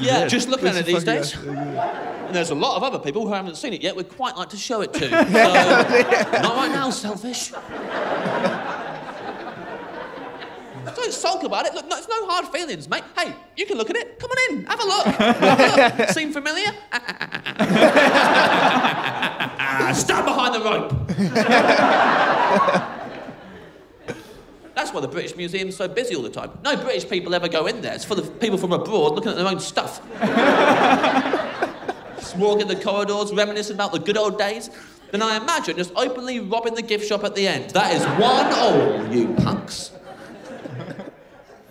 Speaker 3: yeah, just looking at it these days. And there's a lot of other people who haven't seen it yet would quite like to show it to. So, not right now, selfish. Don't sulk about it. Look, no, it's no hard feelings, mate. Hey, you can look at it. Come on in, have a look. Have a look. Seem familiar? Stand behind the rope. That's why the British Museum's so busy all the time. No British people ever go in there. It's full of people from abroad looking at their own stuff. Just walking the corridors, reminiscing about the good old days. Then I imagine just openly robbing the gift shop at the end. That is one all, you punks.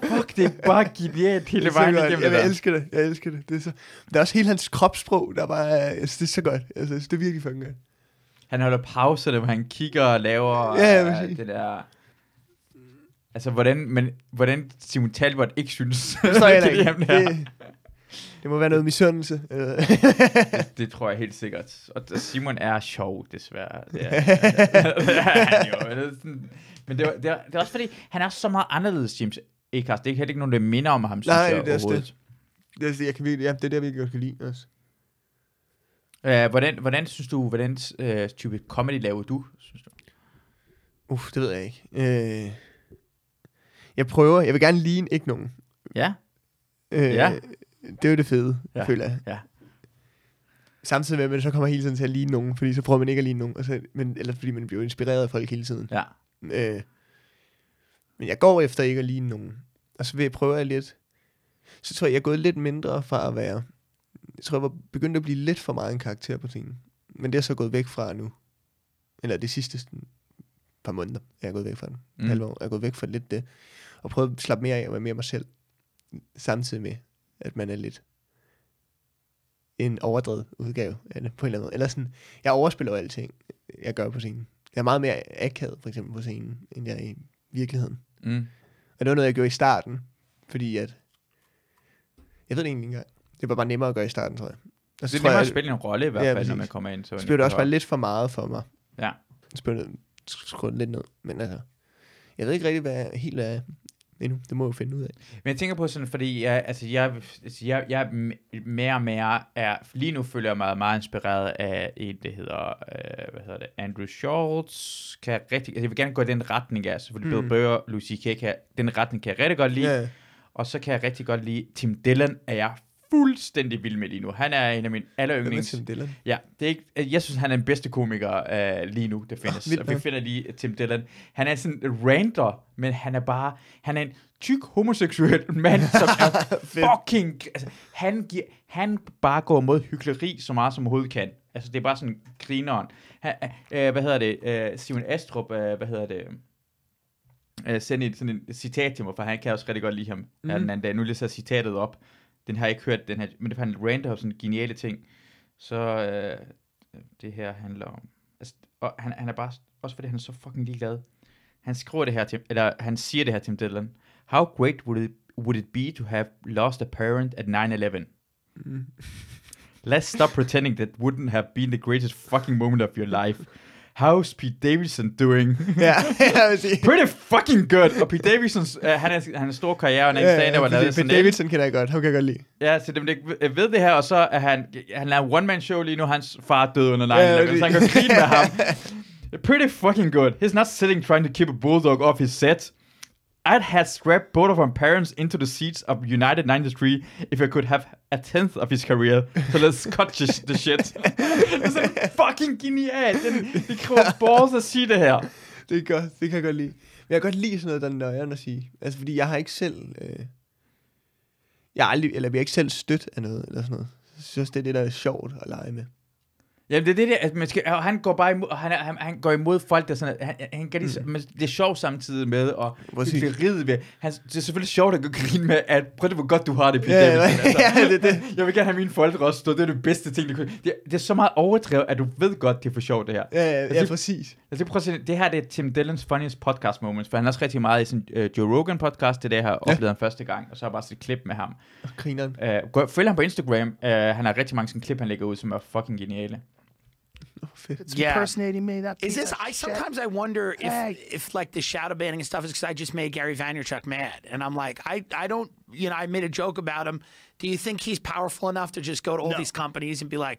Speaker 1: Fuck, det er bare genialt hele
Speaker 2: Det er så
Speaker 1: vejen
Speaker 2: godt.
Speaker 1: igennem det der.
Speaker 2: Jamen, jeg elsker det. Jeg elsker det. Det er, så... Der er også hele hans kropssprog, der bare... er- Jeg synes, det er så godt. Jeg synes, det er virkelig fucking godt.
Speaker 1: Han holder pause, når han kigger og laver
Speaker 2: Ja,
Speaker 1: øh,
Speaker 2: præcis.
Speaker 1: det der... Altså, hvordan, men, hvordan Simon Talbot ikke synes, det,
Speaker 2: forstår jeg heller
Speaker 1: er ham der.
Speaker 2: ikke. Det, det må være noget misundelse. eller-
Speaker 1: det tror jeg helt sikkert. Og d- Simon er sjov, desværre. Det er, det er han jo. Det er sådan- Men det, var, det, var, det er også fordi, han er så meget anderledes, James Akers. Det er heller ikke nogen, der minder om ham, synes
Speaker 2: Nej,
Speaker 1: jeg
Speaker 2: det er også
Speaker 1: overhovedet.
Speaker 2: det, er, sådan, jeg kan virkelig, ja, det er der, vi godt kan lide også.
Speaker 1: Øh, hvordan, hvordan synes du, hvordan øh, type comedy laver du, synes du?
Speaker 2: Uff, det ved jeg ikke. Øh, jeg prøver. Jeg vil gerne ligne ikke nogen.
Speaker 1: Ja,
Speaker 2: Øh,
Speaker 1: Ja.
Speaker 2: Det er jo det fede,
Speaker 1: Ja,
Speaker 2: ja. føler jeg.
Speaker 1: ja.
Speaker 2: Samtidig med, at man så kommer hele tiden til at ligne nogen, fordi så prøver man ikke at ligne nogen, og så, men, eller fordi man bliver inspireret af folk hele tiden.
Speaker 1: ja.
Speaker 2: Øh, men jeg går efter ikke at ligne nogen. Og så vil jeg prøve lidt. Så tror jeg, jeg er gået lidt mindre fra at være... Jeg tror, jeg var begyndt at blive lidt for meget en karakter på tingene. Men det er så gået væk fra nu. Eller det sidste sådan, par måneder er jeg gået væk fra den.
Speaker 1: Mm.
Speaker 2: Mm. Halve år er jeg gået væk fra lidt det. Og prøvet at slappe mere af og være mere mig selv. Samtidig med, at man er lidt en overdrevet udgave af det, på en eller anden måde. Eller sådan, jeg overspiller jo alting, jeg gør på scenen. Jeg er meget mere akavet, for eksempel, på scenen, end jeg er i virkeligheden.
Speaker 1: Mm.
Speaker 2: Og det var noget, jeg gjorde i starten, fordi at... Jeg ved det egentlig ikke engang. Det var bare nemmere at gøre i starten, tror jeg. Og
Speaker 1: Det
Speaker 2: så
Speaker 1: er
Speaker 2: tror
Speaker 1: nemmere
Speaker 2: jeg,
Speaker 1: at spille en rolle i hvert
Speaker 2: Ja,
Speaker 1: fald, når
Speaker 2: præcis.
Speaker 1: man kommer ind. Så
Speaker 2: så blev det også bare lidt for meget for mig.
Speaker 1: Ja.
Speaker 2: Så blev det skruet lidt ned. Men altså, jeg ved ikke rigtig, hvad jeg helt er endnu. Det må jeg jo finde ud af.
Speaker 1: Men jeg tænker på sådan, fordi jeg, altså jeg, altså jeg, jeg er m- mere og mere er, lige nu føler jeg mig meget inspireret af en, der hedder, øh, hvad hedder det, Andrew Schultz, kan jeg rigtig, altså jeg vil gerne gå i den retning af, selvfølgelig mm. Bill
Speaker 2: Mm.
Speaker 1: Burr, Lucy K, kan, den retning kan jeg rigtig godt lide, yeah.
Speaker 2: Ja.
Speaker 1: og så kan jeg rigtig godt lide, Tim Dillon er jeg fuldstændig vild med lige nu, han er en af mine aller
Speaker 2: Hvad med
Speaker 1: yndlings,
Speaker 2: Tim Dillon?
Speaker 1: Ja, det er ikke, øh, jeg synes, han er den bedste komiker øh, lige nu, der findes.
Speaker 2: Ah, vildt
Speaker 1: Og vi
Speaker 2: nok.
Speaker 1: finder lige Tim Dillon. Han er sådan en rander, men han er bare... Han er en tyk homoseksuel mand, som er fucking... Altså, han, giver, han bare går mod hykleri så meget som overhovedet kan. Altså, det er bare sådan grineren. Han, øh, hvad hedder det? Øh, Simon Astrup, øh, hvad hedder det? øh, sende et, sådan et citat til mig, for han kan også rigtig godt lide
Speaker 2: Mhm.
Speaker 1: ham mm. den anden dag. Nu læser jeg citatet op. Den har jeg ikke hørt, den her, men det var en rant om sådan geniale ting. Så øh, det her handler om... Altså, og han, han er bare... Også fordi han er så fucking ligeglad. Han skriver det her til... Eller han siger det her til Dylan. How great would it, would it be to have lost a parent at 9-11?
Speaker 2: Mm.
Speaker 1: Let's stop pretending that wouldn't have been the greatest fucking moment of your life. How's Pete Davidson doing?
Speaker 2: Ja, jeg vil sige.
Speaker 1: pretty fucking good. Og Pete Davidsons, øh, han, er, han er en stor karriere, og han er en stand-up, og lavet
Speaker 2: fordi
Speaker 1: sådan
Speaker 2: Pete Øh, Davidson kender jeg godt. Ham kan jeg godt lide.
Speaker 1: Ja, så dem, der ikke ved- ved det her, og så er han, han er en one-man-show lige nu, hans far døde under 9-11,
Speaker 2: Ja,
Speaker 1: så han
Speaker 2: fordi-
Speaker 1: kan grine med ham. Pretty fucking good. He's not sitting trying to keep a bulldog off his set. I'd had strapped both of our parents into the seats of United 93 if I could have a tenth of his career. Så lad os cut this, the shit. det er sådan fucking genialt. Den, det kræver balls at sige det her.
Speaker 2: Det, er godt, det kan jeg godt lide. Men jeg kan godt lide sådan noget, der er nøjeren at sige. Altså, fordi jeg har ikke selv... Øh, jeg har aldrig, eller vi har ikke selv stødt af noget, eller sådan noget. Jeg synes, det er det, der er sjovt at lege med.
Speaker 1: Jamen det er det der, at man skal, og han går bare imod, og han, er- han, han går imod folk, der sådan, at han, han kan lige, mm. men det er sjovt samtidig med, og
Speaker 2: Præcis.
Speaker 1: hykleriet ved, han, det er selvfølgelig sjovt at gå grine med, at prøv det, hvor godt du har det, Pete
Speaker 2: Ja,
Speaker 1: Davidson,
Speaker 2: ja, ja, det er
Speaker 1: Jeg vil gerne have mine forældre også stå, det er det bedste ting, du kunne, det, det er så meget overdrevet, at du ved godt, det er for sjovt det her.
Speaker 2: Ja, ja, ja
Speaker 1: Altså,
Speaker 2: præcis.
Speaker 1: Altså, prøv at se, det her det er Tim Dillons funniest podcast moments, for han er også rigtig meget i sin øh, Joe Rogan podcast, det der, jeg har oplevet ham første gang, og så har jeg bare set et klip med ham.
Speaker 2: Og grineren.
Speaker 1: Øh, gå- følg ham på Instagram, øh, han har rigtig mange sådan, klip, han lægger ud, som er fucking geniale.
Speaker 2: Åh, fedt.
Speaker 4: It's
Speaker 5: Yeah.
Speaker 4: impersonating me. That
Speaker 5: Is
Speaker 4: piece
Speaker 5: this?
Speaker 4: of
Speaker 5: I
Speaker 4: shit.
Speaker 5: sometimes I wonder if
Speaker 4: Hey.
Speaker 5: if like the shadow banning and stuff is because I just made Gary Vaynerchuk mad, and I'm like, I I don't, you know, I made a joke about him. Do you think he's powerful enough to just go to all
Speaker 4: No.
Speaker 5: these companies and be like,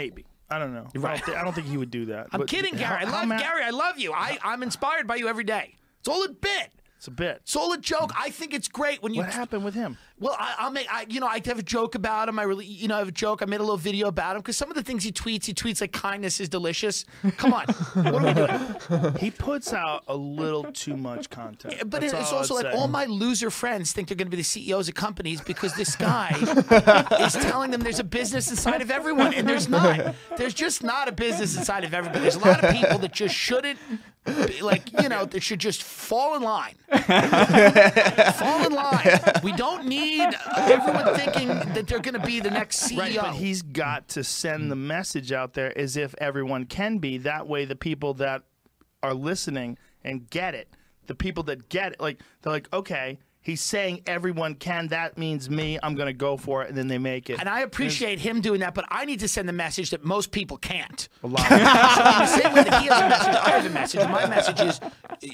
Speaker 4: Maybe. I don't know. I
Speaker 5: Right.
Speaker 4: don't, thi- I don't think he would do that.
Speaker 5: I'm
Speaker 4: But
Speaker 5: kidding,
Speaker 4: how-
Speaker 5: Gary. I
Speaker 4: how
Speaker 5: love
Speaker 4: ma-
Speaker 5: Gary. I love you. I I'm inspired by you every day. It's all a bit.
Speaker 4: It's a bit.
Speaker 5: It's all a joke. I think it's great when you.
Speaker 4: What happened with him?
Speaker 5: Well, I, I'll make. I, you know, I have a joke about him. I really, you know, I have a joke. I made a little video about him because some of the things he tweets, he tweets like kindness is delicious. Come on, what are we doing?
Speaker 4: He puts out a little too much content.
Speaker 5: But
Speaker 4: That's
Speaker 5: it's
Speaker 4: all
Speaker 5: also
Speaker 4: I'd
Speaker 5: like
Speaker 4: say.
Speaker 5: all my loser friends think they're going to be the CEOs of companies because this guy is telling them there's a business inside of everyone, and there's not. There's just not a business inside of everybody. There's a lot of people that just shouldn't, be, like you know, that should just fall in line. fall in line. We don't need everyone thinking that they're going to be the next E CEO.
Speaker 4: Right, but he's got to send the message out there as if everyone can be. That way, the people that are listening and get it, the people that get it, like they're like, okay, he's saying everyone can. That means me. I'm gonna go for it, and then they make it.
Speaker 5: and I appreciate him doing that, but I need to send the message that most people can't.
Speaker 4: a lot.
Speaker 5: So in the same way that he has a message, I have a message. And my message is,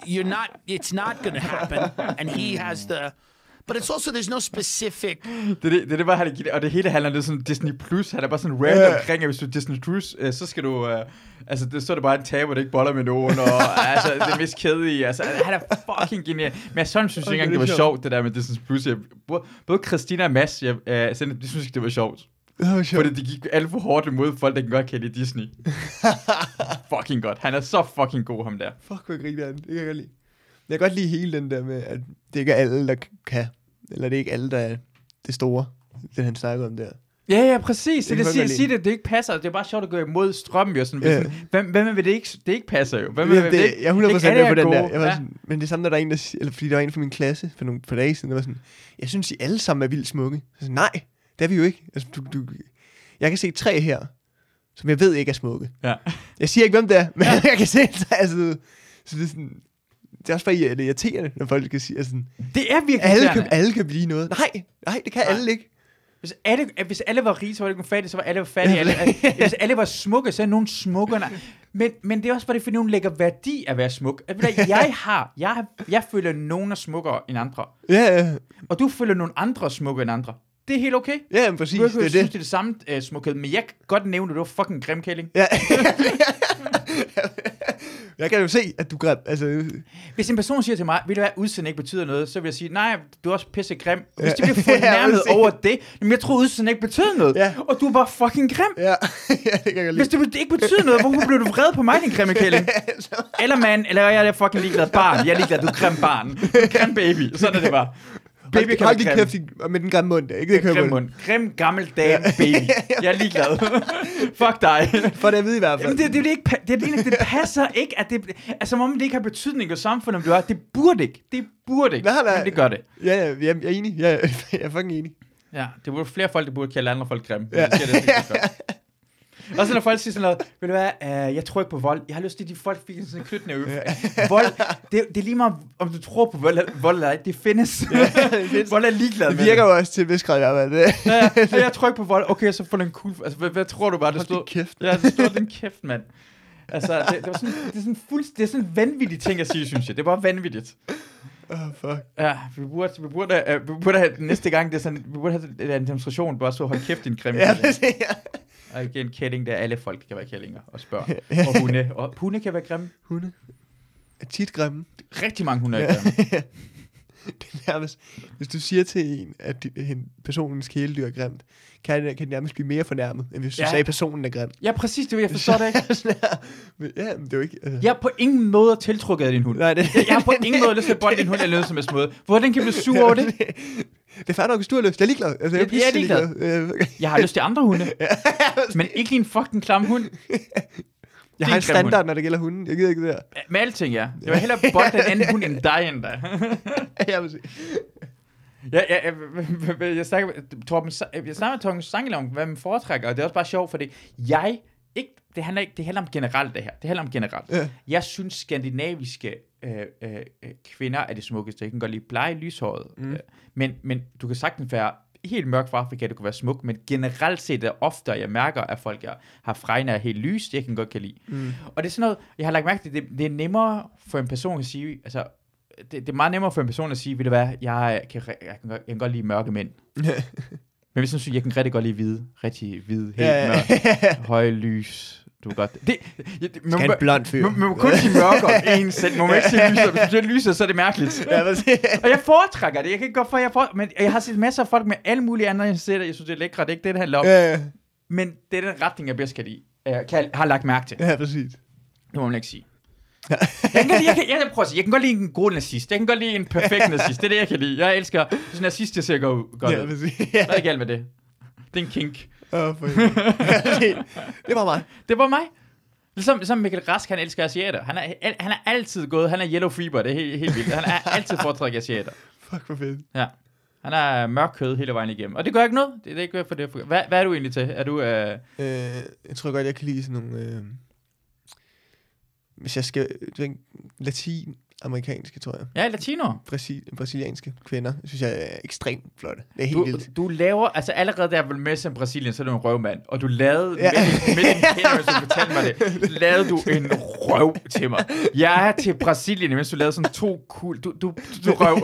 Speaker 5: you're not. It's not going to happen. And he has the. But it's also there's no specific.
Speaker 1: Det, er det, det, er det var han er genial, og det hele handler om det er sådan Disney Plus, han er bare sådan random yeah. omkring, at hvis du er Disney Plus, øh, så skal du, øh, altså det, så er det bare en taber, der ikke boller med nogen, og altså det er mest kedelige, altså han er fucking genial, men jeg sådan synes ikke engang, det var sjovt, det der med Disney Plus, jeg, både, både Christina og Mads, jeg, øh, sådan, de synes ikke, det var sjovt,
Speaker 2: Det var sjovt.
Speaker 1: fordi det gik alt for hårdt imod folk, der kan godt kan lide Disney. fucking godt, han er så fucking god, ham der.
Speaker 2: Fuck, hvor griner han. Det kan jeg godt lide. Men jeg kan godt lide hele den der med, at det ikke er alle, der k- kan. Eller det er ikke alle, der er det store. Det han snakker om der.
Speaker 1: Ja, ja, præcis. Det, det,
Speaker 2: kan jeg
Speaker 1: siger,
Speaker 2: godt lide.
Speaker 1: siger det, det ikke passer. Det er bare sjovt at gå imod strømmen. Jo, sådan, hvis
Speaker 2: Ja.
Speaker 1: sådan, hvem, hvem vil det ikke? Det ikke passer jo. Hvem,
Speaker 2: Jamen,
Speaker 1: vil
Speaker 2: det,
Speaker 1: ikke-
Speaker 2: jeg er 100% med
Speaker 1: ikke alle
Speaker 2: på den
Speaker 1: gode.
Speaker 2: der. Jeg var sådan, men det samme, når der er en, der siger, eller fordi der var en fra min klasse for nogle par dage siden, der var sådan, jeg synes, I alle sammen er vildt smukke. Så sådan, nej, det er vi jo ikke. Altså, du, du, jeg kan se tre her, som jeg ved ikke er smukke.
Speaker 1: Ja.
Speaker 2: Jeg siger ikke, hvem det er, men ja. jeg kan se tre. Altså, så det er sådan, det er også bare irri- irriterende, når folk skal sige, at sådan,
Speaker 1: Det er virkelig
Speaker 2: alle,
Speaker 1: irriterende.
Speaker 2: kan, alle kan blive noget. Nej, nej, det kan nej. alle ikke.
Speaker 1: Hvis alle, at hvis alle var rige, så var det ikke fattige, så var alle fattige. Alle, at hvis alle var smukke, så er nogen smukkerne. Men, men det er også bare det, fordi nogen lægger værdi af at være smuk. At, ved du hvad, jeg har, jeg, har- jeg føler, at nogen er smukkere end andre.
Speaker 2: Ja, ja,
Speaker 1: Og du føler, at nogle andre er smukkere end andre. Det er helt okay.
Speaker 2: ja, men præcis,
Speaker 1: Du kan jo
Speaker 2: det er
Speaker 1: synes, det
Speaker 2: det.
Speaker 1: er det samme uh, smukhed, men jeg kan godt nævne, at du var fucking grim kælling.
Speaker 2: Ja. jeg kan jo se, at du græb. Altså,
Speaker 1: Hvis en person siger til mig, vil du være udsendt ikke betyder noget, så vil jeg sige, nej, du er også pisse grim. Og Hvis de bliver
Speaker 2: Ja,
Speaker 1: fornærmet
Speaker 2: præcis.
Speaker 1: over det, jamen jeg tror udsendt ikke betyder noget,
Speaker 2: Ja.
Speaker 1: og du var fucking grim.
Speaker 2: ja, ja, det kan jeg
Speaker 1: Hvis
Speaker 2: lide.
Speaker 1: det ikke betyder noget, hvorfor blev du vred på mig, din grimme kælling? Eller mand, eller jeg er fucking ligeglad barn. Jeg er ligeglad, du er grim barn. Du er grim baby. Sådan er det bare. Baby
Speaker 2: Hold-
Speaker 1: kan
Speaker 2: Hold
Speaker 1: være grim.
Speaker 2: din kæft din- med den grimme mund. der, Ikke? Det kan
Speaker 1: Grim
Speaker 2: jeg godt
Speaker 1: mund. Grim gammel dame baby. Jeg er ligeglad. Fuck dig.
Speaker 2: lide. For det at vide i hvert fald.
Speaker 1: Jamen, det, det, det, ikke, pa- det, det, det passer ikke, at det, altså, som om det ikke har betydning for samfundet, om du er. Det burde ikke. Det burde ikke.
Speaker 2: Nej, nej.
Speaker 1: Men det gør det.
Speaker 2: Ja, ja, jeg, jeg er enig. Ja, jeg er fucking enig.
Speaker 1: Ja, det burde flere folk, der burde kalde andre folk grimme. Ja. Det sker det, det godt. Og så når folk siger sådan noget, vil du hvad, uh, jeg tror ikke på vold. Jeg har lyst til, at de folk fik sådan en knytnæve. vold, det, det er lige meget, om du tror på vold, vold eller ej. Det findes. vold er ligeglad
Speaker 2: Det
Speaker 1: med
Speaker 2: virker jo også til en vis grad i hvert fald. Det.
Speaker 1: Ja, ja, jeg tror ikke på vold. Okay, så får du en kugle. Altså, hvad, hvad tror du bare, det
Speaker 2: Hold din
Speaker 1: stod?
Speaker 2: kæft.
Speaker 1: Ja, det stod din kæft, mand. Altså, det, det, var sådan, det er sådan fuldst, det er sådan en vanvittig ting at sige, synes jeg. Det er bare vanvittigt.
Speaker 2: Åh, oh, fuck.
Speaker 1: Ja, vi burde, vi burde, uh, vi burde have, næste gang, det er sådan, vi burde have en demonstration, bare så hold kæft, din grimme.
Speaker 2: Ja,
Speaker 1: kælling."
Speaker 2: det ser jeg.
Speaker 1: Og igen, kælling, der alle folk kan være kællinger og spørger. Og hunde. Og hunde kan være grimme.
Speaker 2: Hunde. Er tit grimme.
Speaker 1: Rigtig mange hunde er grimme.
Speaker 2: det er nærmest, hvis du siger til en, at di- en, personens kæledyr er grimt, kan, det- kan det nærmest blive mere fornærmet, end hvis du
Speaker 1: Ja.
Speaker 2: ja. sagde, at personen er grim.
Speaker 1: Ja, præcis, det jeg forstår det ikke.
Speaker 2: Sådan her. Men ja, men det er jo ikke... Altså,
Speaker 1: Jeg er på ingen måde tiltrukket af din hund.
Speaker 2: Nej, det,
Speaker 1: Jeg har på ingen måde lyst til at bonde din hund eller noget som helst måde. Hvordan kan jeg blive sur over det?
Speaker 2: det er fair nok, hvis du har lyst. Jeg er ligeglad. Altså, jeg,
Speaker 1: Jeg- jeg er ligeglad.
Speaker 2: ligeglad. Øh,
Speaker 1: Jeg har lyst til andre hunde. Men ikke din fucking klam hund.
Speaker 2: Jeg har en
Speaker 1: Det er en grim
Speaker 2: standard, når det gælder hunden. Jeg gider ikke det der.
Speaker 1: Med alting, ja. Jeg vil hellere bonde den anden hund end dig end dig.
Speaker 2: Jeg vil sige.
Speaker 1: Ja, ja, ja, jeg, jeg, snakker, med- Torben, Sa- jeg snakker med Torben Sangel om, hvad man foretrækker, og det er også bare sjovt, fordi jeg, ikke, det, handler ikke, det handler om generelt det her, det handler om generelt.
Speaker 2: Ja.
Speaker 1: Jeg synes, skandinaviske øh, øh, øh, kvinder er det smukkeste. Jeg kan godt lide blege lyshåret, mm. men, men du kan sagtens være helt mørk fra Afrika, du kan være smuk, men generelt set er det oftere, jeg mærker, at folk er, har fregner er helt lys, jeg kan godt kan lide. Mm. Og det er sådan noget, jeg har lagt mærke til, det, det er nemmere for en person at sige, altså, det, det er meget nemmere for en person at sige, ved du hvad, jeg kan, jeg kan, godt- jeg kan godt lide mørke mænd. Men hvis man synes, jeg kan rigtig godt lide hvide, rigtig hvide, helt
Speaker 2: Ja, ja.
Speaker 1: ja, mørk, høje lys, du kan godt... Det, det, det, man,
Speaker 2: Skal
Speaker 1: må-
Speaker 2: en blond fyr.
Speaker 1: man, man må kun sige mørk om en selv. Man må ikke sige lyser. Hvis du siger lyser, så er det mærkeligt.
Speaker 2: Jeg vil sige.
Speaker 1: Og jeg foretrækker det. Jeg kan ikke godt for, jeg foretrækker, men jeg har set masser af folk med alle mulige andre insekter. Jeg synes, det er lækre. Det er ikke det, det handler om.
Speaker 2: Ja, ja.
Speaker 1: Men det er den retning, jeg bedst kan lide. Øh, Kan, har lagt mærke til.
Speaker 2: ja, præcis.
Speaker 1: Det må man ikke sige. jeg, kan, godt lide- jeg, kan, jeg, prøver at sige, jeg kan godt lide en god nazist. Jeg kan godt lide en perfekt nazist. Det er det, jeg kan lide. Jeg elsker sådan nazist, jeg ser godt, godt
Speaker 2: Ja,
Speaker 1: ud.
Speaker 2: præcis.
Speaker 1: Der er ikke alt med det. Det er en kink.
Speaker 2: Åh, for helvede. Ja, præcis. Det var mig.
Speaker 1: Det var mig. Ligesom, ligesom Michael Rask, han elsker asiater. Han er, al- han er altid gået, han er yellow fever, det er helt, helt vildt. Han er altid foretrækket asiater.
Speaker 2: Fuck, hvor fedt.
Speaker 1: Ja. Han er mørk kød hele vejen igennem. Og det gør ikke noget. Det, det er ikke for det. Hvad, hvad er du egentlig til? Er du... Øh...
Speaker 2: Øh, jeg tror godt, jeg kan lide sådan nogle... Øh, hvis jeg skal... du ved, Latin-amerikanske, tror jeg.
Speaker 1: Ja, latino.
Speaker 2: Brasil, brasilianske kvinder, synes jeg er ekstremt flotte. Det er helt
Speaker 1: Du,
Speaker 2: vildt.
Speaker 1: du laver... Altså allerede der vel med som Brasilien, så er du en røvmand. Og du lavede... Ja.
Speaker 2: Ja.
Speaker 1: Med, med din hænder, hvis du fortalte mig det. Lavede du en røv til mig. Jeg er til Brasilien, mens du lavede sådan to kul... Du, du, du røv.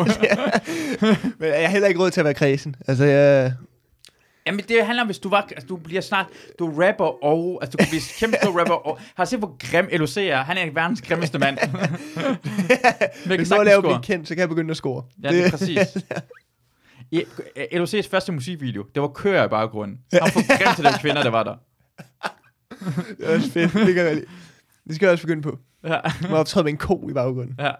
Speaker 2: Men jeg har heller ikke råd til at være kredsen. Altså, jeg...
Speaker 1: Jamen, det handler om, hvis du var... Altså, du bliver snart... Du er rapper og... Altså, du kan blive kæmpe stor rapper og... Har du set, hvor grim LOC er? Han er verdens grimmeste mand. Men jeg kan
Speaker 2: Hvis jeg
Speaker 1: sagtens
Speaker 2: laver at
Speaker 1: score.
Speaker 2: blive kendt, så kan jeg begynde at score.
Speaker 1: Ja, det er præcis. I, øh, LOC's første musikvideo, det var køer i baggrunden. Han var for grim til de kvinder, der var der.
Speaker 2: det er også fedt. Det kan jeg godt lide. Det skal jeg også begynde på.
Speaker 1: Ja,
Speaker 2: Man optræde med en ko i baggrunden.
Speaker 1: ja.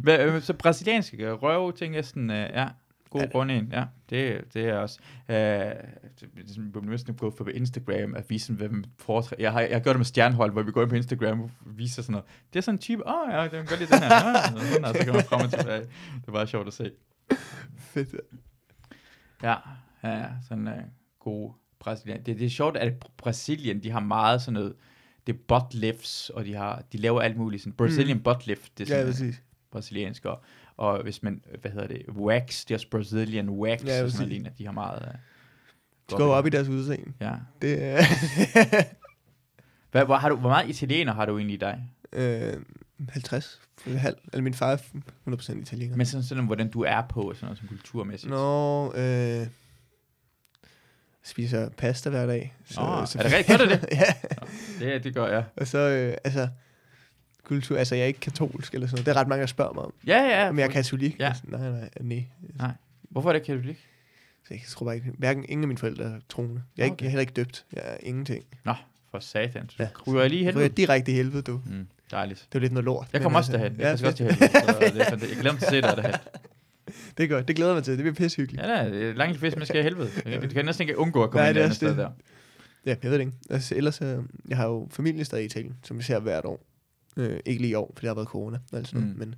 Speaker 1: Hvad, øh, så brasilianske røv, tænker jeg sådan, øh, ja. God runde en, ja. Det, det er også... Øh, det, det bliver næsten gået på Instagram at vise, sådan, hvad man foretrækker. Jeg har, jeg har gjort det med stjernehold, hvor vi går ind på Instagram og viser sådan noget. Det er sådan en type, åh oh, ja, det er godt lide den her. Nå, sådan her, så kan man altså frem og tilbage. Det er bare sjovt at se.
Speaker 2: Fedt.
Speaker 1: Ja, ja, ja, sådan øh, gode Brasilien. Det, det er sjovt, at Br- Brasilien, de har meget sådan noget, det er butt lifts, og de, har, de laver alt muligt, sådan Brazilian mm. butt lift, det er
Speaker 2: Ja,
Speaker 1: sådan ja,
Speaker 2: præcis.
Speaker 1: brasiliansk, og, og hvis man, hvad hedder det, wax, det er også Brazilian wax,
Speaker 2: Ja,
Speaker 1: ja, og sådan
Speaker 2: præcis.
Speaker 1: noget lignende, de har meget... Øh,
Speaker 2: De går jo op i deres udseende.
Speaker 1: Ja.
Speaker 2: Det er...
Speaker 1: Hvad, hvor, har du, hvor meget italiener har du egentlig i dig?
Speaker 2: øh, 50. Halv. Eller min far er 100% italiener.
Speaker 1: Men sådan, sådan, hvordan du er på, og sådan noget, som kulturmæssigt.
Speaker 2: Nå, øh, spiser pasta hver dag.
Speaker 1: Nå, er det rigtigt? Gør du det?
Speaker 2: ja,
Speaker 1: Det, det gør jeg.
Speaker 2: og så, øh, altså, kultur, altså jeg er ikke katolsk eller sådan noget. Det er ret mange, der spørger mig om,
Speaker 1: Ja, ja.
Speaker 2: om jeg er katolik.
Speaker 1: Ja.
Speaker 2: Ja. Nej, nej, nej.
Speaker 1: Hvorfor er det katolik?
Speaker 2: Så jeg tror bare ikke, hverken ingen af mine forældre er troende. Jeg er, ikke,
Speaker 1: Okay.
Speaker 2: jeg er heller ikke døbt. Jeg er ingenting.
Speaker 1: Nå, for satan. Du
Speaker 2: Ja.
Speaker 1: kryger jeg lige i
Speaker 2: Jeg ryger
Speaker 1: helvede.
Speaker 2: direkte i helvede, du.
Speaker 1: Mm, dejligt.
Speaker 2: Det er jo lidt noget lort.
Speaker 1: Jeg
Speaker 2: men
Speaker 1: kommer også
Speaker 2: altså,
Speaker 1: derhen.
Speaker 2: Ja,
Speaker 1: Jeg skal også
Speaker 2: fedt.
Speaker 1: til Helvede. så det er fanta- Jeg glemte at se dig derhen.
Speaker 2: Det er godt. Det glæder jeg mig til. Det bliver pissehyggeligt.
Speaker 1: Ja, da, det er langt fisk, man skal i helvede. Du kan næsten ikke undgå at komme ind
Speaker 2: Nej,
Speaker 1: et
Speaker 2: det er
Speaker 1: andet sted
Speaker 2: også
Speaker 1: der.
Speaker 2: Ja, jeg ved det ikke. Altså, ellers, øh, jeg har jo familie stadig i Italien, som vi ser hvert år. Øh, ikke lige i år, for der har været corona og alt sådan
Speaker 1: Mm.
Speaker 2: mm. men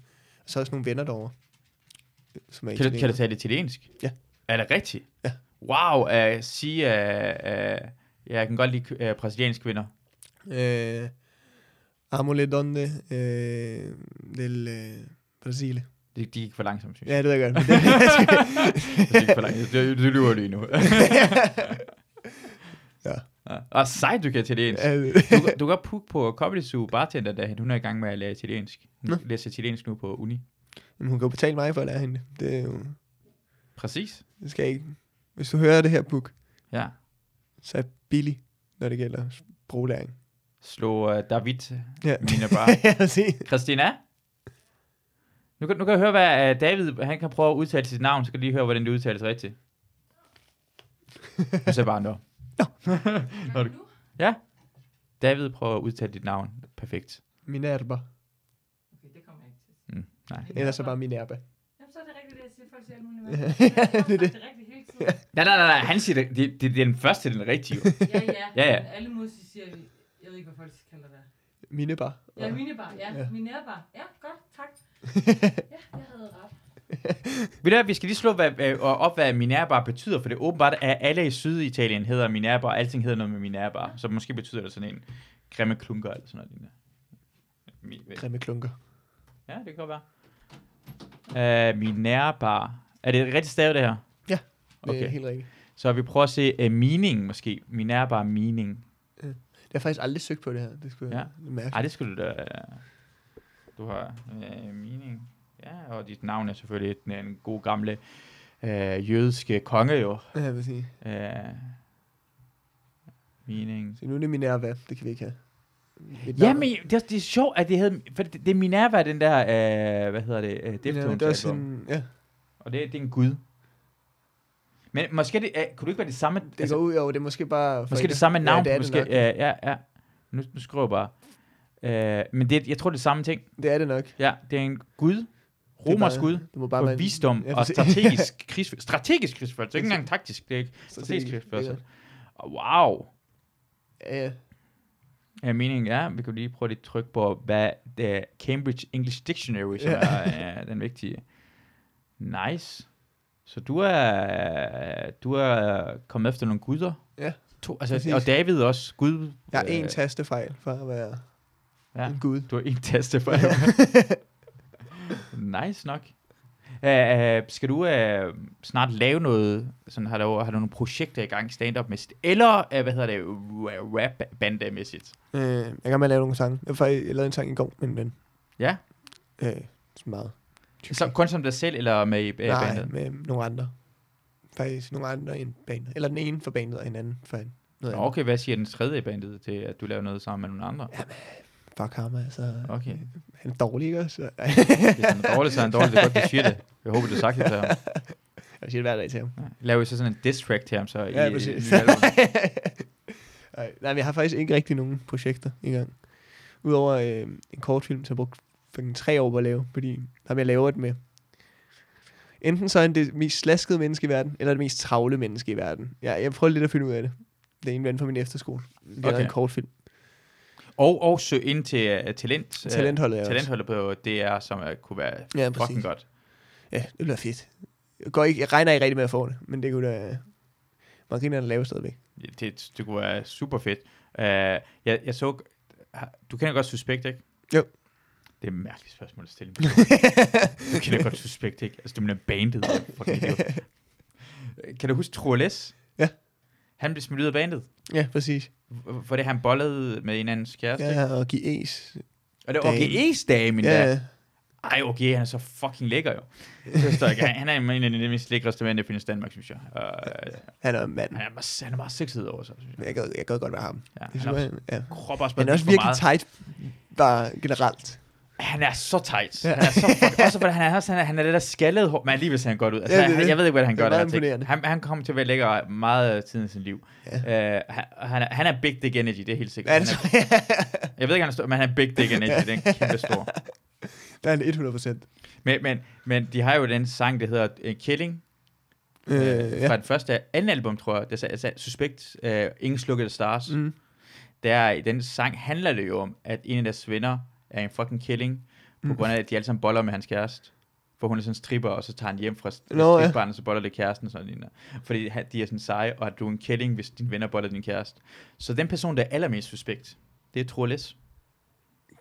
Speaker 2: så er også nogle venner derovre. øh, Som er
Speaker 1: Kan du, kan
Speaker 2: italienere.
Speaker 1: du tale italiensk?
Speaker 2: Ja.
Speaker 1: Er det rigtigt?
Speaker 2: Ja.
Speaker 1: Wow, at sige, at jeg kan godt lide uh, brasilianske kvinder.
Speaker 2: Øh, amo le donne øh, del øh, Brasile.
Speaker 1: De, de gik for langsomt, synes jeg.
Speaker 2: Ja, det ved jeg godt. Men det,
Speaker 1: De gik for langsomt. Du, du lyver lige nu.
Speaker 2: Ja.
Speaker 1: ja. Og sejt, du kan italiensk.
Speaker 2: altså,
Speaker 1: Du, du kan godt pukke på Comedy Zoo bartender, da hun er i gang med at lære italiensk. Hun
Speaker 2: Nå.
Speaker 1: læser italiensk nu på uni.
Speaker 2: men hun kan jo betale mig for at lære hende. det. Det, er jo,
Speaker 1: Præcis.
Speaker 2: det skal jeg ikke. Hvis du hører det her book,
Speaker 1: Ja.
Speaker 2: så er jeg billig, når det gælder sproglæring.
Speaker 1: Slå uh, David,
Speaker 2: Ja.
Speaker 1: mine bare.
Speaker 2: Ja, jeg vil sige.
Speaker 1: Christina? Nu Nu, kan- nu kan jeg høre, hvad øh, David han kan prøve at udtale sit navn, så kan jeg lige høre, hvordan det udtales rigtigt. Du sagde bare nå. Nå. du... Ja. David prøver at udtale dit navn perfekt.
Speaker 2: Minerva.
Speaker 6: Okay, det kommer jeg ikke til.
Speaker 1: Mm, nej.
Speaker 2: Ellers så bare Minerva.
Speaker 6: Jamen, så er det rigtigt, det jeg siger, folk siger alle mulige mennesker. Jeg har
Speaker 2: det er det.
Speaker 6: sagt det rigtigt hele tiden.
Speaker 1: nej, nej, nej, nej, han siger det. Det, det, det er den første, den rigtige. jo.
Speaker 6: Ja, ja.
Speaker 1: Ja, ja.
Speaker 6: Men Alle musi siger, vi- jeg ved ikke, hvad folk kalder det.
Speaker 2: Minebar.
Speaker 6: Ja, minibar. Ja,
Speaker 2: Ja.
Speaker 6: minerbar. Ja, godt, tak. Ja, jeg havde ret.
Speaker 1: Ved du hvad, vi skal lige slå hvad, øh, og op, hvad Minerva betyder, for det er åbenbart, at alle i Syditalien hedder Minerva, og alting hedder noget med Minerva, så måske betyder det sådan en grimme klunker eller sådan noget. lignende. Mi-
Speaker 2: Grimme klunker.
Speaker 1: Ja, det kan godt være. Uh, Minerva. Er det rigtigt stavet, det her?
Speaker 2: Ja, Okay. Det
Speaker 1: Okay.
Speaker 2: er helt rigtigt.
Speaker 1: Så vi prøver at se uh, meaning, måske. Minerva meaning.
Speaker 2: Jeg har faktisk aldrig søgt på det her. Det skulle jeg mærke.
Speaker 1: Ej, det skulle du da... Du har uh, meaning. Ja, og dit navn er selvfølgelig den, den gode gamle uh, jødiske konge, jo.
Speaker 2: Ja, jeg vil sige.
Speaker 1: Uh, meaning.
Speaker 2: Så nu er det Minerva. Det kan vi ikke have. Et
Speaker 1: Ja,
Speaker 2: navn.
Speaker 1: men det er, det er sjovt, at det hedder... For det, det er Minerva, den der... Uh, hvad hedder det? Uh,
Speaker 2: Minerva,
Speaker 1: Deftones
Speaker 2: det er også
Speaker 1: album.
Speaker 2: en... Ja,
Speaker 1: Og det, det er en gud. Men måske det, uh, kunne det ikke være det samme...
Speaker 2: det går ud over. Det er måske bare... for
Speaker 1: måske
Speaker 2: ikke-
Speaker 1: det samme navn.
Speaker 2: Ja, det er
Speaker 1: måske,
Speaker 2: det nok.
Speaker 1: ja, ja, ja. Nu, nu skriver jeg bare. Uh, men det, jeg tror, det er samme ting.
Speaker 2: Det er det nok. Det
Speaker 1: Ja, det er en gud.
Speaker 2: er
Speaker 1: Romersk
Speaker 2: bare-
Speaker 1: gud.
Speaker 2: Det må bare
Speaker 1: På
Speaker 2: være en-
Speaker 1: visdom
Speaker 2: Ja,
Speaker 1: og
Speaker 2: præcis.
Speaker 1: strategisk krigsførelse. Strategisk krigsførelse. Det er ikke engang taktisk. Det er ikke strategisk
Speaker 2: Strategisk,
Speaker 1: krigsførelse. Og Wow.
Speaker 2: Ja, ja.
Speaker 1: Ja, meningen er, vi kan lige prøve lidt tryk på, hvad det er Cambridge English Dictionary, som
Speaker 2: Ja.
Speaker 1: er øh, den vigtige. Nice. Så du er, du er kommet efter nogle guder?
Speaker 2: Ja,
Speaker 1: To, altså,
Speaker 2: præcis.
Speaker 1: og David også, gud.
Speaker 2: Jeg har en
Speaker 1: øh,
Speaker 2: tastefejl for at være
Speaker 1: Ja.
Speaker 2: en gud.
Speaker 1: Du har en taste for Nice nok. Uh, uh, skal du uh, snart lave noget, sådan har du, har du nogle projekter i gang, stand-up-mæssigt, eller uh, hvad hedder det, ra- rap-bande-mæssigt?
Speaker 2: Øh, jeg kan gerne med at lave nogle sange. Jeg, har faktisk, jeg lavede en sang i går med en ven.
Speaker 1: Ja.
Speaker 2: Øh, sådan meget.
Speaker 1: Så, kun som dig selv, eller med i uh, bandet?
Speaker 2: Nej, med nogle andre. Faktisk nogle andre end bandet. Eller den ene for bandet, og en anden for en. Noget
Speaker 1: Nå,
Speaker 2: andet.
Speaker 1: okay, hvad siger den tredje i bandet til, at du laver noget sammen med nogle andre?
Speaker 2: Fuck ham, altså.
Speaker 1: Okay.
Speaker 2: Han er dårlig, ikke også?
Speaker 1: Hvis han er dårlig, så er han dårlig. Det er godt, du siger det. Jeg håber, du har sagt det til ham.
Speaker 2: Jeg siger det hver dag til ham.
Speaker 1: Ja. Laver I så sådan en diss track til ham, så i,
Speaker 2: Ja,
Speaker 1: i-
Speaker 2: præcis.
Speaker 1: i album?
Speaker 2: Ej, Nej, men jeg har faktisk ikke rigtig nogen projekter i gang. Udover øh, en kortfilm, som jeg brugte fucking tre år på at lave, fordi der vil jeg lave et med. Enten så er han det mest slaskede menneske i verden, eller det mest travle menneske i verden. Ja, jeg prøver lidt at finde ud af det. Det er en ven fra min efterskole. Vi har
Speaker 1: Okay.
Speaker 2: okay. en kortfilm.
Speaker 1: og, og søg ind til uh, talent, uh,
Speaker 2: Talentholdet er også.
Speaker 1: talentholdet på DR, som uh, kunne være
Speaker 2: Ja,
Speaker 1: fucking
Speaker 2: præcis.
Speaker 1: godt.
Speaker 2: Ja, det bliver fedt. Jeg, går ikke, jeg regner ikke rigtig med at få det, men det kunne da... Man griner at lave stadigvæk.
Speaker 1: Det, det kunne være super fedt. Uh, jeg, jeg så... Du kender godt Suspekt, ikke?
Speaker 2: Jo.
Speaker 1: Det er et mærkeligt spørgsmål at stille. du kender godt Suspekt, ikke? Altså, det er bandet. og fucking idiot. kan du huske Troles?
Speaker 2: Ja.
Speaker 1: Han blev smidt ud af bandet.
Speaker 2: Ja, præcis.
Speaker 1: For det han bollede med en andens kæreste. Ja.
Speaker 2: Ja, og give es.
Speaker 1: Og det var
Speaker 2: Dame.
Speaker 1: OGE's dame endda.
Speaker 2: Ja,
Speaker 1: Ja.
Speaker 2: ja.
Speaker 1: Ej, OG, han er så fucking lækker jo. Det forstår jeg ikke. Han han er en af de mest lækreste mænd, der findes i Danmark, synes jeg. Og, øh,
Speaker 2: Han er mand.
Speaker 1: han, er meget, han er meget sexet over sig, synes jeg.
Speaker 2: Jeg gad, jeg gad godt være ham.
Speaker 1: Ja,
Speaker 2: Det
Speaker 1: han er,
Speaker 2: synes jeg, ja.
Speaker 1: krop også
Speaker 2: Han
Speaker 1: bare
Speaker 2: er også
Speaker 1: lidt for
Speaker 2: virkelig
Speaker 1: meget.
Speaker 2: tight, bare generelt.
Speaker 1: Han er så tight. Han er så fucking, også fordi han er, også, han er, han er det der skaldede hår, men alligevel ser han godt ud. Altså,
Speaker 2: Ja,
Speaker 1: ja,
Speaker 2: det er
Speaker 1: han,
Speaker 2: det.
Speaker 1: jeg ved ikke, hvad han
Speaker 2: Det er
Speaker 1: gør. der
Speaker 2: meget
Speaker 1: er til.
Speaker 2: imponerende.
Speaker 1: Han, han kommer til at være lækker meget øh, tiden i sit liv. Ja. Uh, han, han, er, han er big dick energy, det er helt sikkert.
Speaker 2: Ja,
Speaker 1: han
Speaker 2: det
Speaker 1: er, jeg ved ikke, han er stor, men han er big dick energy. Det er en kæmpe stor.
Speaker 2: Der er han 100%.
Speaker 1: Men, men, men de har jo den sang, der hedder uh, Killing,
Speaker 2: Øh,
Speaker 1: øh,
Speaker 2: ja.
Speaker 1: fra det første anden album, tror jeg, der sagde, sagde Suspekt, øh, Ingen Slukkede Stars. Mm.
Speaker 2: Mm.
Speaker 1: Der i den sang handler det jo om, at en af deres venner er en fucking killing, på
Speaker 2: Mm.
Speaker 1: grund af, at de alle sammen boller med hans kæreste. For hun er sådan en stripper, og så tager han hjem fra st-
Speaker 2: Nå, ja.
Speaker 1: stripperen, og så boller det kæresten og sådan noget. lignende. Fordi han- de er sådan seje, og at du er en killing, hvis din venner boller din kæreste. Så den person, der er allermest suspekt, det er Troelis.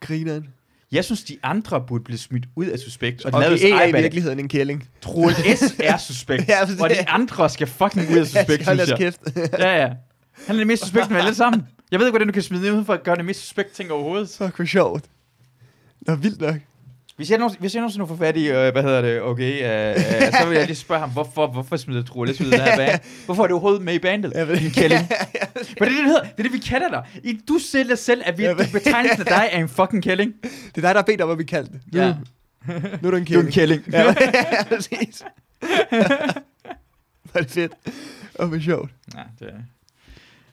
Speaker 2: Grineren.
Speaker 1: Jeg synes, de andre burde blive smidt ud af suspekt. Og,
Speaker 2: Og
Speaker 1: lavede
Speaker 2: det er i
Speaker 1: iBank.
Speaker 2: virkeligheden en kælling.
Speaker 1: Troel S er suspekt,
Speaker 2: Ja, præcis.
Speaker 1: og de andre skal fucking ud af suspekt,
Speaker 2: Hold
Speaker 1: synes
Speaker 2: jeres
Speaker 1: jeg.
Speaker 2: kæft.
Speaker 1: Ja, ja. Han er det mest suspekte med alle sammen. Jeg ved ikke, hvordan du kan smide ud for at gøre det mest suspekt ting overhovedet.
Speaker 2: Fuck, hvor sjovt. Nå, vildt nok.
Speaker 1: Hvis jeg, nogensinde, hvis jeg nogensinde får fat i, øh, hvad hedder det, okay, øh, øh, så vil jeg lige spørge ham, hvorfor, hvorfor smider Troelis ud af det her band? Hvorfor er du overhovedet med i bandet?
Speaker 2: Jeg ved
Speaker 1: Din kælling. Men det er det, det, hedder. det, er det vi kalder dig. I, du sælger selv, at vi,
Speaker 2: Jeg ved-
Speaker 1: betegnelsen af dig er en fucking kælling.
Speaker 2: Det er dig, der har bedt om at blive kaldt. det.
Speaker 1: Ja.
Speaker 2: Nu er
Speaker 1: Du er
Speaker 2: du en
Speaker 1: en
Speaker 2: kælling.
Speaker 1: kælling.
Speaker 2: Ja, ja, præcis. Var det fedt. Og hvor sjovt.
Speaker 1: Nej, det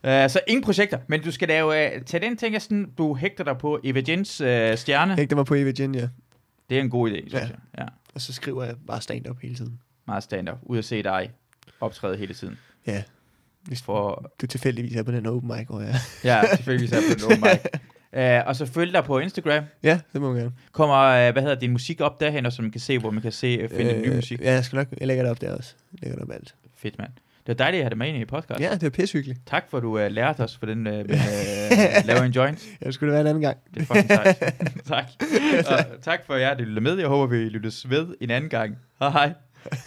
Speaker 1: er... Uh, så ingen projekter, men du skal lave, uh, tage den ting, jeg sådan, du hægter dig på Evagents uh, stjerne.
Speaker 2: Hægter mig på Eva Virginia,
Speaker 1: Det er en god idé, synes
Speaker 2: Ja.
Speaker 1: jeg. Ja.
Speaker 2: og så skriver jeg bare stand-up hele tiden.
Speaker 1: Meget stand-up. Ud at se dig optræde hele tiden.
Speaker 2: Ja. Hvis
Speaker 1: For,
Speaker 2: du tilfældigvis er på den open mic, hvor jeg er.
Speaker 1: ja, selvfølgelig så er jeg på den open mic. Uh, og så følg dig på Instagram.
Speaker 2: Ja, det må man gerne.
Speaker 1: Kommer, uh, hvad hedder din musik op derhen, og så man kan se, hvor man kan se, uh, finde øh, ny musik.
Speaker 2: Ja, jeg skal nok, jeg lægger det op der også. Jeg lægger det op alt.
Speaker 1: Fedt, mand. Det var dejligt at have dig med ind i podcast.
Speaker 2: Ja, det er pissehyggeligt.
Speaker 1: Tak for, at du uh, lærte os, hvordan uh, man uh, laver en joint.
Speaker 2: Jeg skulle det være en anden gang.
Speaker 1: Det er fucking sejt. tak. Og tak for jer, der lyttede med. Jeg håber, vi lyttes ved en anden gang. Hej hej.